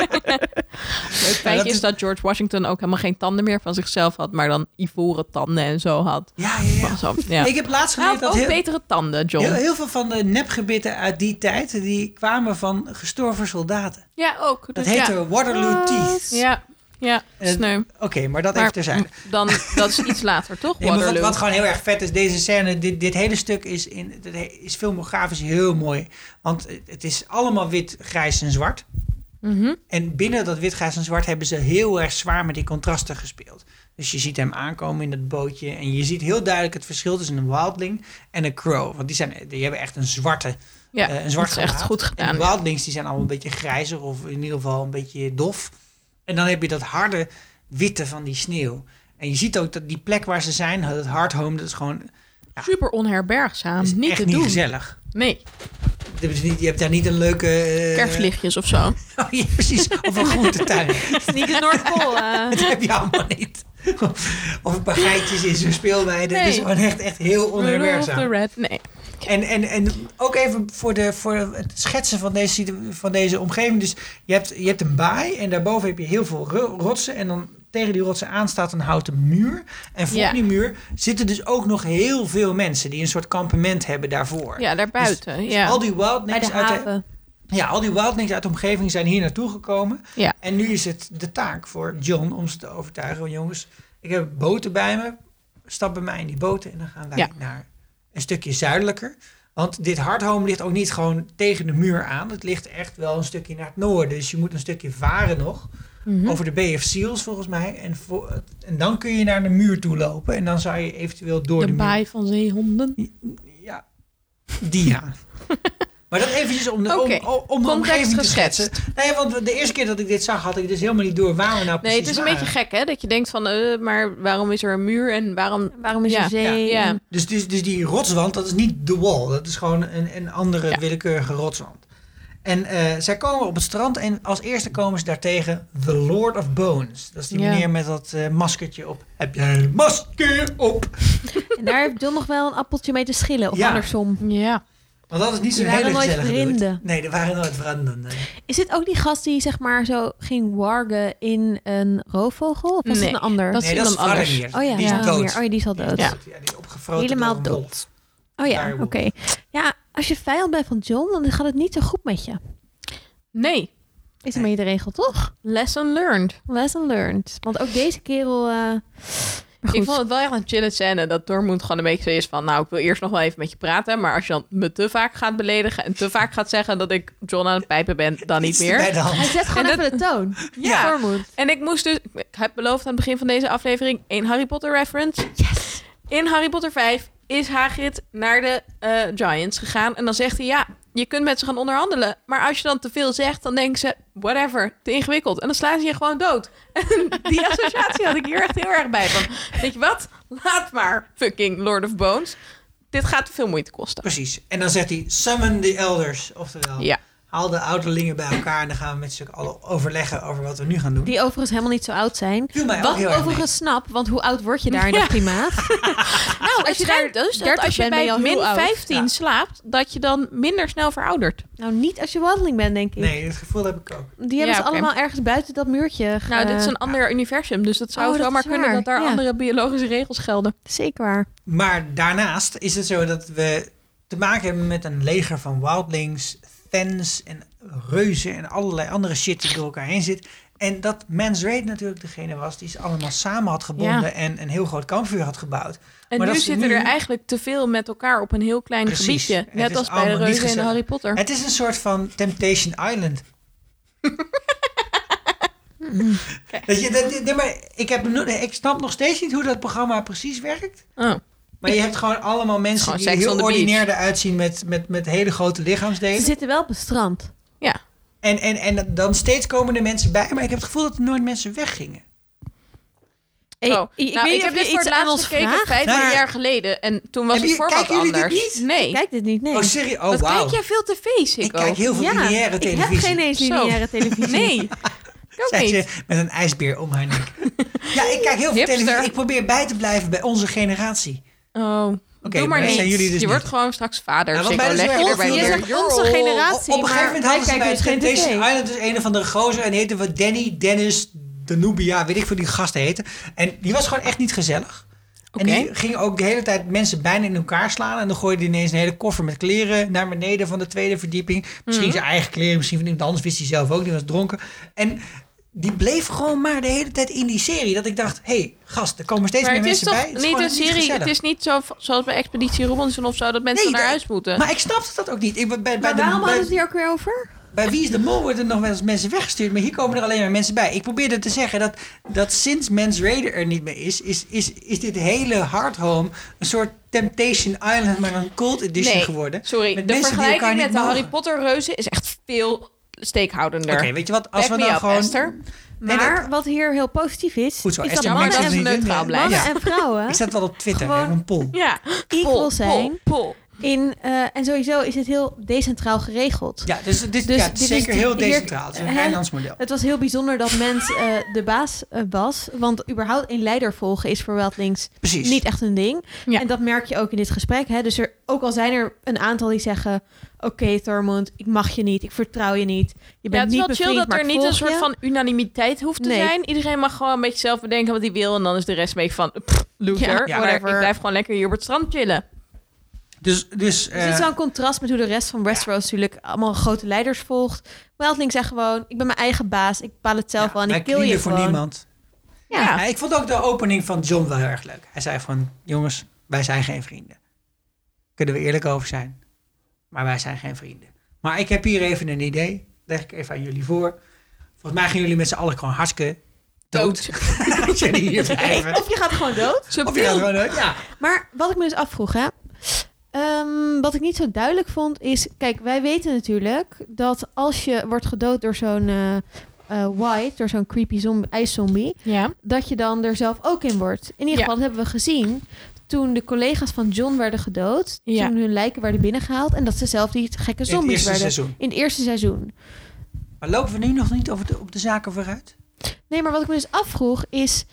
[SPEAKER 4] Het feit
[SPEAKER 1] dat
[SPEAKER 4] is
[SPEAKER 1] is-
[SPEAKER 4] dat George Washington ook helemaal geen tanden meer van zichzelf had, maar dan ivoren tanden en zo had.
[SPEAKER 1] Ja, ja, ja.
[SPEAKER 4] Zo, ja.
[SPEAKER 1] Ik heb laatst
[SPEAKER 4] Hij
[SPEAKER 1] geleerd
[SPEAKER 4] had
[SPEAKER 1] dat
[SPEAKER 4] ook
[SPEAKER 1] heel,
[SPEAKER 4] betere tanden, John.
[SPEAKER 1] heel, heel veel van de nepgebitten uit die tijd, die kwamen van gestorven soldaten.
[SPEAKER 4] ja, ook.
[SPEAKER 1] Dat
[SPEAKER 4] Dus
[SPEAKER 1] heette
[SPEAKER 4] ja.
[SPEAKER 1] Waterloo Teeth.
[SPEAKER 4] Ja, ja,
[SPEAKER 1] Eh,
[SPEAKER 4] sneu.
[SPEAKER 1] Oké, maar dat even
[SPEAKER 4] Maar
[SPEAKER 1] terzijde.
[SPEAKER 4] dan, dat is iets later, toch?
[SPEAKER 1] Nee, maar wat,
[SPEAKER 4] Waterloo.
[SPEAKER 1] wat gewoon heel erg vet is, deze scène, dit, dit hele stuk is, in, dit he- is filmografisch heel mooi. Want het is allemaal wit, grijs en zwart.
[SPEAKER 4] Mhm.
[SPEAKER 1] En binnen dat wit, grijs en zwart hebben ze heel erg zwaar met die contrasten gespeeld. Dus je ziet hem aankomen in dat bootje en je ziet heel duidelijk het verschil tussen een wildling en een crow. Want die, zijn, die hebben echt een zwarte,
[SPEAKER 4] Ja,
[SPEAKER 1] eh, een zwart
[SPEAKER 4] dat is echt
[SPEAKER 1] gelaat.
[SPEAKER 4] goed
[SPEAKER 1] En
[SPEAKER 4] gedaan.
[SPEAKER 1] de wildlings die zijn allemaal een beetje grijzer of in ieder geval een beetje dof. En dan heb je dat harde witte van die sneeuw. En je ziet ook dat die plek waar ze zijn, het hardhome, dat is gewoon ja.
[SPEAKER 4] Super onherbergzaam.
[SPEAKER 1] is
[SPEAKER 4] Nou, niet
[SPEAKER 1] echt
[SPEAKER 4] te
[SPEAKER 1] niet
[SPEAKER 4] doen.
[SPEAKER 1] gezellig.
[SPEAKER 4] Nee,
[SPEAKER 1] Dat is niet- Je hebt daar niet een leuke... eh,
[SPEAKER 4] kerstlichtjes of zo.
[SPEAKER 1] [LAUGHS] Oh, ja, precies, of een
[SPEAKER 4] [LAUGHS]
[SPEAKER 1] groentetuin.
[SPEAKER 5] Het is niet de Noordpool.
[SPEAKER 1] [LAUGHS]
[SPEAKER 5] eh.
[SPEAKER 1] Dat heb je allemaal niet. Of een paar geitjes in zo'n speelweide. Het is
[SPEAKER 4] Nee.
[SPEAKER 1] gewoon echt, echt heel
[SPEAKER 4] Rudolph
[SPEAKER 1] onherbergzaam.
[SPEAKER 4] the Red. Nee.
[SPEAKER 1] En, en, en ook even voor, de, voor het schetsen van deze, situ- van deze omgeving. Dus je hebt, je hebt een baai en daarboven heb je heel veel ro- rotsen. En dan tegen die rotsen aan staat een houten muur. En voor
[SPEAKER 4] Ja.
[SPEAKER 1] die muur zitten dus ook nog heel veel mensen die een soort kampement hebben daarvoor.
[SPEAKER 4] Ja, daarbuiten.
[SPEAKER 1] Dus
[SPEAKER 4] ja.
[SPEAKER 1] al die
[SPEAKER 5] Bij de
[SPEAKER 1] wildlings uit de,
[SPEAKER 5] haven.
[SPEAKER 1] ja, al die wildlings uit de omgeving zijn hier naartoe gekomen.
[SPEAKER 4] Ja.
[SPEAKER 1] En nu is het de taak voor John om ze te overtuigen. "Oh, Jongens, ik heb boten bij me. Stap bij mij in die boten en dan gaan wij
[SPEAKER 4] Ja.
[SPEAKER 1] naar een stukje zuidelijker. Want dit hardhome ligt ook niet gewoon tegen de muur aan. Het ligt echt wel een stukje naar het noorden. Dus je moet een stukje varen nog.
[SPEAKER 4] Mhm.
[SPEAKER 1] Over de Bay of Seals volgens mij. En, vo- en dan kun je naar de muur toe lopen. En dan zou je eventueel door de,
[SPEAKER 4] de
[SPEAKER 1] muur.
[SPEAKER 4] baai van zeehonden.
[SPEAKER 1] Ja, die ja. maar dat eventjes om de, om-
[SPEAKER 4] Oké,
[SPEAKER 1] om, om de
[SPEAKER 4] context
[SPEAKER 1] omgeving te
[SPEAKER 4] geschetst.
[SPEAKER 1] schetsen. Nee, want de eerste keer dat ik dit zag, had ik dus helemaal niet door waar we nou
[SPEAKER 4] Nee,
[SPEAKER 1] precies
[SPEAKER 4] het is een
[SPEAKER 1] waren.
[SPEAKER 4] beetje gek, hè? Dat je denkt van, eh, maar waarom is er een muur en waarom...
[SPEAKER 5] Waarom is
[SPEAKER 4] Ja,
[SPEAKER 5] er zee?
[SPEAKER 4] ja, ja.
[SPEAKER 5] En-
[SPEAKER 1] Dus, dus, dus die rotswand, dat is niet de wall. Dat is gewoon een, een andere
[SPEAKER 4] Ja.
[SPEAKER 1] willekeurige rotswand. En eh, zij komen op het strand en als eerste komen ze daartegen The Lord of Bones. Dat is die
[SPEAKER 4] Ja.
[SPEAKER 1] meneer met dat eh, maskertje op. Heb jij een masker op?
[SPEAKER 5] En daar heeft John nog wel een appeltje mee te schillen. Of
[SPEAKER 1] Ja.
[SPEAKER 5] andersom.
[SPEAKER 4] Ja.
[SPEAKER 1] Want dat is niet zo'n
[SPEAKER 5] Die waren
[SPEAKER 1] hele
[SPEAKER 5] nooit
[SPEAKER 1] gezellige dude.
[SPEAKER 5] vrienden.
[SPEAKER 1] Nee, er waren nooit vrienden. nee.
[SPEAKER 5] Is dit ook die gast die zeg maar zo ging wargen in een roofvogel? Of was
[SPEAKER 4] Nee,
[SPEAKER 5] het een ander?
[SPEAKER 4] dat-
[SPEAKER 1] Nee, dat
[SPEAKER 4] iemand
[SPEAKER 1] is
[SPEAKER 4] anders.
[SPEAKER 1] Faramir.
[SPEAKER 5] Oh ja,
[SPEAKER 1] die is
[SPEAKER 5] ja.
[SPEAKER 1] dood.
[SPEAKER 5] meer. Oh ja, die is al
[SPEAKER 1] Die
[SPEAKER 5] dood.
[SPEAKER 1] is dood, Ja, die is opgefroten
[SPEAKER 5] Helemaal
[SPEAKER 1] door een wolf.
[SPEAKER 5] dood. Oh ja, oké.
[SPEAKER 1] Direwolf.
[SPEAKER 5] Ja, als je vijand bent van John, dan gaat het niet zo goed met je.
[SPEAKER 4] Nee.
[SPEAKER 5] Is een beetje de regel, toch?
[SPEAKER 4] Lesson learned.
[SPEAKER 5] Lesson learned. Want ook deze kerel... eh, maar
[SPEAKER 4] Ik
[SPEAKER 5] goed.
[SPEAKER 4] vond het wel echt een chille scène dat Dormund gewoon een beetje zo is van... nou, ik wil eerst nog wel even met je praten... maar als je dan me te vaak gaat beledigen en te vaak gaat zeggen dat ik John aan het pijpen ben... dan niet
[SPEAKER 1] Iets te bij
[SPEAKER 4] meer.
[SPEAKER 1] de hand. [LAUGHS]
[SPEAKER 5] Hij zet gewoon
[SPEAKER 4] En dat-
[SPEAKER 5] even de toon.
[SPEAKER 4] Ja.
[SPEAKER 5] Voormoed.
[SPEAKER 4] En ik moest dus... Ik heb beloofd aan het begin van deze aflevering één Harry Potter reference. In Harry Potter 5 is Hagrid naar de eh, Giants gegaan. En dan zegt hij, ja, je kunt met ze gaan onderhandelen. Maar als je dan te veel zegt, dan denken ze, whatever, te ingewikkeld. En dan slaan ze je gewoon dood. [LAUGHS] En die associatie had ik hier echt heel erg bij. Van, weet je wat? Laat maar, fucking Lord of Bones. Dit gaat te veel moeite kosten.
[SPEAKER 1] Precies. En dan zegt hij, summon the elders. Oftewel,
[SPEAKER 4] Ja.
[SPEAKER 1] haal de ouderlingen bij elkaar en dan gaan we met z'n allen overleggen over wat we nu gaan doen.
[SPEAKER 5] Die overigens helemaal niet zo oud zijn.
[SPEAKER 1] Viel mij ook
[SPEAKER 5] Wat
[SPEAKER 1] heel erg mee.
[SPEAKER 5] overigens snap, want hoe oud word je daar in
[SPEAKER 4] Ja.
[SPEAKER 5] dat klimaat?
[SPEAKER 4] Nou,
[SPEAKER 5] als je daar
[SPEAKER 4] dus,
[SPEAKER 5] 30
[SPEAKER 4] als je
[SPEAKER 5] bent, ben je
[SPEAKER 4] bij
[SPEAKER 5] al heel
[SPEAKER 4] min
[SPEAKER 5] oud.
[SPEAKER 4] 15
[SPEAKER 1] Ja.
[SPEAKER 4] slaapt, dat je dan minder snel veroudert.
[SPEAKER 5] nou, niet als je wandeling bent, denk ik.
[SPEAKER 1] Nee, dat gevoel heb ik ook.
[SPEAKER 5] Die hebben
[SPEAKER 4] Ja,
[SPEAKER 5] ze
[SPEAKER 4] oké.
[SPEAKER 5] allemaal ergens buiten dat muurtje. ge-
[SPEAKER 4] Nou, dit is een ander universum, dus dat zou
[SPEAKER 5] Eh, Oh, dat
[SPEAKER 4] zomaar
[SPEAKER 5] is
[SPEAKER 4] kunnen
[SPEAKER 5] waar.
[SPEAKER 4] dat daar
[SPEAKER 5] Ja.
[SPEAKER 4] andere biologische regels gelden.
[SPEAKER 5] Zeker waar.
[SPEAKER 1] Maar daarnaast is het zo dat we te maken hebben met een leger van wildlings, fans en reuzen en allerlei andere shit die door elkaar heen zit. En dat Mans Raid natuurlijk degene was die ze allemaal samen had gebonden
[SPEAKER 4] Ja.
[SPEAKER 1] en een heel groot kampvuur had gebouwd. Maar
[SPEAKER 4] En nu
[SPEAKER 1] dat is
[SPEAKER 4] zitten
[SPEAKER 1] nu-
[SPEAKER 4] er eigenlijk te veel met elkaar op een heel klein
[SPEAKER 1] Precies.
[SPEAKER 4] gebiedje.
[SPEAKER 1] Het
[SPEAKER 4] Net
[SPEAKER 1] is
[SPEAKER 4] als bij de
[SPEAKER 1] allemaal niet
[SPEAKER 4] reuzen in
[SPEAKER 1] gezellig.
[SPEAKER 4] Harry Potter.
[SPEAKER 1] Het is een soort van Temptation
[SPEAKER 4] [LAUGHS]
[SPEAKER 1] Island. dat je, dat, nee, maar ik, heb, no- ik snap nog steeds niet hoe dat programma precies werkt.
[SPEAKER 4] Oh.
[SPEAKER 1] Maar je hebt gewoon allemaal mensen
[SPEAKER 4] Gewoon
[SPEAKER 1] die
[SPEAKER 4] Sex
[SPEAKER 1] heel
[SPEAKER 4] on the Beach.
[SPEAKER 1] ordinair eruit zien met, met, met hele grote
[SPEAKER 5] Ze
[SPEAKER 1] lichaamsdelen.
[SPEAKER 5] zitten wel op het strand.
[SPEAKER 4] Ja.
[SPEAKER 1] En, en, en dan steeds komen er mensen bij, maar ik heb het gevoel dat er nooit mensen weggingen.
[SPEAKER 5] Hey,
[SPEAKER 4] Oh. Nou, ik
[SPEAKER 5] of
[SPEAKER 4] heb
[SPEAKER 5] je
[SPEAKER 4] dit voor het
[SPEAKER 5] aan
[SPEAKER 4] laatst
[SPEAKER 5] ons
[SPEAKER 4] gekeken
[SPEAKER 5] vraagt.
[SPEAKER 4] 15
[SPEAKER 1] Nou ja.
[SPEAKER 4] jaar geleden. En toen
[SPEAKER 1] Hebben
[SPEAKER 4] was het
[SPEAKER 1] jullie-
[SPEAKER 4] format
[SPEAKER 1] kijken jullie dit
[SPEAKER 4] anders.
[SPEAKER 1] niet?
[SPEAKER 4] Nee.
[SPEAKER 5] Ik kijk dit niet, nee.
[SPEAKER 1] Oh, serieus? Oh,
[SPEAKER 4] Wat
[SPEAKER 1] wauw.
[SPEAKER 4] kijk jij veel tv,
[SPEAKER 1] Ik
[SPEAKER 4] Sikko?
[SPEAKER 1] kijk heel veel lineaire televisie.
[SPEAKER 5] Ik heb geen eens
[SPEAKER 4] Zo.
[SPEAKER 5] lineaire televisie.
[SPEAKER 4] [LAUGHS] Nee, ik ook
[SPEAKER 1] Zei
[SPEAKER 4] niet.
[SPEAKER 1] ze met een ijsbeer om haar
[SPEAKER 4] [LAUGHS]
[SPEAKER 1] nek. ja, ik kijk heel veel
[SPEAKER 4] Hipster.
[SPEAKER 1] televisie. Ik probeer bij te blijven bij onze generatie.
[SPEAKER 4] Oh,
[SPEAKER 1] Oké,
[SPEAKER 4] doe maar,
[SPEAKER 1] maar
[SPEAKER 4] niet.
[SPEAKER 1] zijn jullie dus
[SPEAKER 4] je wordt
[SPEAKER 1] niet.
[SPEAKER 4] gewoon straks vader,
[SPEAKER 1] Ja, want
[SPEAKER 4] Sikko.
[SPEAKER 1] mij dus
[SPEAKER 4] Leg
[SPEAKER 1] wel.
[SPEAKER 4] je erbij
[SPEAKER 1] Of je
[SPEAKER 5] Je
[SPEAKER 4] neer.
[SPEAKER 5] zegt onze generatie,
[SPEAKER 1] op een gegeven moment
[SPEAKER 5] maar
[SPEAKER 1] hadden ze
[SPEAKER 5] wij
[SPEAKER 1] bij
[SPEAKER 5] kijken dus geen
[SPEAKER 1] Temptation
[SPEAKER 5] tv.
[SPEAKER 1] Island dus een of andere gozer. En die heette wat Danny, Dennis, Danubia, weet ik veel die gasten heten. En die was gewoon echt niet gezellig.
[SPEAKER 4] Oké.
[SPEAKER 1] En die ging ook de hele tijd mensen bijna in elkaar slaan. En dan gooide hij ineens een hele koffer met kleren naar beneden van de tweede verdieping. Misschien
[SPEAKER 4] Mhm.
[SPEAKER 1] zijn eigen kleren, misschien van iemand anders. Wist hij zelf ook, die was dronken. En die bleef gewoon maar de hele tijd in die serie. Dat ik dacht, hé hey, gast, er komen steeds
[SPEAKER 4] Maar
[SPEAKER 1] meer
[SPEAKER 4] het is
[SPEAKER 1] mensen
[SPEAKER 4] toch
[SPEAKER 1] bij.
[SPEAKER 4] niet
[SPEAKER 1] gewoon
[SPEAKER 4] een serie,
[SPEAKER 1] gezellig.
[SPEAKER 4] het is niet zo, zoals bij Expeditie Robinson of zo, dat mensen
[SPEAKER 1] Nee,
[SPEAKER 4] naar
[SPEAKER 1] dat-
[SPEAKER 4] huis moeten.
[SPEAKER 1] Maar ik snapte dat ook niet. Ik, bij, bij,
[SPEAKER 5] Maar
[SPEAKER 1] de,
[SPEAKER 5] waarom
[SPEAKER 1] bij-
[SPEAKER 5] hadden ze die ook weer over?
[SPEAKER 1] bij Wie is de Mol worden nog wel eens mensen weggestuurd, maar hier komen er alleen maar mensen bij. Ik probeerde te zeggen dat, dat sinds Mens Raider er niet meer is, is, is, is dit hele hard home een soort Temptation Island, maar een cold edition
[SPEAKER 4] nee,
[SPEAKER 1] geworden.
[SPEAKER 4] sorry,
[SPEAKER 1] Met
[SPEAKER 4] de
[SPEAKER 1] mensen die elkaar
[SPEAKER 4] vergelijking
[SPEAKER 1] niet
[SPEAKER 4] met de
[SPEAKER 1] mogen.
[SPEAKER 4] Harry Potter reuzen is echt veel steekhoudender.
[SPEAKER 1] Oké, weet je wat, als
[SPEAKER 4] Back
[SPEAKER 1] we
[SPEAKER 4] me
[SPEAKER 1] dan
[SPEAKER 4] up,
[SPEAKER 1] gewoon...
[SPEAKER 4] Esther.
[SPEAKER 1] Nee,
[SPEAKER 5] Maar
[SPEAKER 1] dat-
[SPEAKER 5] wat hier heel positief is,
[SPEAKER 1] Goed zo,
[SPEAKER 5] is dat
[SPEAKER 1] Esther,
[SPEAKER 5] mannen,
[SPEAKER 1] maakt
[SPEAKER 4] dat
[SPEAKER 1] ons
[SPEAKER 5] en,
[SPEAKER 4] even
[SPEAKER 1] niet in.
[SPEAKER 4] neutraal
[SPEAKER 1] Ja.
[SPEAKER 4] blijven.
[SPEAKER 5] mannen
[SPEAKER 1] Ja.
[SPEAKER 5] en vrouwen
[SPEAKER 1] Ik zet wel op Twitter,
[SPEAKER 5] Gewoon-
[SPEAKER 1] hè, een poll.
[SPEAKER 5] [GASPS]
[SPEAKER 4] Ja,
[SPEAKER 5] equal
[SPEAKER 4] Pol,
[SPEAKER 5] zijn.
[SPEAKER 4] Pol, pol.
[SPEAKER 5] in, eh, en sowieso is het heel decentraal geregeld.
[SPEAKER 1] Ja, dus, dit,
[SPEAKER 5] Dus
[SPEAKER 1] ja, het is
[SPEAKER 5] dit is
[SPEAKER 1] zeker heel
[SPEAKER 5] hier-
[SPEAKER 1] decentraal. Het is een
[SPEAKER 5] hè?
[SPEAKER 1] Rijnlands model.
[SPEAKER 5] Het was heel bijzonder dat Mens eh, de baas eh, was. Want überhaupt een leider volgen is voor Wildlings
[SPEAKER 1] Precies.
[SPEAKER 5] niet echt een ding.
[SPEAKER 4] Ja.
[SPEAKER 5] En dat merk je ook in dit gesprek. Hè? Dus er, ook al zijn er een aantal die zeggen... Oké, Thormund, ik mag je niet. Ik vertrouw je niet. Je
[SPEAKER 4] Ja,
[SPEAKER 5] bent
[SPEAKER 4] het is wel
[SPEAKER 5] niet
[SPEAKER 4] chill
[SPEAKER 5] bevriend,
[SPEAKER 4] dat
[SPEAKER 5] maar
[SPEAKER 4] er
[SPEAKER 5] ik
[SPEAKER 4] niet
[SPEAKER 5] volg
[SPEAKER 4] een soort
[SPEAKER 5] je.
[SPEAKER 4] van unanimiteit hoeft te
[SPEAKER 5] Nee.
[SPEAKER 4] zijn. Iedereen mag gewoon een beetje zelf bedenken wat hij wil. En dan is de rest een beetje van, pff, loser,
[SPEAKER 5] Ja,
[SPEAKER 4] Maar
[SPEAKER 5] whatever.
[SPEAKER 4] ik blijf gewoon lekker hier op het strand chillen.
[SPEAKER 1] Dus, dus,
[SPEAKER 5] Dus het
[SPEAKER 1] eh,
[SPEAKER 5] is wel een contrast met hoe de rest van Westeros natuurlijk allemaal grote leiders volgt. Wildlings zegt gewoon, ik ben mijn eigen baas. Ik bepaal het zelf
[SPEAKER 1] ja,
[SPEAKER 5] wel en
[SPEAKER 1] wij
[SPEAKER 5] ik kill je
[SPEAKER 1] knielen voor
[SPEAKER 5] gewoon.
[SPEAKER 1] niemand.
[SPEAKER 4] Ja.
[SPEAKER 1] Ja, ik vond ook de opening van John wel heel erg leuk. Hij zei van, jongens, wij zijn geen vrienden. Kunnen we eerlijk over zijn. Maar wij zijn geen vrienden. Maar ik heb hier even een idee. Leg ik even aan jullie voor. Volgens mij gaan jullie met z'n allen gewoon hartstikke [LAUGHS] dood. Als jullie hier blijven.
[SPEAKER 5] Of je gaat gewoon dood.
[SPEAKER 1] Of je gaat
[SPEAKER 4] Subtiel.
[SPEAKER 1] gewoon dood, ja.
[SPEAKER 5] Maar wat ik me dus afvroeg, hè. Ehm, wat ik niet zo duidelijk vond is... Kijk, wij weten natuurlijk dat als je wordt gedood door zo'n eh, eh, white... door zo'n creepy zombie, ijszombie...
[SPEAKER 4] Ja.
[SPEAKER 5] dat je dan er zelf ook in wordt. In ieder
[SPEAKER 4] Ja.
[SPEAKER 5] geval, dat hebben we gezien... toen de collega's van John werden gedood...
[SPEAKER 4] Ja.
[SPEAKER 5] toen hun lijken werden binnengehaald... en dat ze zelf die gekke
[SPEAKER 1] In het
[SPEAKER 5] zombies
[SPEAKER 1] eerste
[SPEAKER 5] werden.
[SPEAKER 1] seizoen.
[SPEAKER 5] In het eerste seizoen.
[SPEAKER 1] Maar lopen we nu nog niet over de, op de zaken vooruit?
[SPEAKER 5] Nee, maar wat ik me dus afvroeg is...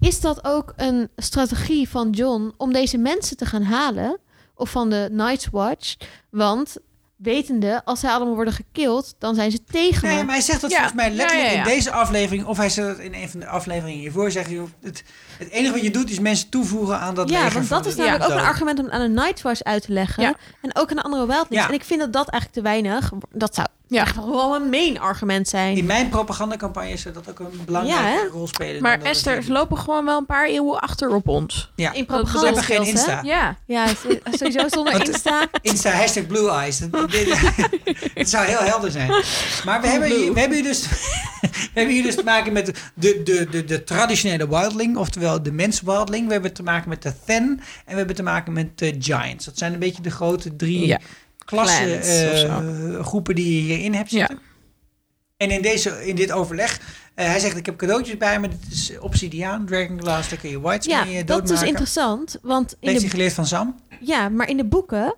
[SPEAKER 5] Is dat ook een strategie van John om deze mensen te gaan halen? Of van de Night's Watch? Want wetende, als zij allemaal worden gekild, dan zijn ze tegen
[SPEAKER 1] Nee,
[SPEAKER 5] me.
[SPEAKER 1] maar hij zegt dat
[SPEAKER 4] Ja,
[SPEAKER 1] volgens mij letterlijk
[SPEAKER 4] ja, ja, ja.
[SPEAKER 1] in deze aflevering. Of hij zegt dat in een van de afleveringen hiervoor. Zegt hij, het, het enige wat je doet is mensen toevoegen aan dat
[SPEAKER 5] ja,
[SPEAKER 1] leger
[SPEAKER 5] want
[SPEAKER 1] van
[SPEAKER 5] dat is
[SPEAKER 1] de-
[SPEAKER 5] namelijk ook
[SPEAKER 1] doden.
[SPEAKER 5] een argument om het aan een Night's Watch uit te leggen.
[SPEAKER 4] Ja.
[SPEAKER 5] En ook aan de andere Wildlings.
[SPEAKER 1] Ja.
[SPEAKER 5] En ik vind dat dat eigenlijk te weinig... Dat zou
[SPEAKER 4] Ja.
[SPEAKER 5] echt wel een main argument zijn.
[SPEAKER 1] In mijn propagandacampagne is dat ook een belangrijke
[SPEAKER 5] Ja, hè?
[SPEAKER 1] rol spelen.
[SPEAKER 4] Maar
[SPEAKER 1] dan dat
[SPEAKER 4] Esther,
[SPEAKER 1] het-
[SPEAKER 4] ze lopen gewoon wel een paar eeuwen achter op ons.
[SPEAKER 1] ja. Ze
[SPEAKER 4] bedoel-
[SPEAKER 5] In propaganda
[SPEAKER 1] hebben geen
[SPEAKER 5] skills, hè?
[SPEAKER 1] Insta.
[SPEAKER 4] Ja.
[SPEAKER 5] Ja, sowieso zonder
[SPEAKER 1] Want- [LAUGHS]
[SPEAKER 5] Insta.
[SPEAKER 1] Insta, hashtag Blue Eyes. Dat, dit- [LAUGHS] het zou heel helder zijn. Maar we hebben, hier, we hebben hier dus... [LAUGHS] We hebben hier dus te maken met de, de, de, de traditionele wildling, oftewel de mens-wildling. We hebben te maken met de Then en we hebben te maken met de Giants. Dat zijn een beetje de grote drie
[SPEAKER 4] Ja.
[SPEAKER 1] klassen,
[SPEAKER 4] Clans of zo.
[SPEAKER 1] eh, groepen die je hierin hebt zitten. En in, deze, in dit overleg, eh, hij zegt ik heb cadeautjes bij me, dit is obsidiaan, dragonglass, daar kun je whites
[SPEAKER 5] Ja,
[SPEAKER 1] mee eh,
[SPEAKER 5] dat is dus
[SPEAKER 1] doodmaken.
[SPEAKER 5] interessant. Want in
[SPEAKER 1] Heeft hij
[SPEAKER 5] de,
[SPEAKER 1] geleerd van Sam?
[SPEAKER 5] ja, maar in de boeken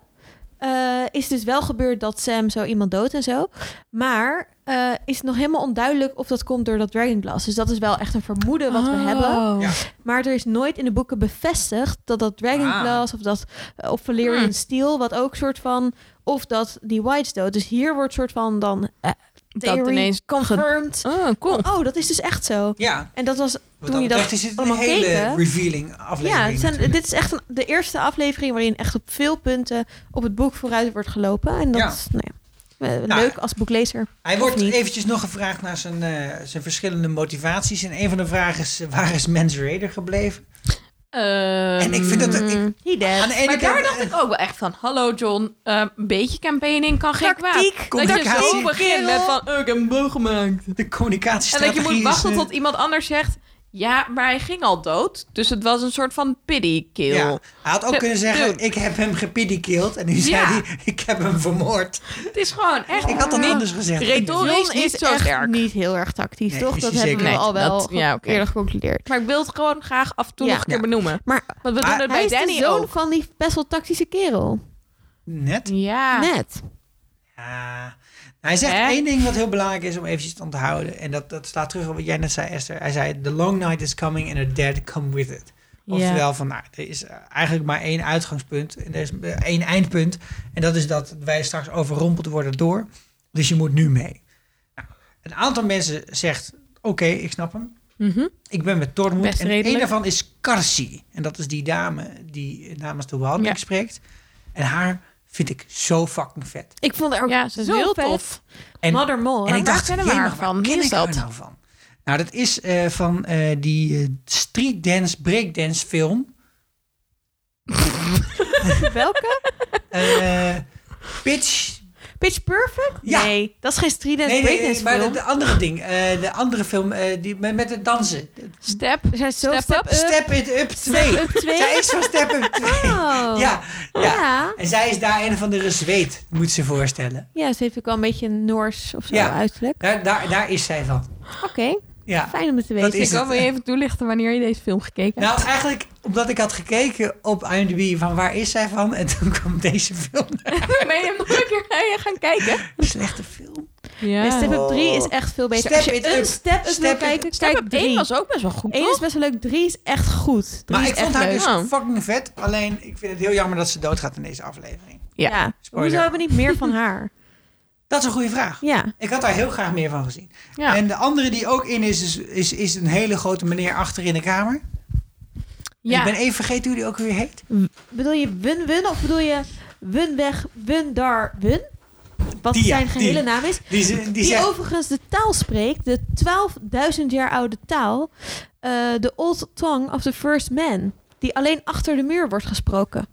[SPEAKER 5] eh, is dus wel gebeurd dat Sam zo iemand dood en zo. Maar eh, is het nog helemaal onduidelijk of dat komt door dat Dragonglass. Dus dat is wel echt een vermoeden wat
[SPEAKER 4] Ah. Oh.
[SPEAKER 5] we hebben.
[SPEAKER 1] Ja.
[SPEAKER 5] Maar er is nooit in de boeken bevestigd dat dat Dragonglass of dat eh, of Valyrian
[SPEAKER 4] Hmm.
[SPEAKER 5] Steel, wat ook soort van, of dat die Whites dood. Dus hier wordt soort van dan eh theory
[SPEAKER 4] ineens
[SPEAKER 5] confirmed.
[SPEAKER 4] Oh, cool.
[SPEAKER 5] Oh, dat is dus echt zo.
[SPEAKER 1] Ja,
[SPEAKER 5] En dat was
[SPEAKER 1] wat
[SPEAKER 5] toen je dat
[SPEAKER 1] betreft is dit een
[SPEAKER 5] allemaal
[SPEAKER 1] hele
[SPEAKER 5] keken-
[SPEAKER 1] revealing
[SPEAKER 5] ja,
[SPEAKER 1] aflevering.
[SPEAKER 5] het zijn, dit is echt een- de eerste aflevering waarin echt op veel punten op het boek vooruit wordt gelopen. En dat
[SPEAKER 1] Ja.
[SPEAKER 5] is nou ja, eh,
[SPEAKER 1] Nou,
[SPEAKER 5] leuk als boeklezer.
[SPEAKER 1] Hij
[SPEAKER 5] Of
[SPEAKER 1] wordt
[SPEAKER 5] niet.
[SPEAKER 1] eventjes nog gevraagd naar zijn, eh, zijn verschillende motivaties. En een van de vragen is, eh, waar is Mens Raider gebleven? En ik vind dat... Ik,
[SPEAKER 4] Ehm,
[SPEAKER 5] He dead.
[SPEAKER 1] aan de ene
[SPEAKER 4] maar daar
[SPEAKER 1] kant,
[SPEAKER 4] dacht
[SPEAKER 1] eh,
[SPEAKER 4] ik ook wel echt van, hallo John, eh, een beetje campaigning kan geen kwaad.
[SPEAKER 5] Tactiek.
[SPEAKER 4] Dat je zo
[SPEAKER 1] Communicatie.
[SPEAKER 4] begint met van, oh, ik heb een boog gemaakt.
[SPEAKER 1] de
[SPEAKER 4] En dat
[SPEAKER 1] communicatiestrategie
[SPEAKER 4] je moet wachten
[SPEAKER 1] is, eh,
[SPEAKER 4] tot iemand anders zegt, ja, maar hij ging al dood. Dus het was een soort van pity kill.
[SPEAKER 1] Ja, hij had ook
[SPEAKER 4] Zo,
[SPEAKER 1] kunnen zeggen,
[SPEAKER 4] dude.
[SPEAKER 1] ik heb hem gepiddykeeld. En nu
[SPEAKER 4] Ja.
[SPEAKER 1] zei hij, ik heb hem vermoord.
[SPEAKER 4] Het is gewoon echt...
[SPEAKER 1] Ik had dat
[SPEAKER 4] niet-
[SPEAKER 1] anders gezegd.
[SPEAKER 4] Retorisch
[SPEAKER 5] John
[SPEAKER 4] niet
[SPEAKER 5] is
[SPEAKER 4] zo
[SPEAKER 5] echt
[SPEAKER 4] sterk.
[SPEAKER 5] niet heel erg tactisch,
[SPEAKER 1] Nee,
[SPEAKER 5] toch?
[SPEAKER 1] is
[SPEAKER 5] Dat
[SPEAKER 1] hij
[SPEAKER 5] hebben we
[SPEAKER 1] zeker
[SPEAKER 5] al
[SPEAKER 4] niet.
[SPEAKER 5] wel
[SPEAKER 4] Dat- ja, oké.
[SPEAKER 5] eerder geconcludeerd.
[SPEAKER 4] Maar ik wil het gewoon graag af en toe
[SPEAKER 5] Ja.
[SPEAKER 4] nog een keer
[SPEAKER 1] Ja.
[SPEAKER 4] benoemen.
[SPEAKER 5] Maar
[SPEAKER 4] Want we doen
[SPEAKER 1] Maar
[SPEAKER 4] het
[SPEAKER 5] hij
[SPEAKER 4] bij
[SPEAKER 5] is
[SPEAKER 4] Danny
[SPEAKER 5] de zoon
[SPEAKER 4] ook.
[SPEAKER 5] van die best wel tactische kerel.
[SPEAKER 1] Net.
[SPEAKER 4] Ja.
[SPEAKER 5] Net.
[SPEAKER 1] Ja. Hij zegt
[SPEAKER 4] Hè?
[SPEAKER 1] één ding wat heel belangrijk is om eventjes te onthouden. En dat, dat staat terug op wat jij net zei, Esther. Hij zei, the long night is coming and the dead come with it. Oftewel van, nou, er is eigenlijk maar één uitgangspunt. En er is eh, één eindpunt. En dat is dat wij straks overrompeld worden door. Dus je moet nu mee. Nou, een aantal mensen zegt, oké, ik snap hem.
[SPEAKER 4] Mhm.
[SPEAKER 5] Oh,
[SPEAKER 1] Ik ben met Tormund.
[SPEAKER 4] Best
[SPEAKER 1] en
[SPEAKER 4] redelijk.
[SPEAKER 1] een daarvan is Karsi. En dat is die dame die namens de Wildling
[SPEAKER 4] Ja.
[SPEAKER 1] spreekt. En haar vind ik zo fucking vet.
[SPEAKER 5] Ik vond haar ook
[SPEAKER 4] Ja, ze is
[SPEAKER 5] zo
[SPEAKER 4] heel
[SPEAKER 5] vet.
[SPEAKER 4] tof.
[SPEAKER 1] En,
[SPEAKER 5] Mother Mole.
[SPEAKER 1] en
[SPEAKER 5] hè?
[SPEAKER 1] ik
[SPEAKER 4] waar
[SPEAKER 1] dacht,
[SPEAKER 4] kennen we
[SPEAKER 1] jemig,
[SPEAKER 4] haar
[SPEAKER 1] waar
[SPEAKER 4] van? Wie
[SPEAKER 1] ken
[SPEAKER 4] is
[SPEAKER 1] ik haar
[SPEAKER 4] dat?
[SPEAKER 1] nou van? Nou, dat is eh, van eh, die eh, street dance breakdance film.
[SPEAKER 5] Welke?
[SPEAKER 1] Eh, Pitch.
[SPEAKER 5] Pitch Perfect?
[SPEAKER 1] Ja.
[SPEAKER 5] Nee, dat is geen street dance
[SPEAKER 1] Nee, nee, nee,
[SPEAKER 5] breakdance
[SPEAKER 1] maar de,
[SPEAKER 5] film.
[SPEAKER 1] de andere ding. eh, de andere film eh, die, met, met het dansen.
[SPEAKER 4] Step.
[SPEAKER 5] Er zijn zo
[SPEAKER 4] Step
[SPEAKER 5] step
[SPEAKER 4] Up.
[SPEAKER 5] up.
[SPEAKER 1] Step It Up 2. [LAUGHS]
[SPEAKER 5] Up 2.
[SPEAKER 1] Zij is van Step It Up 2.
[SPEAKER 5] Oh.
[SPEAKER 1] Ja, ja.
[SPEAKER 5] ja.
[SPEAKER 1] En zij is daar een of andere zweet, moet ze voorstellen.
[SPEAKER 5] Ja, ze heeft ook wel een beetje een Noors of zo
[SPEAKER 1] Ja.
[SPEAKER 5] uiterlijk.
[SPEAKER 1] Daar, daar, daar is zij van.
[SPEAKER 5] Oké,
[SPEAKER 1] Ja.
[SPEAKER 5] fijn om het te
[SPEAKER 1] Dat
[SPEAKER 5] weten.
[SPEAKER 1] is
[SPEAKER 4] Ik wil
[SPEAKER 1] het.
[SPEAKER 4] je even toelichten wanneer je deze film gekeken hebt.
[SPEAKER 1] Nou, eigenlijk omdat ik had gekeken op IMDb van waar is zij van. En toen [LAUGHS] kwam deze film.
[SPEAKER 4] ben je hem nog een keer naar je gaan kijken?
[SPEAKER 1] Slechte film.
[SPEAKER 5] En
[SPEAKER 4] Ja.
[SPEAKER 5] Step Up 3 is echt veel beter.
[SPEAKER 1] Step
[SPEAKER 5] Als je
[SPEAKER 1] it
[SPEAKER 5] een
[SPEAKER 1] up.
[SPEAKER 5] Step Up
[SPEAKER 1] Step
[SPEAKER 5] wil
[SPEAKER 1] it-
[SPEAKER 5] kijken,
[SPEAKER 4] Step
[SPEAKER 5] kijk
[SPEAKER 4] Up 1
[SPEAKER 5] drie.
[SPEAKER 4] was ook best wel goed,
[SPEAKER 5] Eén is
[SPEAKER 4] toch?
[SPEAKER 5] best wel leuk, 3 is echt goed. Drie
[SPEAKER 1] Maar
[SPEAKER 5] is
[SPEAKER 1] ik vond
[SPEAKER 5] echt
[SPEAKER 1] haar
[SPEAKER 5] leuk.
[SPEAKER 1] dus
[SPEAKER 4] Ja.
[SPEAKER 1] fucking vet. Alleen ik vind het heel jammer dat ze doodgaat in deze aflevering.
[SPEAKER 4] Ja.
[SPEAKER 5] Ja.
[SPEAKER 1] Spoiler.
[SPEAKER 5] Hoezo hebben we niet meer van [LAUGHS] haar?
[SPEAKER 1] Dat is een goede vraag.
[SPEAKER 5] Ja.
[SPEAKER 1] Ik had daar heel graag meer van gezien.
[SPEAKER 4] Ja.
[SPEAKER 1] En de andere die ook in is, is, is, is een hele grote meneer achter in de kamer.
[SPEAKER 4] Ja.
[SPEAKER 1] Ik ben even vergeten hoe die ook weer heet.
[SPEAKER 5] Bedoel je Wun-Wun of bedoel je Wun-Weg, Wun-Dar-Wun? Wat
[SPEAKER 1] Die, ja,
[SPEAKER 5] zijn gehele
[SPEAKER 1] die.
[SPEAKER 5] naam is.
[SPEAKER 1] Die, ze- die,
[SPEAKER 5] Die,
[SPEAKER 1] zegt,
[SPEAKER 5] overigens de taal spreekt, de 12.000 jaar oude taal, eh, de Old Tongue of the First Man, die alleen achter de muur wordt gesproken.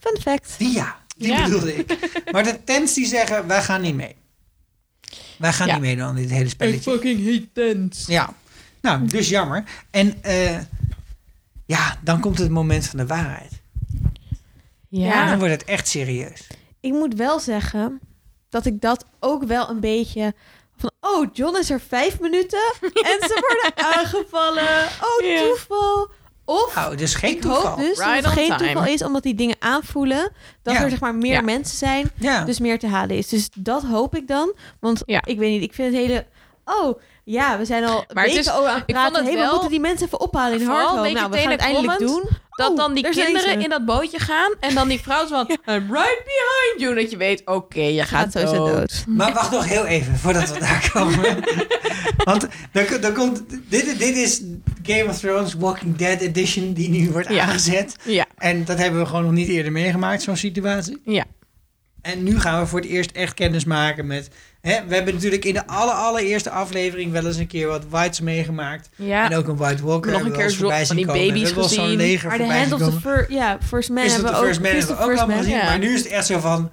[SPEAKER 5] Fun fact.
[SPEAKER 1] die ja, die
[SPEAKER 4] Ja.
[SPEAKER 1] bedoelde ik. Maar de tents die zeggen, wij gaan niet mee. Wij gaan
[SPEAKER 4] Ja.
[SPEAKER 1] niet meedoen aan dit hele spelletje.
[SPEAKER 4] fucking hate tents.
[SPEAKER 1] Ja, nou, dus jammer. En eh, ja, dan komt het moment van de waarheid.
[SPEAKER 4] Ja.
[SPEAKER 1] Dan wordt het echt serieus.
[SPEAKER 5] Ik moet wel zeggen dat ik dat ook wel een beetje van, oh, John is er vijf minuten en ze worden aangevallen. Oh,
[SPEAKER 4] Ja.
[SPEAKER 5] toeval. Of
[SPEAKER 1] Nou, dus geen
[SPEAKER 5] ik
[SPEAKER 1] toeval.
[SPEAKER 5] hoop dus dat
[SPEAKER 4] Right on
[SPEAKER 5] het geen
[SPEAKER 4] time.
[SPEAKER 5] toeval is, omdat die dingen aanvoelen dat
[SPEAKER 1] Ja.
[SPEAKER 5] er zeg maar meer
[SPEAKER 4] Ja.
[SPEAKER 5] mensen zijn
[SPEAKER 1] ja.
[SPEAKER 5] dus meer te halen is. Dus dat hoop ik dan. Want
[SPEAKER 4] Ja.
[SPEAKER 5] ik weet niet, ik vind het hele... Oh, ja, we zijn al
[SPEAKER 4] Maar het
[SPEAKER 5] weken
[SPEAKER 4] is-
[SPEAKER 5] over aan het
[SPEAKER 4] ik vond
[SPEAKER 5] praten.
[SPEAKER 4] het
[SPEAKER 5] Hey,
[SPEAKER 4] wel-
[SPEAKER 5] we moeten die mensen even ophalen in
[SPEAKER 4] vooral een
[SPEAKER 5] Hardhome.
[SPEAKER 4] beetje
[SPEAKER 5] Nou, we gaan het eindelijk doen.
[SPEAKER 4] tenenkrommend Dat
[SPEAKER 5] Oh,
[SPEAKER 4] dan die
[SPEAKER 5] daar zijn
[SPEAKER 4] kinderen
[SPEAKER 5] ze.
[SPEAKER 4] in dat bootje gaan en dan die vrouw zo van, "I'm right behind you. Dat je weet, oké, je gaat,
[SPEAKER 5] Gaat sowieso dood.
[SPEAKER 1] Maar wacht nog heel even voordat we daar
[SPEAKER 5] [LAUGHS]
[SPEAKER 1] komen. Want dan, ko- dan komt, dit, dit is Game of Thrones Walking Dead Edition die nu wordt
[SPEAKER 4] Ja.
[SPEAKER 1] aangezet.
[SPEAKER 4] Ja,
[SPEAKER 1] En dat hebben we gewoon nog niet eerder meegemaakt, zo'n situatie.
[SPEAKER 4] ja.
[SPEAKER 1] En nu gaan we voor het eerst echt kennis maken met... Hè, we hebben natuurlijk in de aller, allereerste aflevering wel eens een keer wat whites meegemaakt.
[SPEAKER 4] ja.
[SPEAKER 1] En ook een White Walker
[SPEAKER 4] Nog een
[SPEAKER 1] hebben we wel eens
[SPEAKER 4] keer zo-
[SPEAKER 1] voorbij
[SPEAKER 4] van
[SPEAKER 1] zien
[SPEAKER 4] die
[SPEAKER 1] komen. We
[SPEAKER 4] baby's
[SPEAKER 1] hebben wel eens zo'n
[SPEAKER 4] gezien.
[SPEAKER 1] leger
[SPEAKER 5] Maar de
[SPEAKER 1] voorbij
[SPEAKER 5] Hand
[SPEAKER 1] zien
[SPEAKER 5] of the
[SPEAKER 1] komen.
[SPEAKER 5] fir- ja, First Man
[SPEAKER 1] Is dat
[SPEAKER 5] hebben
[SPEAKER 1] de
[SPEAKER 5] we ook.
[SPEAKER 1] First Man
[SPEAKER 5] Fist
[SPEAKER 1] hebben we
[SPEAKER 5] of
[SPEAKER 1] ook
[SPEAKER 5] First
[SPEAKER 1] allemaal
[SPEAKER 5] Man.
[SPEAKER 1] gezien.
[SPEAKER 4] ja.
[SPEAKER 1] Maar nu is het echt zo van...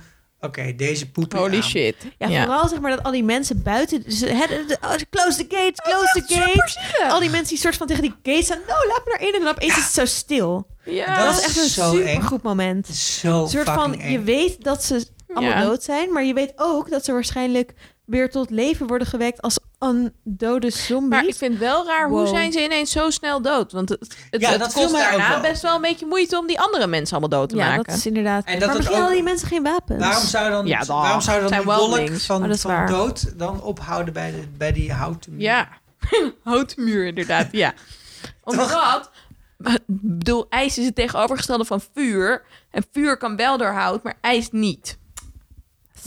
[SPEAKER 1] deze poep.
[SPEAKER 4] Holy shit.
[SPEAKER 5] Ja, vooral zeg maar dat al die mensen buiten... Dus, hè, de- de- oh, close the gates, close the gates. Al die mensen die soort van tegen die gates staan. Nou, laat me naar in. En dan opeens is het zo stil.
[SPEAKER 4] Ja.
[SPEAKER 1] Dat
[SPEAKER 5] Dat
[SPEAKER 1] is
[SPEAKER 5] is echt een
[SPEAKER 1] zo
[SPEAKER 5] supergoed moment.
[SPEAKER 1] Zo
[SPEAKER 5] Een soort van,
[SPEAKER 1] fucking
[SPEAKER 5] je
[SPEAKER 1] eng.
[SPEAKER 5] weet dat ze allemaal
[SPEAKER 4] Ja.
[SPEAKER 5] dood zijn, maar je weet ook dat ze waarschijnlijk weer tot leven worden gewekt als een dode zombie.
[SPEAKER 4] Maar ik vind wel raar, hoe
[SPEAKER 5] Wow.
[SPEAKER 4] zijn ze ineens zo snel dood? Want het, het,
[SPEAKER 1] Ja,
[SPEAKER 4] het
[SPEAKER 1] dat viel
[SPEAKER 4] kost
[SPEAKER 1] mij ook
[SPEAKER 4] daarna
[SPEAKER 1] wel.
[SPEAKER 4] best wel een beetje moeite om die andere mensen allemaal dood te
[SPEAKER 5] ja, dat
[SPEAKER 4] maken.
[SPEAKER 5] is inderdaad.
[SPEAKER 1] En dat
[SPEAKER 5] maar
[SPEAKER 1] het
[SPEAKER 5] misschien
[SPEAKER 1] ook-
[SPEAKER 5] hadden die mensen geen wapens.
[SPEAKER 1] Waarom zou dan,
[SPEAKER 4] Ja, dag.
[SPEAKER 1] waarom zou dan
[SPEAKER 4] Zijn
[SPEAKER 1] die wolk
[SPEAKER 4] weldings.
[SPEAKER 5] Oh,
[SPEAKER 1] van,
[SPEAKER 5] dat is
[SPEAKER 1] van
[SPEAKER 5] waar.
[SPEAKER 1] dood dan ophouden bij, de, bij die houten
[SPEAKER 4] Ja, [LAUGHS] houtmuur inderdaad, [LAUGHS] ja. Omdat, ik bedoel, ijs is het tegenovergestelde van vuur. En vuur kan wel door hout, maar ijs niet.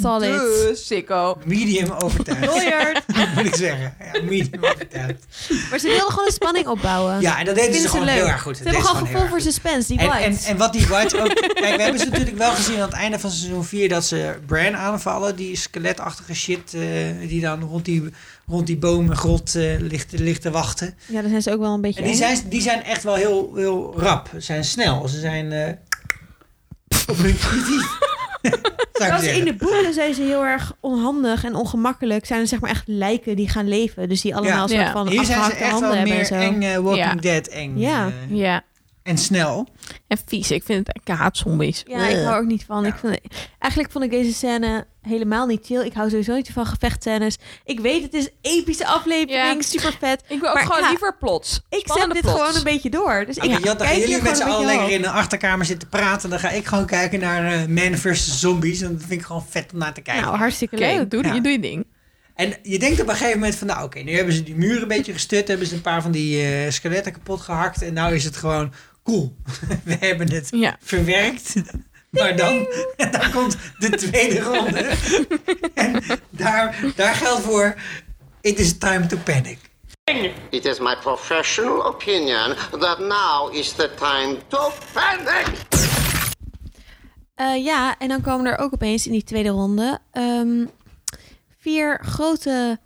[SPEAKER 5] Solid.
[SPEAKER 4] Dus, sicko.
[SPEAKER 1] medium overtuigd?
[SPEAKER 5] [LAUGHS] Miljard.
[SPEAKER 1] [LAUGHS] moet ik zeggen. Ja, medium overtuigd.
[SPEAKER 5] maar ze wilden gewoon een spanning opbouwen.
[SPEAKER 1] Ja, en dat deden ze
[SPEAKER 5] Vinden ze
[SPEAKER 1] gewoon
[SPEAKER 5] leuk.
[SPEAKER 1] heel erg goed.
[SPEAKER 5] Ze
[SPEAKER 1] Dat
[SPEAKER 5] hebben
[SPEAKER 1] deden
[SPEAKER 5] gewoon
[SPEAKER 1] heel erg
[SPEAKER 5] gevoel voor
[SPEAKER 1] goed.
[SPEAKER 5] suspense, die
[SPEAKER 1] En, en,
[SPEAKER 5] whites.
[SPEAKER 1] en wat die Whites ook... [LAUGHS] Kijk, we hebben ze natuurlijk wel gezien aan het einde van seizoen 4... dat ze Bran aanvallen. Die skeletachtige shit eh, die dan rond die, rond die bomengrot eh, ligt, ligt te wachten.
[SPEAKER 5] ja, dan zijn ze ook wel een beetje
[SPEAKER 1] En die
[SPEAKER 5] eng.
[SPEAKER 1] zijn, die zijn echt wel heel, heel rap. Ze zijn snel. Ze zijn... eh, op hun knieën. [LAUGHS] Zou ik
[SPEAKER 5] Trouwens, in
[SPEAKER 1] zeggen.
[SPEAKER 5] de boeken zijn ze heel erg onhandig en ongemakkelijk. Zijn er zeg maar echt lijken die gaan leven. Dus die allemaal
[SPEAKER 1] Ja.
[SPEAKER 5] soort
[SPEAKER 4] Ja.
[SPEAKER 5] van
[SPEAKER 1] Hier zijn ze
[SPEAKER 5] afgehakte
[SPEAKER 1] echt
[SPEAKER 5] handen
[SPEAKER 1] wel
[SPEAKER 5] hebben en
[SPEAKER 1] meer
[SPEAKER 5] zo.
[SPEAKER 1] eng eh, Walking
[SPEAKER 4] Ja.
[SPEAKER 1] Dead eng.
[SPEAKER 5] Ja.
[SPEAKER 1] eh,
[SPEAKER 4] Ja,
[SPEAKER 1] en snel.
[SPEAKER 4] en vies. Ik vind het, ik haat zombies.
[SPEAKER 5] Ja, ik hou er ook niet van.
[SPEAKER 1] Ja.
[SPEAKER 5] Ik vind, eigenlijk vond ik deze scène helemaal niet chill. Ik hou sowieso niet van gevechtscènes. Ik weet, het is een epische aflevering,
[SPEAKER 4] Ja.
[SPEAKER 5] super vet.
[SPEAKER 4] Ik wil ook
[SPEAKER 5] Maar
[SPEAKER 4] gewoon
[SPEAKER 5] ja,
[SPEAKER 4] liever plots.
[SPEAKER 5] Ik zet
[SPEAKER 4] Spannende
[SPEAKER 5] dit
[SPEAKER 4] plots.
[SPEAKER 5] gewoon een beetje door. Dus ik
[SPEAKER 1] Oké, Jat, dan gaan
[SPEAKER 5] kijk
[SPEAKER 1] jullie
[SPEAKER 5] hier
[SPEAKER 1] met z'n
[SPEAKER 5] gewoon
[SPEAKER 1] allen
[SPEAKER 5] een beetje
[SPEAKER 1] lekker in
[SPEAKER 5] hoog.
[SPEAKER 1] de achterkamer zitten praten. Dan ga ik gewoon kijken naar eh, Man vs. Zombies. En dat vind ik gewoon vet om naar te kijken.
[SPEAKER 5] Nou, hartstikke
[SPEAKER 4] Oké,
[SPEAKER 5] leuk.
[SPEAKER 4] doe,
[SPEAKER 1] Ja.
[SPEAKER 4] doe je ding.
[SPEAKER 1] En je denkt op een gegeven moment van... Nou, oké, nu hebben ze die muren een beetje gestut. Hebben ze een paar van die eh, skeletten kapot gehakt. En nou is het gewoon cool. [LAUGHS] We hebben het
[SPEAKER 4] Ja.
[SPEAKER 1] verwerkt. [LAUGHS] Maar dan, [LAUGHS] dan komt de tweede ronde.
[SPEAKER 5] [LAUGHS]
[SPEAKER 1] En daar, daar geldt voor... It is time to panic.
[SPEAKER 6] It is my professional opinion that now is the time to panic.
[SPEAKER 5] Eh, ja, en dan komen er ook opeens in die tweede ronde ehm, vier grote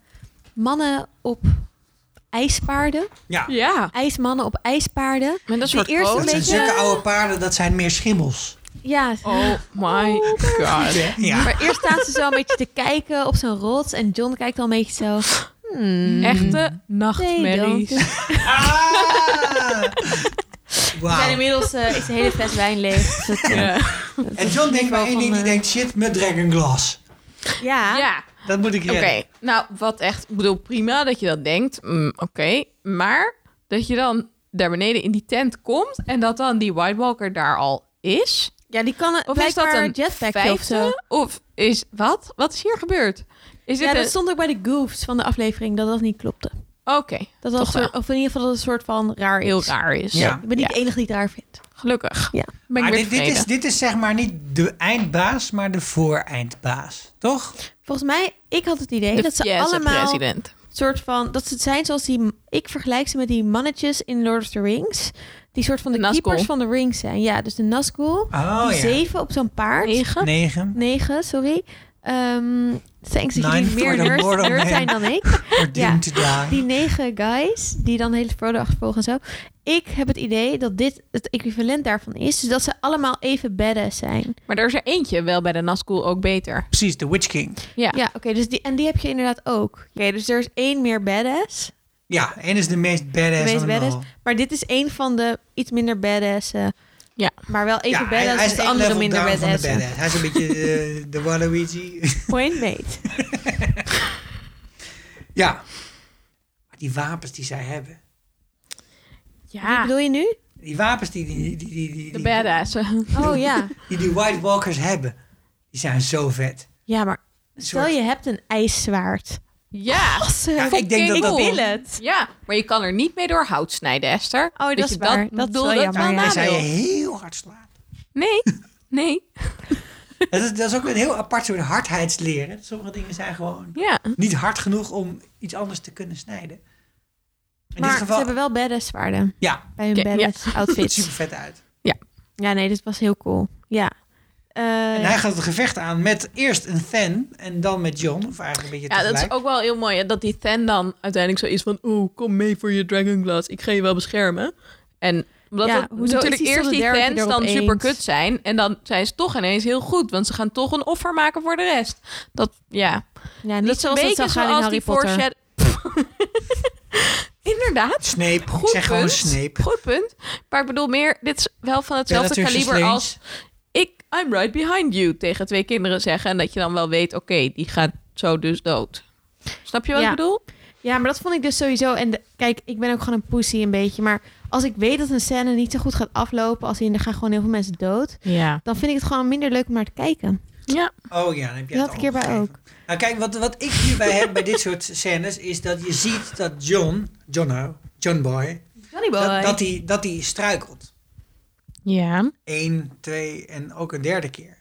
[SPEAKER 5] mannen op ijspaarden.
[SPEAKER 1] Ja,
[SPEAKER 4] Ja.
[SPEAKER 5] IJsmannen op ijspaarden.
[SPEAKER 4] Met een
[SPEAKER 5] Die
[SPEAKER 4] soort
[SPEAKER 5] eerste
[SPEAKER 4] kool.
[SPEAKER 1] dat zijn
[SPEAKER 5] beetje-
[SPEAKER 1] zulke oude paarden. Dat zijn meer schimmels.
[SPEAKER 5] Ja,
[SPEAKER 4] Oh my god.
[SPEAKER 1] Ja.
[SPEAKER 5] maar eerst staan ze zo een beetje te kijken op zo'n rots. En John kijkt al een beetje zo... hmm,
[SPEAKER 4] Echte
[SPEAKER 5] don't.
[SPEAKER 4] nachtmerries.
[SPEAKER 1] Ah!
[SPEAKER 5] We zijn
[SPEAKER 1] Wauw.
[SPEAKER 5] inmiddels eh, is de hele fles wijn leeg. Dus dat,
[SPEAKER 4] [LAUGHS]
[SPEAKER 5] eh,
[SPEAKER 4] Ja.
[SPEAKER 5] dat
[SPEAKER 1] En
[SPEAKER 5] is
[SPEAKER 1] John
[SPEAKER 5] in
[SPEAKER 1] denkt
[SPEAKER 5] ieder geval
[SPEAKER 1] maar één ding, die
[SPEAKER 5] van, eh,
[SPEAKER 1] denkt shit, met Dragon Glass.
[SPEAKER 5] Ja,
[SPEAKER 4] ja.
[SPEAKER 1] Dat moet ik
[SPEAKER 4] Oké,
[SPEAKER 1] redden.
[SPEAKER 4] nou wat echt, ik bedoel prima dat je dat denkt, mm, oké, maar dat je dan daar beneden in die tent komt en dat dan die White Walker daar al is,
[SPEAKER 5] ja, die kan een,
[SPEAKER 4] of is dat
[SPEAKER 5] blijkbaar
[SPEAKER 4] een
[SPEAKER 5] een jetpack of zo.
[SPEAKER 4] vijfde, of is wat? Wat is hier gebeurd? Is dit
[SPEAKER 5] Ja, dat
[SPEAKER 4] een?
[SPEAKER 5] stond ook bij de goofs van de aflevering dat dat niet klopte.
[SPEAKER 4] Oké,
[SPEAKER 5] Dat dat
[SPEAKER 4] Toch
[SPEAKER 5] soort, of in ieder geval dat het een soort van raar is.
[SPEAKER 4] heel raar is.
[SPEAKER 1] Ja.
[SPEAKER 5] Ik ben niet
[SPEAKER 4] Ja.
[SPEAKER 5] de enige die het raar vindt.
[SPEAKER 4] Gelukkig.
[SPEAKER 5] Ja.
[SPEAKER 4] Ben ik
[SPEAKER 1] Maar
[SPEAKER 4] weer
[SPEAKER 1] dit, dit, is,
[SPEAKER 4] tevreden.
[SPEAKER 1] dit is zeg maar niet de eindbaas, maar de vooreindbaas. Toch?
[SPEAKER 5] Volgens mij, ik had het idee
[SPEAKER 4] De
[SPEAKER 5] dat ze
[SPEAKER 4] fiesse
[SPEAKER 5] allemaal
[SPEAKER 4] president.
[SPEAKER 5] soort van dat ze zijn zoals die. Ik vergelijk ze met die mannetjes in Lord of the Rings, die soort van de
[SPEAKER 4] Nazgul.
[SPEAKER 5] keepers van de rings zijn. Ja, dus de Nazgul,
[SPEAKER 1] Oh
[SPEAKER 5] die
[SPEAKER 1] ja.
[SPEAKER 5] zeven op zo'n paard.
[SPEAKER 4] Negen.
[SPEAKER 1] Negen.
[SPEAKER 5] Negen, sorry. Ehm thanks dat
[SPEAKER 1] Nine
[SPEAKER 5] jullie
[SPEAKER 1] for
[SPEAKER 5] meer
[SPEAKER 1] the
[SPEAKER 5] nerds,
[SPEAKER 1] mortal
[SPEAKER 5] nerds
[SPEAKER 1] man.
[SPEAKER 5] zijn dan
[SPEAKER 1] [LAUGHS]
[SPEAKER 5] ik.
[SPEAKER 1] Or doomed to die.
[SPEAKER 5] Die negen guys die dan de hele Frodo achtervolgen en zo. Ik heb het idee dat dit het equivalent daarvan is. Dus dat ze allemaal even badass zijn.
[SPEAKER 4] Maar er is er eentje wel bij de Nazgul ook beter.
[SPEAKER 1] Precies, de Witch King.
[SPEAKER 4] Ja.
[SPEAKER 5] Ja, oké. dus die, en die heb je inderdaad ook. Oké, dus er is één meer badass.
[SPEAKER 1] Ja, en is de meest badass
[SPEAKER 5] De meest
[SPEAKER 1] van hem
[SPEAKER 5] badass.
[SPEAKER 1] al.
[SPEAKER 5] Maar dit is één van de iets minder badass. eh,
[SPEAKER 4] Ja.
[SPEAKER 5] Maar wel even
[SPEAKER 1] Ja,
[SPEAKER 5] badass als de
[SPEAKER 1] één
[SPEAKER 5] andere
[SPEAKER 1] level
[SPEAKER 5] minder
[SPEAKER 1] down van de
[SPEAKER 5] badass.
[SPEAKER 1] badass. Hij is een beetje eh, de Waluigi. [LAUGHS]
[SPEAKER 5] Point made.
[SPEAKER 1] ja. Maar die wapens die zij hebben.
[SPEAKER 5] Wat
[SPEAKER 4] Ja,
[SPEAKER 5] [LAUGHS] bedoel je nu?
[SPEAKER 1] Die wapens die die, die, die, die,
[SPEAKER 4] de
[SPEAKER 1] die-
[SPEAKER 4] badass. [LAUGHS]
[SPEAKER 5] Oh ja.
[SPEAKER 1] die die White Walkers hebben. Die zijn zo vet.
[SPEAKER 5] [LAUGHS] Ja, maar stel
[SPEAKER 1] soort-
[SPEAKER 5] je hebt een ijszwaard.
[SPEAKER 4] Ja.
[SPEAKER 5] Awesome.
[SPEAKER 1] Ja, ik denk dat
[SPEAKER 5] ik
[SPEAKER 1] dat-
[SPEAKER 5] wil het.
[SPEAKER 4] Ja, maar je kan er niet mee door hout snijden, Esther.
[SPEAKER 5] Oh, dat
[SPEAKER 4] je
[SPEAKER 5] is waar. Dat is
[SPEAKER 4] bedoel,
[SPEAKER 5] wel jammer,
[SPEAKER 4] een
[SPEAKER 5] ja.
[SPEAKER 1] En
[SPEAKER 5] Ah,
[SPEAKER 1] zij je
[SPEAKER 4] nadeel.
[SPEAKER 1] heel hard slaan.
[SPEAKER 4] Nee, nee.
[SPEAKER 1] Dat is, dat is ook een heel apart soort hardheidsleren. Sommige dingen zijn gewoon
[SPEAKER 4] Ja,
[SPEAKER 1] niet hard genoeg om iets anders te kunnen snijden. In
[SPEAKER 5] Maar
[SPEAKER 1] dit
[SPEAKER 5] ze
[SPEAKER 1] geval,
[SPEAKER 5] hebben wel badass zwaarden.
[SPEAKER 1] ja,
[SPEAKER 5] Bij hun
[SPEAKER 4] Oké, ja.
[SPEAKER 5] badass
[SPEAKER 1] ziet [LAUGHS]
[SPEAKER 5] outfits.
[SPEAKER 1] super vet uit.
[SPEAKER 5] Ja, nee, dit was heel cool. Ja. Eh,
[SPEAKER 1] En hij gaat het gevecht aan met eerst een Than en dan met John. Of eigenlijk een beetje
[SPEAKER 4] ja dat is
[SPEAKER 1] tegelijk.
[SPEAKER 4] ook wel heel mooi. hè, Dat die Than dan uiteindelijk zo is van... Oh, kom mee voor je Dragon Glass. Ik ga je wel beschermen. En Omdat
[SPEAKER 5] Ja,
[SPEAKER 4] dat
[SPEAKER 5] hoezo is
[SPEAKER 4] natuurlijk
[SPEAKER 5] die
[SPEAKER 4] eerst die
[SPEAKER 5] solidarity
[SPEAKER 4] fans
[SPEAKER 5] er
[SPEAKER 4] dan
[SPEAKER 5] opeens?
[SPEAKER 4] super kut zijn. En dan zijn ze toch ineens heel goed. Want ze gaan toch een offer maken voor de rest. Dat, ja.
[SPEAKER 5] Ja,
[SPEAKER 4] dat
[SPEAKER 5] niet
[SPEAKER 4] is
[SPEAKER 5] zoals
[SPEAKER 4] een
[SPEAKER 5] dat
[SPEAKER 4] beetje
[SPEAKER 5] zou gaan in
[SPEAKER 4] zoals
[SPEAKER 5] Harry
[SPEAKER 4] die
[SPEAKER 5] Potter.
[SPEAKER 4] foreshadow- [LAUGHS] Inderdaad.
[SPEAKER 1] Snape.
[SPEAKER 4] Goed
[SPEAKER 1] ik zeg gewoon
[SPEAKER 4] punt.
[SPEAKER 1] Snape.
[SPEAKER 4] Goed punt. Maar ik bedoel meer, dit is wel van hetzelfde
[SPEAKER 1] Relative
[SPEAKER 4] kaliber
[SPEAKER 1] Strange.
[SPEAKER 4] als ik, I'm right behind you tegen twee kinderen zeggen. En dat je dan wel weet, oké, die gaat zo dus dood. Snap je wat
[SPEAKER 5] Ja.
[SPEAKER 4] ik bedoel?
[SPEAKER 5] Ja, maar dat vond ik dus sowieso. En de- kijk, ik ben ook gewoon een pussy een beetje. Maar als ik weet dat een scène niet zo goed gaat aflopen, als in er gaan gewoon heel veel mensen dood,
[SPEAKER 4] Ja.
[SPEAKER 5] dan vind ik het gewoon minder leuk om naar te kijken.
[SPEAKER 4] Ja.
[SPEAKER 1] Oh ja, dan heb je
[SPEAKER 5] Dat
[SPEAKER 1] het
[SPEAKER 5] had ik hierbij
[SPEAKER 1] allemaal
[SPEAKER 5] ook.
[SPEAKER 1] Nou kijk, wat, wat ik hierbij heb bij dit soort scènes is dat je ziet dat John, Johnno, John Boy,
[SPEAKER 5] Johnny
[SPEAKER 1] dat, dat, hij, dat hij struikelt.
[SPEAKER 4] Ja.
[SPEAKER 1] Eén, twee en ook een derde keer.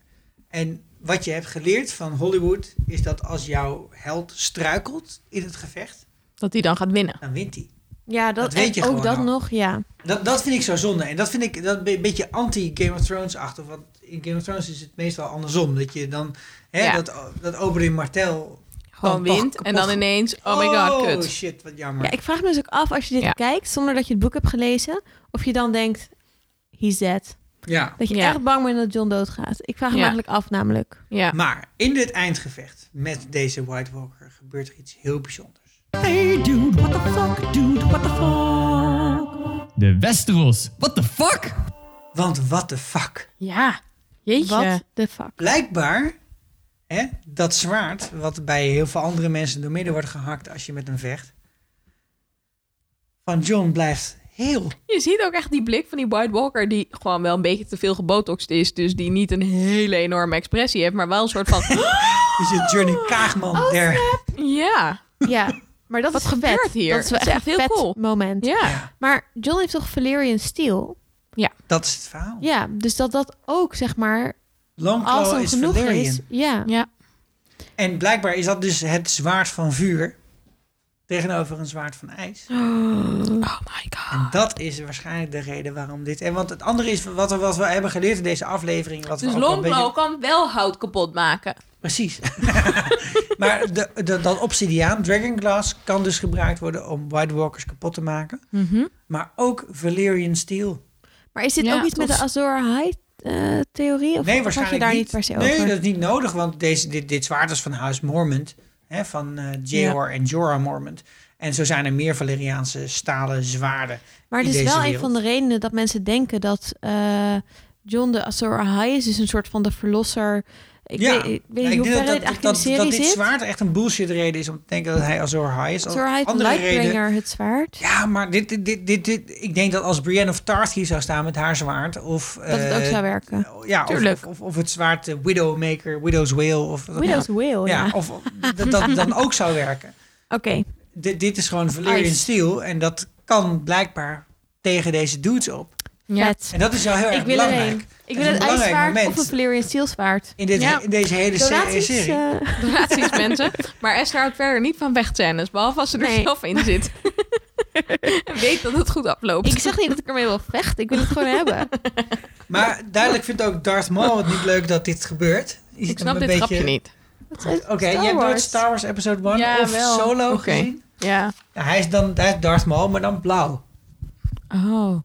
[SPEAKER 1] En wat je hebt geleerd van Hollywood is dat als jouw held struikelt in het gevecht,
[SPEAKER 4] Dat die dan gaat winnen.
[SPEAKER 1] dan wint hij.
[SPEAKER 5] Ja, dat,
[SPEAKER 1] dat weet je
[SPEAKER 5] en ook
[SPEAKER 1] gewoon
[SPEAKER 5] dat
[SPEAKER 1] al.
[SPEAKER 5] nog, ja.
[SPEAKER 1] Dat, dat vind ik zo zonde. En dat vind ik dat een beetje anti-Game of Thrones-achtig. Want in Game of Thrones is het meestal andersom. Dat je dan, hè,
[SPEAKER 4] Ja.
[SPEAKER 1] dat, dat Oberyn Martel
[SPEAKER 4] Gewoon
[SPEAKER 1] Dan toch
[SPEAKER 4] wint. En
[SPEAKER 1] kapot
[SPEAKER 4] dan
[SPEAKER 1] ge-
[SPEAKER 4] ineens, oh my god,
[SPEAKER 1] Oh
[SPEAKER 4] kut.
[SPEAKER 1] shit, wat jammer.
[SPEAKER 5] Ja, ik vraag me dus ook af, als je dit
[SPEAKER 4] Ja.
[SPEAKER 5] kijkt, zonder dat je het boek hebt gelezen, of je dan denkt, he's dead.
[SPEAKER 1] Ja.
[SPEAKER 5] Dat je
[SPEAKER 4] Ja.
[SPEAKER 5] echt bang bent dat John doodgaat. Ik vraag me
[SPEAKER 4] Ja.
[SPEAKER 5] eigenlijk af, namelijk.
[SPEAKER 4] Ja.
[SPEAKER 1] Maar in dit eindgevecht met deze White Walker gebeurt er iets heel bijzonders.
[SPEAKER 2] Hey dude, what the fuck, dude, what the fuck. De Westeros, what the fuck?
[SPEAKER 1] Want what the fuck?
[SPEAKER 4] Ja. Jeetje.
[SPEAKER 5] Wat de fuck?
[SPEAKER 1] Blijkbaar, hè, dat zwaard wat bij heel veel andere mensen door midden wordt gehakt als je met hem vecht. Van John blijft heel.
[SPEAKER 4] Je ziet ook echt die blik van die White Walker, die gewoon wel een beetje te veel gebotoxed is. Dus die niet een hele enorme expressie heeft, maar wel een
[SPEAKER 1] [LAUGHS]
[SPEAKER 4] soort van.
[SPEAKER 1] Is het Journey Dus Kaagman der.
[SPEAKER 4] ja. [LAUGHS]
[SPEAKER 5] Ja, maar dat
[SPEAKER 4] Wat
[SPEAKER 5] is
[SPEAKER 4] gebeurt
[SPEAKER 5] vet.
[SPEAKER 4] hier?
[SPEAKER 5] Dat is wel
[SPEAKER 4] Dat is
[SPEAKER 5] echt
[SPEAKER 4] echt heel
[SPEAKER 5] vet
[SPEAKER 4] cool.
[SPEAKER 5] moment.
[SPEAKER 4] Ja.
[SPEAKER 1] Ja,
[SPEAKER 5] Maar John heeft toch Valerian Steel?
[SPEAKER 1] dat is het verhaal.
[SPEAKER 5] Ja, dus dat dat ook, zeg maar, als
[SPEAKER 1] Longclaw
[SPEAKER 5] hem
[SPEAKER 1] is
[SPEAKER 5] genoeg
[SPEAKER 1] Valerian.
[SPEAKER 5] is. Ja.
[SPEAKER 4] Ja.
[SPEAKER 1] En blijkbaar is dat dus het zwaard van vuur tegenover een zwaard van ijs.
[SPEAKER 4] [GASPS] Oh my god.
[SPEAKER 1] En dat is waarschijnlijk de reden waarom dit. En want het andere is wat we, wat we hebben geleerd in deze aflevering. Wat we
[SPEAKER 4] Dus
[SPEAKER 1] ook wel een
[SPEAKER 4] Longclaw kan wel hout kapot maken.
[SPEAKER 1] Precies. [LAUGHS] maar de, de, dat obsidiaan, Dragon Glass, kan dus gebruikt worden om White Walkers kapot te maken.
[SPEAKER 4] Mhm.
[SPEAKER 1] Maar ook Valyrian Steel.
[SPEAKER 5] Maar is dit
[SPEAKER 4] Ja,
[SPEAKER 5] ook iets met
[SPEAKER 4] tof.
[SPEAKER 5] de Azor High-theorie?
[SPEAKER 1] Nee,
[SPEAKER 5] of of had je
[SPEAKER 1] waarschijnlijk
[SPEAKER 5] daar
[SPEAKER 1] niet.
[SPEAKER 5] niet per se
[SPEAKER 1] nee,
[SPEAKER 5] over?
[SPEAKER 1] dat is niet nodig, want deze, dit, dit zwaard is van Huis Mormont. Hè, van eh Jor en Jorah Mormont. En zo zijn er meer Valeriaanse stalen zwaarden.
[SPEAKER 5] maar het
[SPEAKER 1] in
[SPEAKER 5] is
[SPEAKER 1] deze
[SPEAKER 5] wel een
[SPEAKER 1] wereld.
[SPEAKER 5] van de redenen dat mensen denken dat eh, John de Azor Ahai is. Dus een soort van de verlosser. Ik
[SPEAKER 1] Ja,
[SPEAKER 5] weet, ik weet
[SPEAKER 1] Nou,
[SPEAKER 5] niet
[SPEAKER 1] ik
[SPEAKER 5] hoe ver
[SPEAKER 1] denk
[SPEAKER 5] dit
[SPEAKER 1] dat,
[SPEAKER 5] eigenlijk
[SPEAKER 1] dat,
[SPEAKER 5] in de
[SPEAKER 1] dat
[SPEAKER 5] serie
[SPEAKER 1] dit
[SPEAKER 5] zit.
[SPEAKER 1] zwaard echt een bullshit reden is om te denken dat hij Azor High is.
[SPEAKER 5] Azor Ahai,
[SPEAKER 1] Andere reden-
[SPEAKER 5] Lightbringer, het zwaard.
[SPEAKER 1] Ja, maar dit, dit, dit, dit, dit- ik denk dat als Brienne of Tarth hier zou staan met haar zwaard... Of,
[SPEAKER 5] Dat het ook zou werken.
[SPEAKER 1] Eh, Ja, of-
[SPEAKER 4] Tuurlijk.
[SPEAKER 1] Of, of, of het zwaard eh, Widowmaker, Widow's Whale. Of,
[SPEAKER 5] Widow's Whale, ja.
[SPEAKER 1] ja,
[SPEAKER 5] Oké,
[SPEAKER 1] of of dat dat dan ook zou werken. Dit, dit is gewoon Valyrian
[SPEAKER 5] Ice.
[SPEAKER 1] Steel en dat kan blijkbaar tegen deze dudes op.
[SPEAKER 5] vet.
[SPEAKER 1] En dat is wel heel
[SPEAKER 5] Ik
[SPEAKER 1] erg
[SPEAKER 5] wil er
[SPEAKER 1] belangrijk.
[SPEAKER 5] een. Ik
[SPEAKER 1] is
[SPEAKER 5] wil
[SPEAKER 1] een
[SPEAKER 5] een
[SPEAKER 1] belangrijk
[SPEAKER 5] ijswaard
[SPEAKER 1] moment.
[SPEAKER 5] of een Valerian Steel zwaard.
[SPEAKER 1] In, dit,
[SPEAKER 4] Ja.
[SPEAKER 1] in deze hele serie.
[SPEAKER 5] Donaties,
[SPEAKER 1] serie.
[SPEAKER 5] eh,
[SPEAKER 4] Donaties, mensen. Maar Esther houdt verder niet van vechtscènes, behalve als ze er
[SPEAKER 5] Nee.
[SPEAKER 4] zelf in zit. en weet dat het goed afloopt.
[SPEAKER 5] ik zeg niet dat ik ermee wil vechten. Ik wil het gewoon [LAUGHS] hebben.
[SPEAKER 1] Maar duidelijk vindt ook Darth Maul het niet leuk dat dit gebeurt. Is
[SPEAKER 4] Ik
[SPEAKER 1] hem
[SPEAKER 4] snap
[SPEAKER 1] een
[SPEAKER 4] dit grapje niet.
[SPEAKER 1] Oké, jij hebt nooit Star Wars Episode 1
[SPEAKER 4] Ja,
[SPEAKER 1] of
[SPEAKER 4] wel.
[SPEAKER 1] Solo
[SPEAKER 4] Oké.
[SPEAKER 1] gezien?
[SPEAKER 4] Ja.
[SPEAKER 1] Ja, hij is dan hij is Darth Maul, maar dan blauw.
[SPEAKER 4] Oh.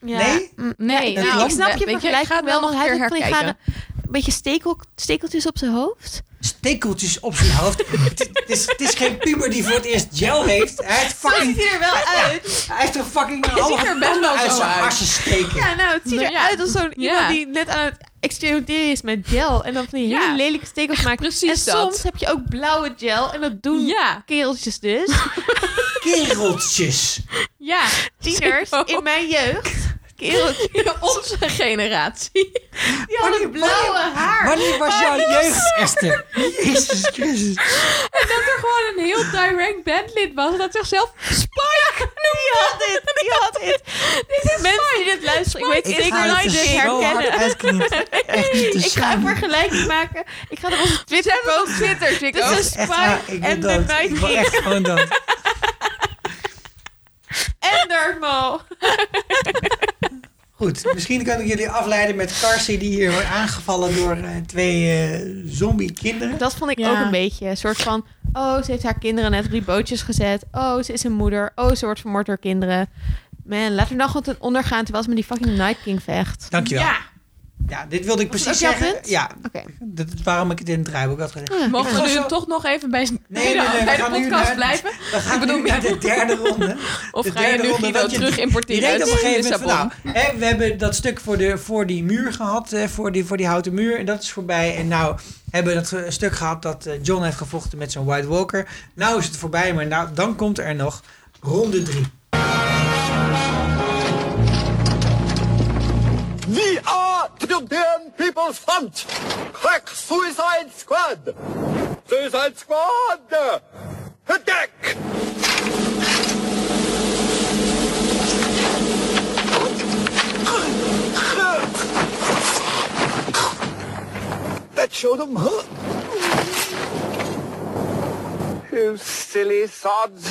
[SPEAKER 5] Ja.
[SPEAKER 1] Nee?
[SPEAKER 4] Nee,
[SPEAKER 5] Ja,
[SPEAKER 1] nou,
[SPEAKER 5] ik snap je
[SPEAKER 4] weet
[SPEAKER 5] vergelijking
[SPEAKER 4] ik ga het wel nog een
[SPEAKER 5] Hij
[SPEAKER 4] keer
[SPEAKER 5] heeft ook van die
[SPEAKER 4] herkijken.
[SPEAKER 5] gare- Een beetje stekel, stekeltjes op zijn hoofd.
[SPEAKER 1] Stekeltjes op zijn
[SPEAKER 4] [LAUGHS]
[SPEAKER 1] hoofd. het, het is, het is geen puber die voor het eerst gel heeft. Hij heeft fucking...
[SPEAKER 5] hij er wel uit.
[SPEAKER 1] Hij heeft er fucking een
[SPEAKER 4] ziet
[SPEAKER 1] halve
[SPEAKER 4] er best
[SPEAKER 1] tanden
[SPEAKER 4] wel
[SPEAKER 1] uit
[SPEAKER 4] zo
[SPEAKER 1] zijn
[SPEAKER 4] uit.
[SPEAKER 1] assen steken.
[SPEAKER 5] Ja, nou, het ziet
[SPEAKER 4] Nou ja.
[SPEAKER 5] eruit als zo'n iemand
[SPEAKER 4] Ja.
[SPEAKER 5] die net aan het experimenteren is met gel. En dan van die
[SPEAKER 4] Ja.
[SPEAKER 5] hele lelijke stekels maakt.
[SPEAKER 4] precies
[SPEAKER 5] en
[SPEAKER 4] dat.
[SPEAKER 5] soms heb je ook blauwe gel. En dat doen
[SPEAKER 4] Ja.
[SPEAKER 5] kereltjes dus.
[SPEAKER 1] Kereltjes.
[SPEAKER 4] Ja.
[SPEAKER 5] Tieners in mijn jeugd. Kereltjes.
[SPEAKER 4] Onze generatie.
[SPEAKER 5] Die hadden blauwe haar.
[SPEAKER 1] Wanneer was jouw jeugd, Esther? Jezus Christus.
[SPEAKER 4] En dat er gewoon een heel direct bandlid was. en Dat zichzelf Spike noemde.
[SPEAKER 5] had dit. Die had dit.
[SPEAKER 4] [LAUGHS] Dit is
[SPEAKER 5] Mensen die
[SPEAKER 4] Spike.
[SPEAKER 5] dit luisteren, ik weet
[SPEAKER 1] Ik
[SPEAKER 5] zeker
[SPEAKER 1] ga
[SPEAKER 5] dat
[SPEAKER 1] het
[SPEAKER 5] je dit
[SPEAKER 1] er zo hard
[SPEAKER 5] herkennen.
[SPEAKER 1] uitknippen. Echt niet te
[SPEAKER 5] Ik ga een
[SPEAKER 1] schamen.
[SPEAKER 5] vergelijking maken. Ik ga er onze
[SPEAKER 4] Dit
[SPEAKER 5] Twitter
[SPEAKER 4] zijn op
[SPEAKER 5] posten.
[SPEAKER 4] Twitter, ik
[SPEAKER 5] Dit
[SPEAKER 4] ook.
[SPEAKER 5] is
[SPEAKER 1] Echt waar,
[SPEAKER 5] Spike
[SPEAKER 1] ah, ik
[SPEAKER 5] en
[SPEAKER 1] wil
[SPEAKER 5] de
[SPEAKER 1] dood. Ik wil
[SPEAKER 5] Night
[SPEAKER 1] echt gewoon dood.
[SPEAKER 5] en Dermal.
[SPEAKER 1] Goed, misschien kan ik jullie afleiden met Carsie die hier wordt aangevallen door eh, twee eh zombie kinderen.
[SPEAKER 5] Dat vond ik
[SPEAKER 4] Ja.
[SPEAKER 5] ook een beetje een soort van... Oh, ze heeft haar kinderen net op die bootjes gezet. Oh, ze is een moeder. Oh, ze wordt vermoord door kinderen. Man, laat er nog wat een ondergaan terwijl ze met die fucking Night King vecht.
[SPEAKER 1] Dankjewel. Ja.
[SPEAKER 4] Ja,
[SPEAKER 1] ja, dit wilde ik
[SPEAKER 5] Was het
[SPEAKER 1] precies
[SPEAKER 5] ook jouw
[SPEAKER 1] zeggen.
[SPEAKER 5] punt?
[SPEAKER 1] Ja,
[SPEAKER 5] Oké.
[SPEAKER 1] dat is waarom ik het in het draaiboek had gezegd.
[SPEAKER 5] Ah,
[SPEAKER 4] mogen we
[SPEAKER 1] Ja.
[SPEAKER 4] nu toch nog even bij, bij
[SPEAKER 1] nee,
[SPEAKER 4] de,
[SPEAKER 1] nee, we
[SPEAKER 4] bij de
[SPEAKER 1] gaan nu
[SPEAKER 4] podcast
[SPEAKER 1] naar-
[SPEAKER 4] blijven?
[SPEAKER 1] We gaan
[SPEAKER 4] Ik bedoel,
[SPEAKER 1] nu naar de
[SPEAKER 4] ja.
[SPEAKER 1] derde ronde.
[SPEAKER 4] Of
[SPEAKER 1] De
[SPEAKER 4] ga je
[SPEAKER 1] derde
[SPEAKER 4] nu
[SPEAKER 1] ronde,
[SPEAKER 4] Guido
[SPEAKER 1] want je-
[SPEAKER 4] terug
[SPEAKER 1] Je
[SPEAKER 4] importeren
[SPEAKER 1] denkt op een
[SPEAKER 4] uit
[SPEAKER 1] gegeven moment van, nou,
[SPEAKER 4] Lissabon?
[SPEAKER 1] hè, we hebben dat stuk voor, de, voor die muur gehad, hè, voor, die, voor die houten muur, en dat is voorbij. En nou hebben we dat eh, stuk gehad dat eh, John heeft gevochten met zijn White Walker. Nou is het voorbij, maar nou, dan komt er nog ronde drie.
[SPEAKER 7] We are the damn People's Front! Crack Suicide Squad! Suicide Squad! Attack! That showed them, huh? You silly sods.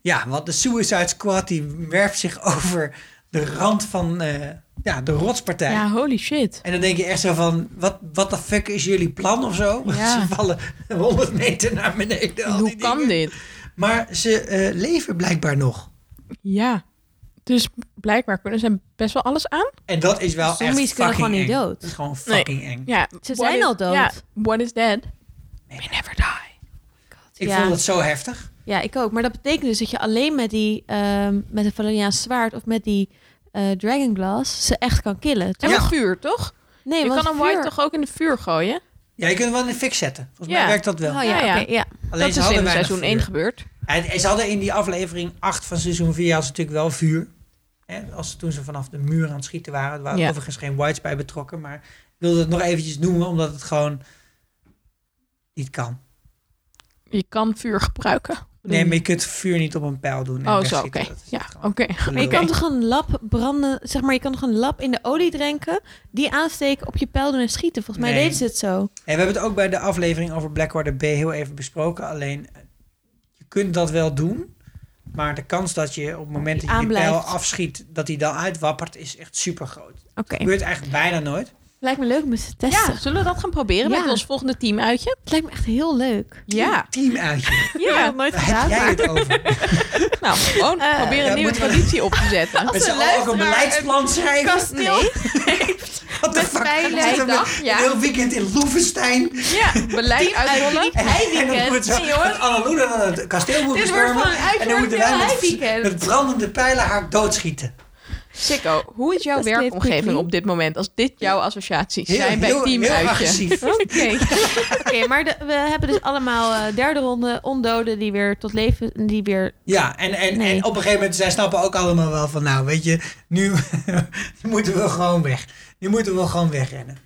[SPEAKER 1] Ja, want de Suicide Squad die werpt zich [LAUGHS] over de rand van eh, ja, de rotspartij.
[SPEAKER 4] Ja, holy shit.
[SPEAKER 1] En dan denk je echt zo van, wat wat de fuck is jullie plan of zo? [LAUGHS] Want
[SPEAKER 4] Ja.
[SPEAKER 1] Ze vallen 100 meter naar beneden. al
[SPEAKER 4] Hoe
[SPEAKER 1] die
[SPEAKER 4] kan
[SPEAKER 1] dingen.
[SPEAKER 4] dit?
[SPEAKER 1] Maar ze eh, leven blijkbaar nog.
[SPEAKER 4] Ja. Dus blijkbaar kunnen ze best wel alles aan.
[SPEAKER 1] En dat is wel
[SPEAKER 5] Zombies
[SPEAKER 1] echt fucking
[SPEAKER 5] kunnen gewoon niet
[SPEAKER 1] eng.
[SPEAKER 5] dood.
[SPEAKER 1] Dat is gewoon
[SPEAKER 4] Nee.
[SPEAKER 1] fucking eng.
[SPEAKER 4] Ja,
[SPEAKER 5] Ze
[SPEAKER 4] what
[SPEAKER 5] zijn
[SPEAKER 4] is-
[SPEAKER 5] al dood.
[SPEAKER 4] ja, what is dead? May never die.
[SPEAKER 1] Ik
[SPEAKER 5] Ja.
[SPEAKER 1] vond het zo heftig.
[SPEAKER 5] Ja, ik ook. Maar dat betekent dus dat je alleen met die, ehm, met een Valeriaans zwaard of met die eh Dragon Glass ze echt kan killen.
[SPEAKER 4] En
[SPEAKER 5] Toch?
[SPEAKER 4] met vuur, toch?
[SPEAKER 5] Nee,
[SPEAKER 4] je
[SPEAKER 5] want
[SPEAKER 4] kan een
[SPEAKER 5] vuur-
[SPEAKER 4] white toch ook in het vuur gooien?
[SPEAKER 1] Ja, je kunt hem wel in de fik zetten. Volgens mij
[SPEAKER 4] Ja.
[SPEAKER 1] werkt dat wel.
[SPEAKER 5] Oh ja,
[SPEAKER 4] Ja,
[SPEAKER 5] oké,
[SPEAKER 4] ja.
[SPEAKER 5] ja.
[SPEAKER 1] Alleen
[SPEAKER 4] dat
[SPEAKER 1] ze
[SPEAKER 4] is
[SPEAKER 1] hadden
[SPEAKER 4] in
[SPEAKER 1] weinig
[SPEAKER 4] seizoen
[SPEAKER 1] vuur.
[SPEAKER 4] 1 gebeurd.
[SPEAKER 1] En ze hadden in die aflevering 8 van seizoen 4 hadden ze natuurlijk wel vuur. Hè, als, toen ze vanaf de muur aan het schieten waren. Er waren
[SPEAKER 4] Ja.
[SPEAKER 1] overigens geen whites bij betrokken. Maar ik wilde het nog eventjes noemen, omdat het gewoon niet kan.
[SPEAKER 4] Je kan vuur gebruiken.
[SPEAKER 1] Nee, maar je kunt vuur niet op een pijl doen. en
[SPEAKER 4] Oh, zo,
[SPEAKER 1] wegschieten.
[SPEAKER 4] oké.
[SPEAKER 1] Dat is
[SPEAKER 4] Ja,
[SPEAKER 1] echt
[SPEAKER 4] oké.
[SPEAKER 1] gewoon
[SPEAKER 5] Maar je
[SPEAKER 1] gelul.
[SPEAKER 5] kan toch een lap branden, zeg maar, je kan toch een lap in de olie drinken, die aansteken, op je pijl doen en schieten. Volgens mij
[SPEAKER 1] Nee.
[SPEAKER 5] deden ze het zo.
[SPEAKER 1] En we hebben het ook bij de aflevering over Blackwater B heel even besproken. Alleen, eh, je kunt dat wel doen. Maar de kans dat je op het moment dat je die
[SPEAKER 5] Aanblijft.
[SPEAKER 1] pijl afschiet, dat hij dan uitwappert, is echt super groot.
[SPEAKER 5] Oké.
[SPEAKER 1] Gebeurt eigenlijk bijna nooit.
[SPEAKER 5] Lijkt me leuk om eens te testen.
[SPEAKER 4] Ja, zullen we dat gaan proberen
[SPEAKER 5] Ja.
[SPEAKER 4] met ons volgende teamuitje?
[SPEAKER 5] Het lijkt me echt heel leuk.
[SPEAKER 4] Ja.
[SPEAKER 1] Team uitje.
[SPEAKER 5] Ja,
[SPEAKER 4] Ja.
[SPEAKER 5] dat nooit
[SPEAKER 1] Daar heb
[SPEAKER 5] gedaan.
[SPEAKER 1] jij
[SPEAKER 5] maar-
[SPEAKER 1] het
[SPEAKER 5] [LAUGHS]
[SPEAKER 1] over.
[SPEAKER 4] Nou, gewoon
[SPEAKER 5] Eh,
[SPEAKER 4] proberen
[SPEAKER 1] ja,
[SPEAKER 4] een nieuwe
[SPEAKER 1] moeten we-
[SPEAKER 4] traditie op te zetten.
[SPEAKER 1] Met z'n allen ook een beleidsplan schrijven.
[SPEAKER 4] Kasteel.
[SPEAKER 1] Wat de fuck?
[SPEAKER 5] veiligheid
[SPEAKER 1] Dan zitten we
[SPEAKER 4] dag,
[SPEAKER 1] Een
[SPEAKER 4] ja.
[SPEAKER 1] heel weekend in Loevestein.
[SPEAKER 4] Ja,
[SPEAKER 1] [LAUGHS]
[SPEAKER 4] beleid uitrollen.
[SPEAKER 1] En, [LAUGHS] en dan moet zo Anneloene dan het kasteel moet
[SPEAKER 5] Dit wordt
[SPEAKER 1] bestormen.
[SPEAKER 5] gewoon een
[SPEAKER 1] en dan moeten wij
[SPEAKER 5] uitverkocht
[SPEAKER 1] met,
[SPEAKER 5] weekend.
[SPEAKER 1] met brandende pijlen haar doodschieten.
[SPEAKER 4] Sikko, hoe is jouw
[SPEAKER 5] Dat is
[SPEAKER 4] werkomgeving
[SPEAKER 5] creatief.
[SPEAKER 4] op dit moment? Als dit jouw associaties
[SPEAKER 1] Heel-
[SPEAKER 4] zijn bij
[SPEAKER 1] heel-
[SPEAKER 4] teamuitje.
[SPEAKER 1] heel agressief.
[SPEAKER 4] Oké.
[SPEAKER 5] [LAUGHS] Oké, maar de- we hebben dus allemaal eh, derde ronde ondoden die weer tot leven, die weer...
[SPEAKER 1] Ja, en, en,
[SPEAKER 5] Nee.
[SPEAKER 1] en op een gegeven moment, zij snappen ook allemaal wel van, nou weet je, nu [LAUGHS] moeten we gewoon weg. Nu moeten we gewoon wegrennen.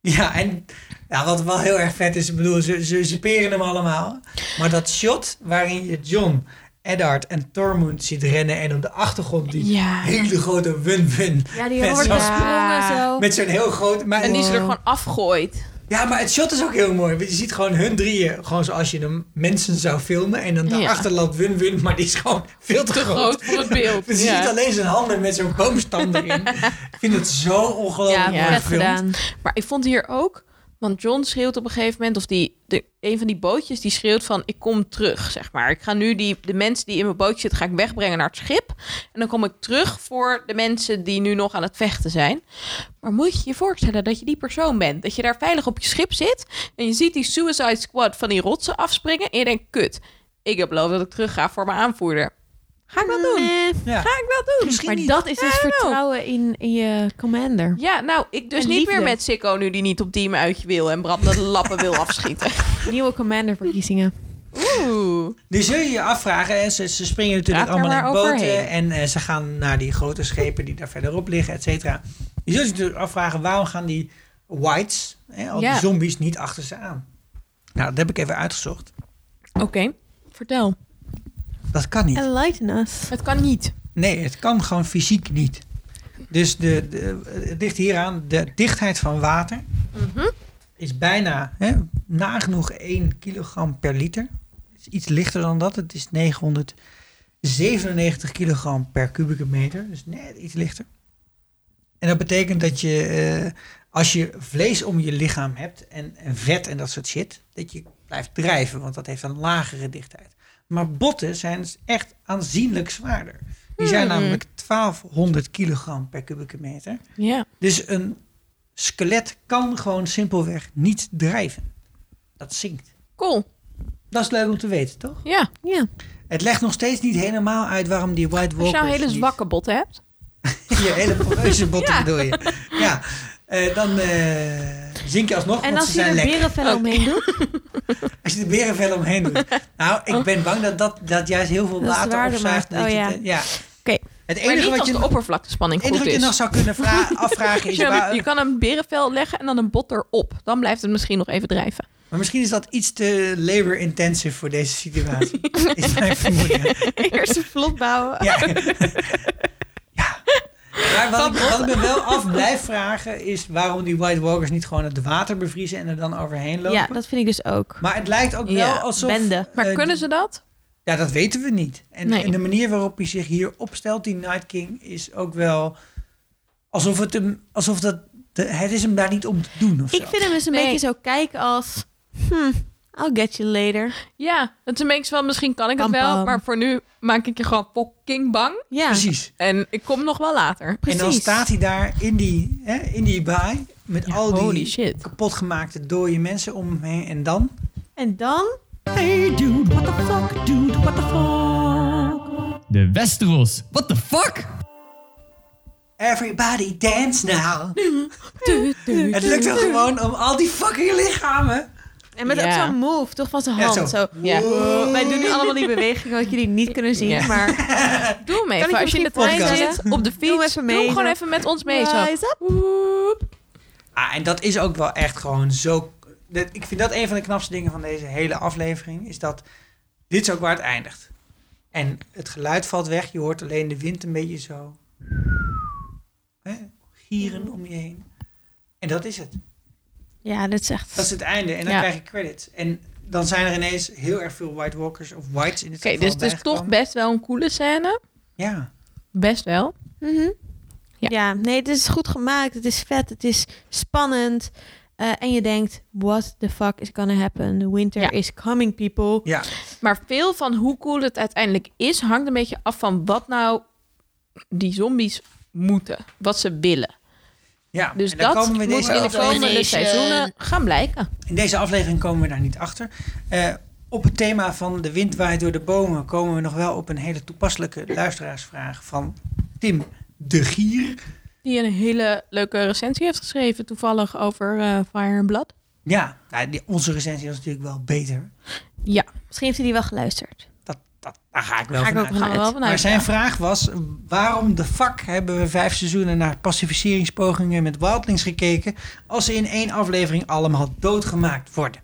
[SPEAKER 1] Ja, en ja, wat wel heel erg vet is, ik bedoel, ze, ze, ze peren hem allemaal. Maar dat shot waarin je John, Eddard en Tormund ziet rennen en op de achtergrond die
[SPEAKER 4] Ja.
[SPEAKER 1] hele grote win-win.
[SPEAKER 5] Ja, die
[SPEAKER 1] Met
[SPEAKER 5] wordt
[SPEAKER 1] zo'n-
[SPEAKER 5] gesprongen zo.
[SPEAKER 1] Met zo'n heel groot... Maar,
[SPEAKER 4] En die ze er gewoon afgooit.
[SPEAKER 1] Ja, maar het shot is ook heel mooi. want Je ziet gewoon hun drieën, gewoon zoals je hem mensen zou filmen. En dan
[SPEAKER 4] Ja.
[SPEAKER 1] daarachter loopt win-win, maar die is gewoon veel te,
[SPEAKER 4] Te groot voor het
[SPEAKER 1] [LAUGHS]
[SPEAKER 4] beeld.
[SPEAKER 1] Dus je
[SPEAKER 4] Ja.
[SPEAKER 1] ziet alleen zijn handen met zo'n boomstam
[SPEAKER 4] [LAUGHS]
[SPEAKER 1] erin. Ik vind het zo ongelooflijk mooi
[SPEAKER 5] Ja, vet
[SPEAKER 1] gefilmd.
[SPEAKER 5] gedaan.
[SPEAKER 4] Maar ik vond hier ook, want John schreeuwt op een gegeven moment, of die, de, een van die bootjes die schreeuwt van, ik kom terug, zeg maar. Ik ga nu die, de mensen die in mijn bootje zitten, ga ik wegbrengen naar het schip. En dan kom ik terug voor de mensen die nu nog aan het vechten zijn. Maar moet je je voorstellen dat je die persoon bent, dat je daar veilig op je schip zit en je ziet die Suicide Squad van die rotsen afspringen en je denkt, kut, ik heb beloofd dat ik terug ga voor mijn aanvoerder. Ga ik dat doen?
[SPEAKER 5] Eh,
[SPEAKER 1] Ja.
[SPEAKER 4] Ga ik dat doen?
[SPEAKER 1] Misschien
[SPEAKER 5] maar
[SPEAKER 1] niet.
[SPEAKER 5] dat is dus
[SPEAKER 4] I don't know.
[SPEAKER 5] vertrouwen in, in je commander.
[SPEAKER 4] Ja, nou, ik dus
[SPEAKER 5] En
[SPEAKER 4] niet
[SPEAKER 5] liefde.
[SPEAKER 4] meer met Sikko nu die niet op team uitje wil en Bram de lappen wil afschieten.
[SPEAKER 5] Nieuwe commanderverkiezingen.
[SPEAKER 4] Oeh.
[SPEAKER 1] Nu zul je je afvragen, hè, ze, ze springen natuurlijk
[SPEAKER 4] Raak er
[SPEAKER 1] allemaal in
[SPEAKER 4] maar
[SPEAKER 1] boten
[SPEAKER 4] overheen.
[SPEAKER 1] en eh, ze gaan naar die grote schepen die daar verderop liggen, et cetera. Je zult je natuurlijk afvragen, waarom gaan die whites, hè, al
[SPEAKER 4] Ja.
[SPEAKER 1] die zombies, niet achter ze aan? Nou, dat heb ik even uitgezocht.
[SPEAKER 4] Oké, vertel.
[SPEAKER 1] Dat kan niet.
[SPEAKER 5] [LAUGHS] Enlighten us.
[SPEAKER 4] Het kan niet.
[SPEAKER 1] Nee, het kan gewoon fysiek niet. Dus de, de, het ligt hieraan, de dichtheid van water is bijna hè, nagenoeg 1 kilogram per liter. Het is iets lichter dan dat. Het is 997 kilogram per kubieke meter. Dus net iets lichter. En dat betekent dat je, eh, als je vlees om je lichaam hebt en, en vet en dat soort shit, dat je blijft drijven, want dat heeft een lagere dichtheid. Maar botten zijn dus echt aanzienlijk zwaarder. Die zijn
[SPEAKER 4] Mhm.
[SPEAKER 1] namelijk 1200 kilogram per kubieke meter.
[SPEAKER 4] Ja.
[SPEAKER 1] Dus een skelet kan gewoon simpelweg niet drijven. Dat zinkt.
[SPEAKER 4] Cool.
[SPEAKER 1] Dat is leuk om te weten, toch?
[SPEAKER 4] Ja.
[SPEAKER 5] Ja.
[SPEAKER 1] Het legt nog steeds niet helemaal uit waarom die White
[SPEAKER 4] Als
[SPEAKER 1] Walkers...
[SPEAKER 4] je nou hele
[SPEAKER 1] niet- [LAUGHS]
[SPEAKER 4] zwakke botten hebt.
[SPEAKER 1] je hele poreuze botten
[SPEAKER 4] Ja.
[SPEAKER 1] bedoel je. Ja. Eh, dan eh zink je alsnog,
[SPEAKER 5] En
[SPEAKER 1] want
[SPEAKER 5] als
[SPEAKER 1] ze
[SPEAKER 5] je er
[SPEAKER 1] zijn lekker.
[SPEAKER 5] berenvellen omheen doet,
[SPEAKER 1] Als je de berenvel omheen
[SPEAKER 5] [LAUGHS]
[SPEAKER 1] doet. Nou, ik ben bang dat dat, dat juist heel veel
[SPEAKER 5] Dat het
[SPEAKER 1] water
[SPEAKER 5] zwaarder
[SPEAKER 1] opzuigt.
[SPEAKER 5] maakt.
[SPEAKER 1] dat je
[SPEAKER 5] Oh, ja.
[SPEAKER 1] het- ja.
[SPEAKER 5] Oké.
[SPEAKER 1] Het
[SPEAKER 4] Maar
[SPEAKER 1] enige
[SPEAKER 4] niet
[SPEAKER 1] wat
[SPEAKER 4] als
[SPEAKER 1] je,
[SPEAKER 4] de
[SPEAKER 1] het
[SPEAKER 4] oppervlaktespanning
[SPEAKER 1] enige
[SPEAKER 4] goed
[SPEAKER 1] wat je
[SPEAKER 4] is.
[SPEAKER 1] nog zou kunnen
[SPEAKER 4] [LAUGHS]
[SPEAKER 1] vra- afvragen is...
[SPEAKER 4] Dus je,
[SPEAKER 1] waar-
[SPEAKER 4] je kan een berenvel leggen en dan een bot erop. Dan blijft het misschien nog even drijven.
[SPEAKER 1] Maar misschien is dat iets te labor-intensive voor deze situatie.
[SPEAKER 4] [LAUGHS]
[SPEAKER 1] is mijn vermoeden.
[SPEAKER 5] [LAUGHS] eerst een vlot bouwen.
[SPEAKER 1] Ja. ja. Maar wat ik, wat ik me wel af blijf vragen is waarom die White Walkers niet gewoon het water bevriezen en er dan overheen lopen.
[SPEAKER 5] Ja, dat vind ik dus ook.
[SPEAKER 1] Maar het lijkt ook wel
[SPEAKER 5] Ja,
[SPEAKER 1] alsof...
[SPEAKER 5] bende.
[SPEAKER 4] Maar
[SPEAKER 1] eh,
[SPEAKER 4] kunnen ze dat?
[SPEAKER 1] Ja, dat weten we niet. En,
[SPEAKER 4] Nee.
[SPEAKER 1] en de manier waarop hij zich hier opstelt, die Night King, is ook wel alsof het hem, alsof dat, de- het is hem daar niet om te doen of zo.
[SPEAKER 5] Ik vind hem eens een
[SPEAKER 4] Nee.
[SPEAKER 5] beetje zo kijken als... Hm, I'll get you later.
[SPEAKER 4] Ja, het is een beetje van misschien kan ik het
[SPEAKER 5] Pam,
[SPEAKER 4] wel.
[SPEAKER 5] pam.
[SPEAKER 4] Maar voor nu maak ik je gewoon fucking bang.
[SPEAKER 5] Ja,
[SPEAKER 1] Precies.
[SPEAKER 4] En ik kom nog wel later.
[SPEAKER 5] precies.
[SPEAKER 1] En dan staat hij daar in die, hè, in die baai met al
[SPEAKER 4] holy
[SPEAKER 1] die
[SPEAKER 4] shit.
[SPEAKER 1] kapotgemaakte dode mensen om hem heen. En dan?
[SPEAKER 5] En dan...
[SPEAKER 2] Hey dude, what the fuck, dude, what the fuck? De Westeros, what the fuck?
[SPEAKER 1] Everybody dance now. Het lukt hem gewoon om al die fucking lichamen.
[SPEAKER 5] En met
[SPEAKER 4] Ja.
[SPEAKER 5] ook zo'n move, toch? Van zijn
[SPEAKER 1] Ja,
[SPEAKER 5] hand.
[SPEAKER 1] zo.
[SPEAKER 5] zo.
[SPEAKER 4] Ja.
[SPEAKER 5] Wij doen nu allemaal die bewegingen wat jullie niet kunnen zien.
[SPEAKER 1] [LAUGHS]
[SPEAKER 4] Ja.
[SPEAKER 5] Maar
[SPEAKER 4] Doe hem
[SPEAKER 5] ik
[SPEAKER 4] even.
[SPEAKER 5] je
[SPEAKER 4] Als je in de
[SPEAKER 5] misschien
[SPEAKER 4] trein
[SPEAKER 5] podcast?
[SPEAKER 1] Hm.
[SPEAKER 4] zit, op de fiets.
[SPEAKER 5] Doe
[SPEAKER 4] Doe,
[SPEAKER 5] hem even mee,
[SPEAKER 4] hem gewoon
[SPEAKER 5] zo.
[SPEAKER 4] even met ons mee. Zo.
[SPEAKER 5] Rise up.
[SPEAKER 4] Woep.
[SPEAKER 1] Ah, en dat is ook wel echt gewoon zo... dat- ik vind dat een van de knapste dingen van deze hele aflevering. Is dat dit is ook waar het eindigt. En het geluid valt weg. Je hoort alleen de wind een beetje zo... Hè, gieren om je heen. En dat is het.
[SPEAKER 5] ja, dat is echt...
[SPEAKER 1] Dat is het einde. En dan
[SPEAKER 4] Ja.
[SPEAKER 1] krijg je credits. En dan zijn er ineens heel erg veel White Walkers of Whites in dit
[SPEAKER 4] Oké,
[SPEAKER 1] geval
[SPEAKER 4] dus het is toch
[SPEAKER 1] bijgekomen.
[SPEAKER 4] best wel een coole scène.
[SPEAKER 1] Ja.
[SPEAKER 4] Best wel.
[SPEAKER 5] Mhm.
[SPEAKER 4] Ja.
[SPEAKER 5] ja. nee, het is goed gemaakt. Het is vet. Het is spannend. Eh, en je denkt, what the fuck is gonna happen? The winter
[SPEAKER 4] Ja.
[SPEAKER 5] is coming, people.
[SPEAKER 1] Ja.
[SPEAKER 4] Maar veel van hoe cool het uiteindelijk is, hangt een beetje af van wat nou die zombies moeten. Wat ze willen.
[SPEAKER 1] ja.
[SPEAKER 4] Dus
[SPEAKER 1] En dan
[SPEAKER 4] dat
[SPEAKER 1] komen we
[SPEAKER 4] moet
[SPEAKER 1] deze
[SPEAKER 4] in de
[SPEAKER 1] aflevering- eh,
[SPEAKER 4] komende seizoenen gaan blijken.
[SPEAKER 1] In deze aflevering komen we daar niet achter. Eh, op het thema van de wind waait door de bomen komen we nog wel op een hele toepasselijke luisteraarsvraag van Tim de Gier.
[SPEAKER 4] Die een hele leuke recensie heeft geschreven, toevallig over eh, Fire and Blood.
[SPEAKER 1] Ja, nou, die, onze recensie was natuurlijk wel beter.
[SPEAKER 4] Ja,
[SPEAKER 5] Misschien heeft hij die wel geluisterd.
[SPEAKER 1] Dat, dat, daar ga ik wel
[SPEAKER 5] Ga ik
[SPEAKER 1] van
[SPEAKER 5] ook
[SPEAKER 1] uit.
[SPEAKER 4] daar gaan we
[SPEAKER 5] Vanuit.
[SPEAKER 4] wel vanuit.
[SPEAKER 1] Maar zijn
[SPEAKER 4] ja.
[SPEAKER 1] vraag was, waarom de fuck hebben we vijf seizoenen naar pacificeringspogingen met wildlings gekeken als ze in één aflevering allemaal doodgemaakt worden?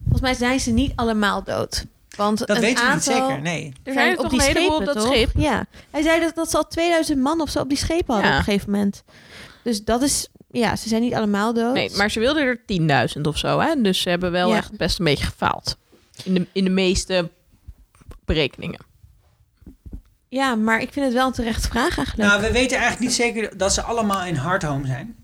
[SPEAKER 5] Volgens mij zijn ze niet allemaal dood. Want
[SPEAKER 1] Dat
[SPEAKER 5] een
[SPEAKER 1] weten we niet
[SPEAKER 5] aantal...
[SPEAKER 1] zeker, nee.
[SPEAKER 4] Er zijn er toch een heleboel op dat
[SPEAKER 5] toch?
[SPEAKER 4] schip.
[SPEAKER 5] Ja. Hij zei dat, dat ze al 2000 man of zo op die schepen hadden
[SPEAKER 4] Ja.
[SPEAKER 5] op een gegeven moment. Dus dat is... Ja, ze zijn niet allemaal dood.
[SPEAKER 4] Nee, maar ze wilden er 10.000 of zo. Hè? Dus ze hebben wel
[SPEAKER 5] Ja.
[SPEAKER 4] echt best een beetje gefaald. In de, in de meeste berekeningen.
[SPEAKER 5] Ja, maar ik vind het wel een terecht vraag eigenlijk.
[SPEAKER 1] Nou, we weten eigenlijk niet zeker dat ze allemaal in Hardhome zijn.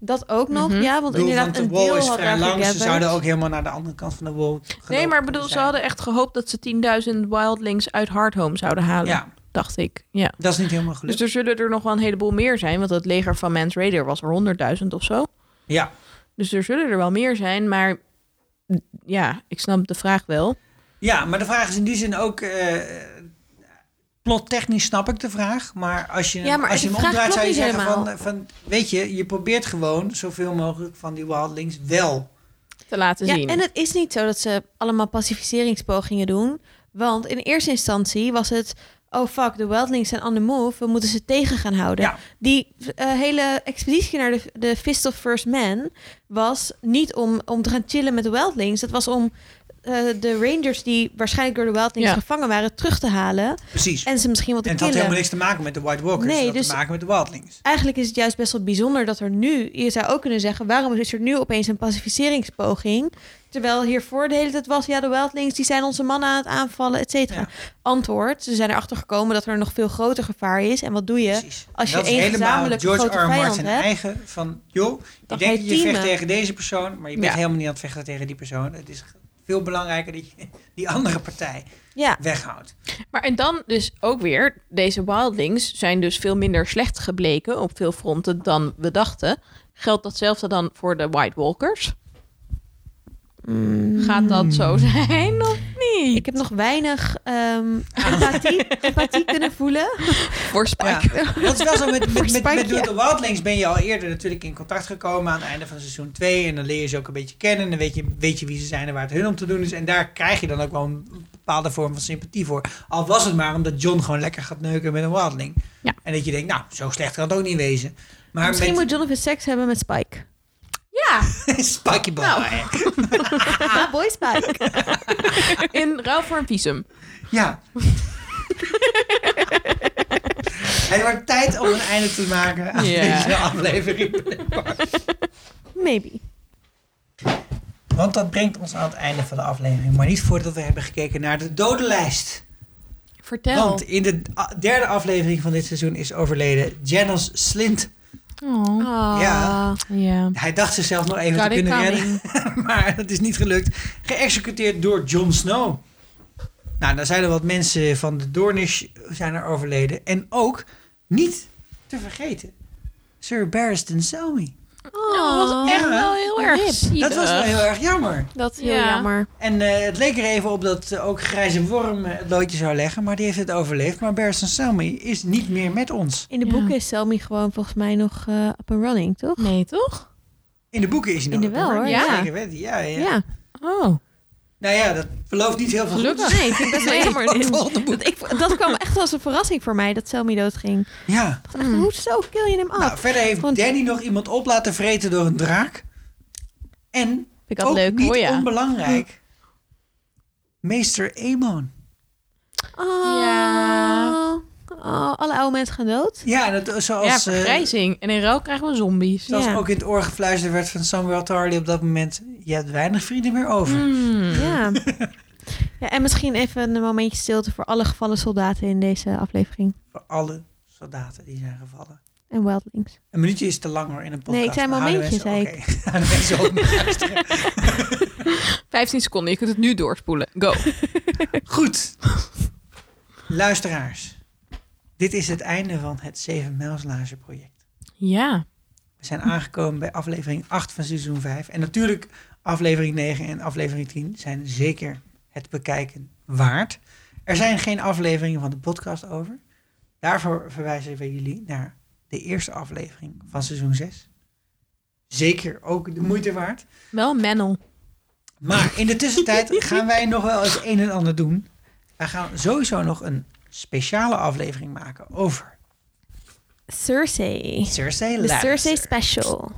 [SPEAKER 5] dat ook nog,
[SPEAKER 4] Mhm.
[SPEAKER 5] ja. Want
[SPEAKER 1] Ik bedoel,
[SPEAKER 5] inderdaad,
[SPEAKER 1] want
[SPEAKER 5] een
[SPEAKER 1] de wall
[SPEAKER 5] deel
[SPEAKER 1] is
[SPEAKER 5] had
[SPEAKER 1] vrij
[SPEAKER 5] daar
[SPEAKER 1] lang. Ze
[SPEAKER 5] gegatherd.
[SPEAKER 1] zouden ook helemaal naar de andere kant van de wall
[SPEAKER 4] Nee,
[SPEAKER 1] gelopen
[SPEAKER 4] maar ik bedoel, ze
[SPEAKER 1] zijn.
[SPEAKER 4] hadden echt gehoopt dat ze 10.000 wildlings uit Hardhome zouden halen.
[SPEAKER 1] Ja,
[SPEAKER 4] Dacht ik. Ja.
[SPEAKER 1] dat is niet helemaal
[SPEAKER 4] Dus
[SPEAKER 1] gelukt.
[SPEAKER 4] er zullen er nog wel een heleboel meer zijn. Want het leger van Mans Raider was er 100.000 of zo.
[SPEAKER 1] Ja.
[SPEAKER 4] Dus er zullen er wel meer zijn. Maar ja, ik snap de vraag wel.
[SPEAKER 1] ja, maar de vraag is in die zin ook... eh plottechnisch snap ik de vraag. Maar als je, hem-
[SPEAKER 5] Ja, maar
[SPEAKER 1] als je
[SPEAKER 5] de
[SPEAKER 1] hem
[SPEAKER 5] vraag
[SPEAKER 1] omdraait zou je
[SPEAKER 5] klopt niet
[SPEAKER 1] zeggen van, eh, van... Weet je, je probeert gewoon zoveel mogelijk van die wildlings wel.
[SPEAKER 4] Te laten
[SPEAKER 5] Ja,
[SPEAKER 4] zien.
[SPEAKER 5] en het is niet zo dat ze allemaal pacificeringspogingen doen. Want in eerste instantie was het... Oh fuck, de wildlings zijn on the move. We moeten ze tegen gaan houden.
[SPEAKER 1] Ja.
[SPEAKER 5] Die eh, hele expeditie naar de, de Fist of First Man... was niet om, om te gaan chillen met de wildlings. Dat was om eh, de Rangers die waarschijnlijk door de Wildlings
[SPEAKER 4] Ja.
[SPEAKER 5] gevangen waren terug te halen.
[SPEAKER 1] Precies. En,
[SPEAKER 5] En ze misschien wat te
[SPEAKER 1] het had
[SPEAKER 5] killen.
[SPEAKER 1] helemaal niks te maken met de White Walkers.
[SPEAKER 5] Nee,
[SPEAKER 1] het had
[SPEAKER 5] dus-
[SPEAKER 1] te maken met de Wildlings.
[SPEAKER 5] Eigenlijk is het juist best wel bijzonder dat er nu, je zou ook kunnen zeggen, waarom is er nu opeens een pacificeringspoging? Terwijl hiervoor de hele tijd was, ja, de Wildlings die zijn onze mannen aan het aanvallen, et cetera.
[SPEAKER 1] Ja.
[SPEAKER 5] Antwoord, ze zijn erachter gekomen dat er een nog veel groter gevaar is. En wat doe je?
[SPEAKER 1] Precies.
[SPEAKER 5] Als je
[SPEAKER 1] dat is
[SPEAKER 5] één
[SPEAKER 1] helemaal
[SPEAKER 5] gezamenlijke
[SPEAKER 1] George
[SPEAKER 5] grote
[SPEAKER 1] R. R.
[SPEAKER 5] vijand
[SPEAKER 1] Martin
[SPEAKER 5] hebt.
[SPEAKER 1] eigen van... joh, je
[SPEAKER 5] Dan
[SPEAKER 1] denkt
[SPEAKER 5] ga
[SPEAKER 1] dat
[SPEAKER 5] je
[SPEAKER 1] je vecht
[SPEAKER 5] teamen.
[SPEAKER 1] tegen deze persoon... maar je bent
[SPEAKER 4] Ja.
[SPEAKER 1] helemaal niet aan het vechten tegen die persoon. Het is veel belangrijker dat je die andere partij
[SPEAKER 5] Ja,
[SPEAKER 1] weghoudt.
[SPEAKER 4] Maar en dan dus ook weer, deze wildlings zijn dus veel minder slecht gebleken op veel fronten dan we dachten. Geldt datzelfde dan voor de White Walkers?
[SPEAKER 1] Mm.
[SPEAKER 4] Gaat dat zo zijn of niet?
[SPEAKER 5] ik heb nog weinig ehm
[SPEAKER 1] Ah.
[SPEAKER 5] empathie, empathie kunnen voelen.
[SPEAKER 4] voor
[SPEAKER 1] Ja.
[SPEAKER 4] Spike.
[SPEAKER 1] Dat is wel zo. Met, met, met, met
[SPEAKER 5] Spanje.
[SPEAKER 1] de Wildlings ben je al eerder natuurlijk in contact gekomen aan het einde van seizoen 2. En dan leer je ze ook een beetje kennen. En dan weet je, weet je wie ze zijn en waar het hun om te doen is. En daar krijg je dan ook wel een bepaalde vorm van sympathie voor. Al was het maar omdat John gewoon lekker gaat neuken met een Wildling.
[SPEAKER 4] Ja.
[SPEAKER 1] En dat je denkt, nou, zo slecht kan het ook niet wezen. Maar
[SPEAKER 5] Misschien
[SPEAKER 1] met
[SPEAKER 5] moet Jonathan seks hebben met Spike.
[SPEAKER 4] Ja,
[SPEAKER 1] [LAUGHS] Spikey Boy.
[SPEAKER 5] Ah, [LAUGHS] boy Spike.
[SPEAKER 4] in ruil voor een visum.
[SPEAKER 1] Ja. Het wordt tijd om een einde te maken aan
[SPEAKER 4] Ja.
[SPEAKER 1] deze aflevering.
[SPEAKER 5] Maybe.
[SPEAKER 1] Want dat brengt ons aan het einde van de aflevering. Maar niet voordat we hebben gekeken naar de dodenlijst.
[SPEAKER 4] Vertel.
[SPEAKER 1] Want in de a- derde aflevering van dit seizoen is overleden Janos Slint.
[SPEAKER 4] Oh.
[SPEAKER 5] Ah.
[SPEAKER 1] Ja.
[SPEAKER 4] Ja.
[SPEAKER 1] Hij dacht zichzelf nog even
[SPEAKER 4] Got
[SPEAKER 1] te
[SPEAKER 4] it
[SPEAKER 1] kunnen redden. [LAUGHS]
[SPEAKER 4] coming.
[SPEAKER 1] maar dat is niet gelukt. Geëxecuteerd door Jon Snow. Nou, daar zijn er wat mensen van de Doornish zijn er overleden. En ook, niet te vergeten, Sir Barristan Selmy.
[SPEAKER 4] dat was echt wel heel erg zielig.
[SPEAKER 1] Oh, Dat was wel heel erg jammer.
[SPEAKER 5] Dat is
[SPEAKER 4] heel jammer.
[SPEAKER 1] En eh, het leek er even op dat eh, ook Grijze Worm eh, het loodje zou leggen, maar die heeft het overleefd. Maar Bersen Selmy is niet meer met ons.
[SPEAKER 5] In de
[SPEAKER 4] Ja.
[SPEAKER 5] boeken is Selmy gewoon volgens mij nog eh, up and running, toch?
[SPEAKER 4] Nee, toch?
[SPEAKER 1] In de boeken is hij nog.
[SPEAKER 5] In de wel, hoor.
[SPEAKER 1] Ja.
[SPEAKER 4] Ja.
[SPEAKER 1] Zeker weten, ja, ja.
[SPEAKER 5] Ja.
[SPEAKER 4] Oh.
[SPEAKER 1] Nou ja, dat belooft niet heel veel
[SPEAKER 4] Gelukkig.
[SPEAKER 5] Nee, ik vind dat wel jammer.
[SPEAKER 1] goeds. Volgende boek.
[SPEAKER 5] Dat, ik, dat kwam echt als een verrassing voor mij dat Selmy doodging. Ik
[SPEAKER 1] Ja.
[SPEAKER 5] dacht echt, hoezo Oh, kill je hem af?
[SPEAKER 1] Nou, verder heeft
[SPEAKER 5] Want-
[SPEAKER 1] Danny nog iemand op laten vreten door een draak. En,
[SPEAKER 4] Vind ik
[SPEAKER 1] ook
[SPEAKER 4] altijd leuk.
[SPEAKER 1] niet
[SPEAKER 4] Oh ja.
[SPEAKER 1] onbelangrijk, meester Amon.
[SPEAKER 5] Oh.
[SPEAKER 4] Ja.
[SPEAKER 5] Oh, alle oude mensen gaan dood.
[SPEAKER 1] Ja, en het,
[SPEAKER 4] ja,
[SPEAKER 1] zoals, eh,
[SPEAKER 4] vergrijzing. En in ruil krijgen we zombies.
[SPEAKER 1] zoals
[SPEAKER 5] Ja.
[SPEAKER 1] ook in het oor gefluisterd werd van Samuel Tarly op dat moment, je hebt weinig vrienden meer over.
[SPEAKER 5] Mm.
[SPEAKER 4] Hmm.
[SPEAKER 1] [LAUGHS]
[SPEAKER 5] Ja. ja. En misschien even een momentje stilte voor alle gevallen soldaten in deze aflevering.
[SPEAKER 1] Voor alle soldaten die zijn gevallen.
[SPEAKER 5] En wildlings.
[SPEAKER 1] Een minuutje is te lang hoor in een podcast.
[SPEAKER 5] Nee, ik zei
[SPEAKER 1] maar houden
[SPEAKER 5] momentje,
[SPEAKER 1] mensen-
[SPEAKER 5] zei
[SPEAKER 1] Oké, [LAUGHS] houden mensen ook
[SPEAKER 5] [LAUGHS]
[SPEAKER 1] mee.
[SPEAKER 4] 15 seconden. Je kunt het nu doorspoelen. Go.
[SPEAKER 1] Goed. Luisteraars. Dit is het einde van het 7 Mijlslage project.
[SPEAKER 4] Ja.
[SPEAKER 1] We zijn aangekomen bij aflevering 8 van seizoen 5. En natuurlijk aflevering 9 en aflevering 10 zijn zeker het bekijken waard. Er zijn geen afleveringen van de podcast over. Daarvoor verwijzen we jullie naar de eerste aflevering van seizoen 6. Zeker ook de moeite waard.
[SPEAKER 4] Wel Menel.
[SPEAKER 1] Maar in de
[SPEAKER 5] [LAUGHS]
[SPEAKER 1] tussentijd gaan wij nog wel eens een en ander doen. Wij gaan sowieso nog een speciale aflevering maken over
[SPEAKER 5] Cersei.
[SPEAKER 1] Cersei
[SPEAKER 5] De Cersei
[SPEAKER 1] Lannister.
[SPEAKER 5] special.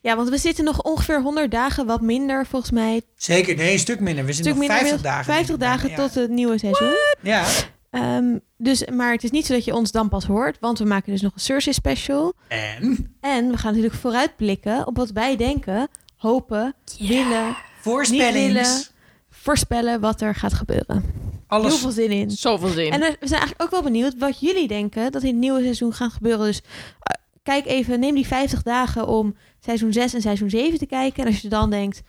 [SPEAKER 5] Ja, want we zitten nog ongeveer 100 dagen, wat minder volgens mij. Een
[SPEAKER 1] Zeker, nee, een stuk minder. We zitten
[SPEAKER 5] stuk
[SPEAKER 1] nog
[SPEAKER 5] minder.
[SPEAKER 1] 50 dagen.
[SPEAKER 5] inmiddels. 50 dagen
[SPEAKER 1] Ja.
[SPEAKER 5] tot het nieuwe seizoen.
[SPEAKER 1] Ja,
[SPEAKER 5] Ehm, dus, maar het is niet zo dat je ons dan pas hoort, want we maken dus nog een Cersei special.
[SPEAKER 1] en
[SPEAKER 5] En we gaan natuurlijk vooruitblikken op wat wij denken, hopen, willen, Niet willen.
[SPEAKER 1] voorspellings.
[SPEAKER 5] voorspellen wat er gaat gebeuren. Heel
[SPEAKER 1] Alles.
[SPEAKER 5] veel zin in.
[SPEAKER 4] Zoveel zin.
[SPEAKER 5] En we we zijn eigenlijk ook wel benieuwd wat jullie denken dat in het nieuwe seizoen gaat gebeuren. Dus eh, kijk even, neem die 50 dagen om seizoen 6 en seizoen 7 te kijken. En als je dan denkt,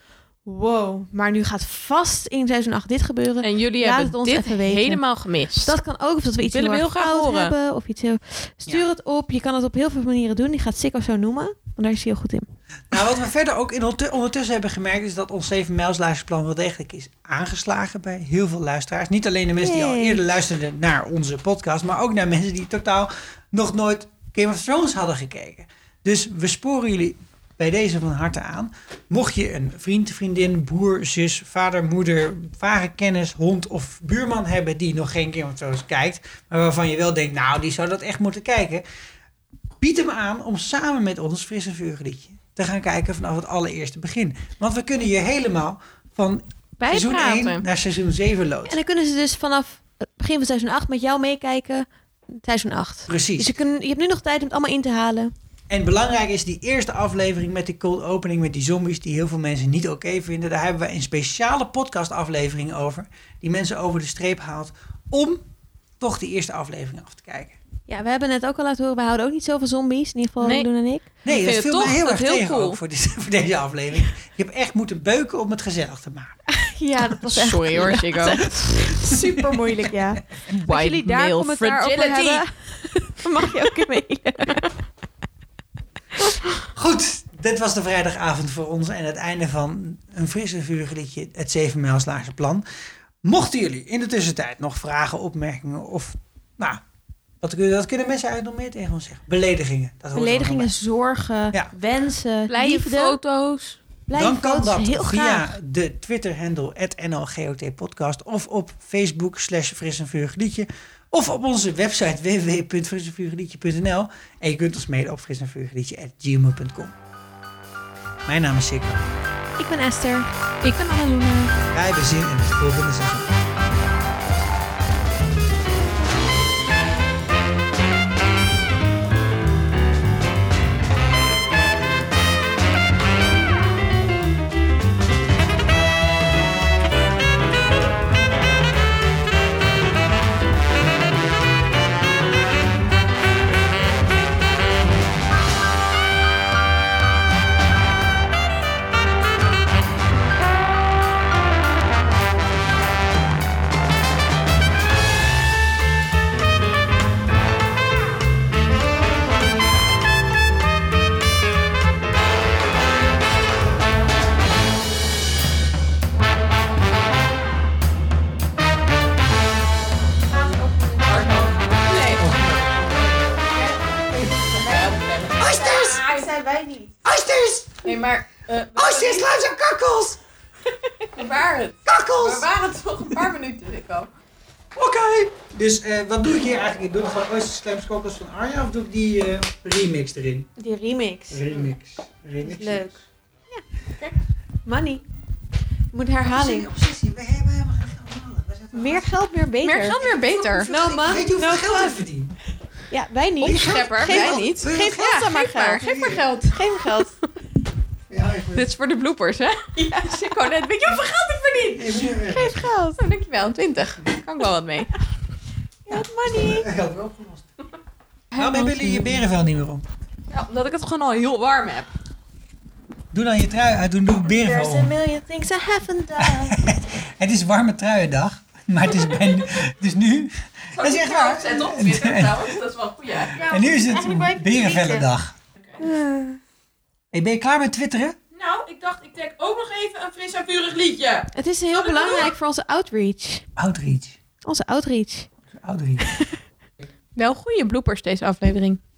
[SPEAKER 5] wow, maar nu gaat vast in seizoen 8 dit gebeuren.
[SPEAKER 4] En jullie
[SPEAKER 5] Laat het
[SPEAKER 4] hebben
[SPEAKER 5] ons
[SPEAKER 4] dit
[SPEAKER 5] even weten.
[SPEAKER 4] helemaal gemist.
[SPEAKER 5] Dat kan ook, of dat we iets
[SPEAKER 4] Willen we
[SPEAKER 5] heel
[SPEAKER 4] heel
[SPEAKER 5] erg
[SPEAKER 4] graag
[SPEAKER 5] fout
[SPEAKER 4] horen.
[SPEAKER 5] hebben. Of iets heel... Stuur
[SPEAKER 1] Ja.
[SPEAKER 5] het op. Je kan het op heel veel manieren doen. Die gaat Sikko zo noemen, want daar is hij heel goed in.
[SPEAKER 1] Nou, wat we verder ook in ondertu- ondertussen hebben gemerkt... is dat ons 7 mijlslaarsplan wel degelijk is aangeslagen bij heel veel luisteraars. Niet alleen de mensen die al
[SPEAKER 5] Yay.
[SPEAKER 1] eerder luisterden naar onze podcast... maar ook naar mensen die totaal nog nooit Game of Thrones hadden gekeken. Dus we sporen jullie bij deze van harte aan. Mocht je een vriend, vriendin, broer, zus, vader, moeder, vage kennis, hond of buurman hebben... die nog geen Game of Thrones kijkt, maar waarvan je wel denkt... nou, die zou dat echt moeten kijken... Bied hem aan om samen met ons Fris en Vuurgeliedje te gaan kijken vanaf het allereerste begin. Want we kunnen je helemaal van seizoen
[SPEAKER 4] bijpraten.
[SPEAKER 1] 1 naar seizoen 7
[SPEAKER 5] En
[SPEAKER 1] loopt.
[SPEAKER 5] dan kunnen ze dus vanaf het begin van seizoen 8 met jou meekijken. Seizoen 8. Dus
[SPEAKER 1] Precies.
[SPEAKER 5] je, kun, je hebt nu nog tijd om het allemaal in te halen.
[SPEAKER 1] En belangrijk is die eerste aflevering met die cold opening met die zombies die heel veel mensen niet oké vinden. Daar hebben we een speciale podcast aflevering over die mensen over de streep haalt om toch die eerste aflevering af te kijken.
[SPEAKER 5] Ja, we hebben net ook al laten horen, we houden ook niet zoveel zombies. In ieder geval
[SPEAKER 4] Nee.
[SPEAKER 5] Jeroen en ik.
[SPEAKER 1] Nee,
[SPEAKER 4] Ik vind
[SPEAKER 1] dat
[SPEAKER 4] het
[SPEAKER 1] viel
[SPEAKER 4] toch
[SPEAKER 1] mij heel
[SPEAKER 4] dat
[SPEAKER 1] erg
[SPEAKER 4] heel
[SPEAKER 1] tegen
[SPEAKER 4] cool.
[SPEAKER 1] ook voor, dit- [LAUGHS] voor deze aflevering. Ik heb echt moeten beuken om het gezellig te maken.
[SPEAKER 5] Ja, dat was echt
[SPEAKER 4] Sorry
[SPEAKER 5] [LAUGHS]
[SPEAKER 4] hoor, Chico.
[SPEAKER 5] super moeilijk, ja. Als
[SPEAKER 4] White
[SPEAKER 5] jullie daar
[SPEAKER 4] male
[SPEAKER 5] commentaar over
[SPEAKER 4] fragility.
[SPEAKER 5] hebben, [LAUGHS] dan mag je ook in mailen.
[SPEAKER 1] Goed, dit was de vrijdagavond voor ons en het einde van een frisse vurig liedje, het 7 mijlslaarse plan. Mochten jullie in de tussentijd nog vragen, opmerkingen of, nou, wat kunnen, dat kunnen mensen eigenlijk nog meer tegen ons zeggen? Beledigingen. Dat hoort er
[SPEAKER 5] Beledigingen,
[SPEAKER 1] allemaal
[SPEAKER 5] zorgen,
[SPEAKER 1] Oh, Ja.
[SPEAKER 5] wensen,
[SPEAKER 4] Blije
[SPEAKER 5] liefde.
[SPEAKER 4] foto's.
[SPEAKER 1] bij.
[SPEAKER 5] blijven
[SPEAKER 1] Dan kan
[SPEAKER 5] foto's,
[SPEAKER 1] dat
[SPEAKER 5] heel
[SPEAKER 1] via
[SPEAKER 5] graag.
[SPEAKER 1] de Twitter-handle @nlgotpodcast of op Facebook slash fris en vurig liedje of op onze website www.frisenvurigliedje.nl en je kunt ons mailen op frisenvurigliedje@gmail.com. Mijn naam is Sikko.
[SPEAKER 5] Ik ben Esther.
[SPEAKER 4] Ik ben Annalena.
[SPEAKER 1] Wij hebben zin in het volgende seizoen.
[SPEAKER 4] Ah, Nee, maar... eh,
[SPEAKER 1] Oosters, luister, kakkels!
[SPEAKER 4] waar het?
[SPEAKER 1] Kakkels!
[SPEAKER 4] waren het toch een paar minuten, Rico.
[SPEAKER 1] Oké! Dus eh, wat doe ik hier eigenlijk? Doe ik gewoon Oysters, Clams, Kakkels van Arja of doe ik die eh, remix erin?
[SPEAKER 5] Die remix.
[SPEAKER 1] Remix. remix.
[SPEAKER 5] Leuk. Money. Moet herhaling.
[SPEAKER 1] Obsessie, obsessie. We hebben helemaal geen geld nodig. We zitten-
[SPEAKER 5] Meer geld, meer beter.
[SPEAKER 4] Meer geld, meer beter.
[SPEAKER 5] Nou, man.
[SPEAKER 1] Weet je hoeveel
[SPEAKER 5] Nou,
[SPEAKER 1] geld we verdienen?
[SPEAKER 5] Ja, wij
[SPEAKER 1] Die
[SPEAKER 5] niet.
[SPEAKER 1] geld-
[SPEAKER 4] Schepper,
[SPEAKER 1] Geef
[SPEAKER 4] wij
[SPEAKER 1] al-
[SPEAKER 4] niet.
[SPEAKER 1] Wil je
[SPEAKER 5] Geef
[SPEAKER 1] geld?
[SPEAKER 5] ons dan maar
[SPEAKER 4] Geef maar,
[SPEAKER 5] geld.
[SPEAKER 4] geef maar geld.
[SPEAKER 5] Geef me geld.
[SPEAKER 1] Ja, ik [LAUGHS] wil-
[SPEAKER 4] Dit is voor de bloopers, hè? [LAUGHS] Ja, Chico net. Weet je hoeveel geld ik verdien?
[SPEAKER 1] Ik wil- eh,
[SPEAKER 5] Geef geld.
[SPEAKER 4] Nou, dankjewel. 20. Kan ik wel wat mee.
[SPEAKER 5] Ja, money.
[SPEAKER 1] eh, Geld weer opgelost. Waarom hebben jullie je berenvel niet meer om?
[SPEAKER 4] Ja, omdat ik het gewoon al heel warm heb.
[SPEAKER 1] Doe dan je trui uit, doe, doe ik berenvel
[SPEAKER 5] There's a
[SPEAKER 1] om.
[SPEAKER 5] million things I haven't done.
[SPEAKER 1] Het is warme truiendag, [LAUGHS] maar het is, bijna, het is nu... Dat is echt waar. [LAUGHS]
[SPEAKER 4] op Twitter trouwens. Dat is wel goed, ja.
[SPEAKER 1] En nu is
[SPEAKER 5] Eigenlijk wou ik
[SPEAKER 1] het
[SPEAKER 5] het
[SPEAKER 1] berenvellendag. Hey, ben je klaar met twitteren?
[SPEAKER 4] Nou, ik dacht, ik trek ook nog even een fris en vurig liedje.
[SPEAKER 5] Het is heel belangrijk voor onze outreach.
[SPEAKER 1] Outreach.
[SPEAKER 5] Onze outreach.
[SPEAKER 1] Outreach.
[SPEAKER 4] Wel goede bloopers deze aflevering.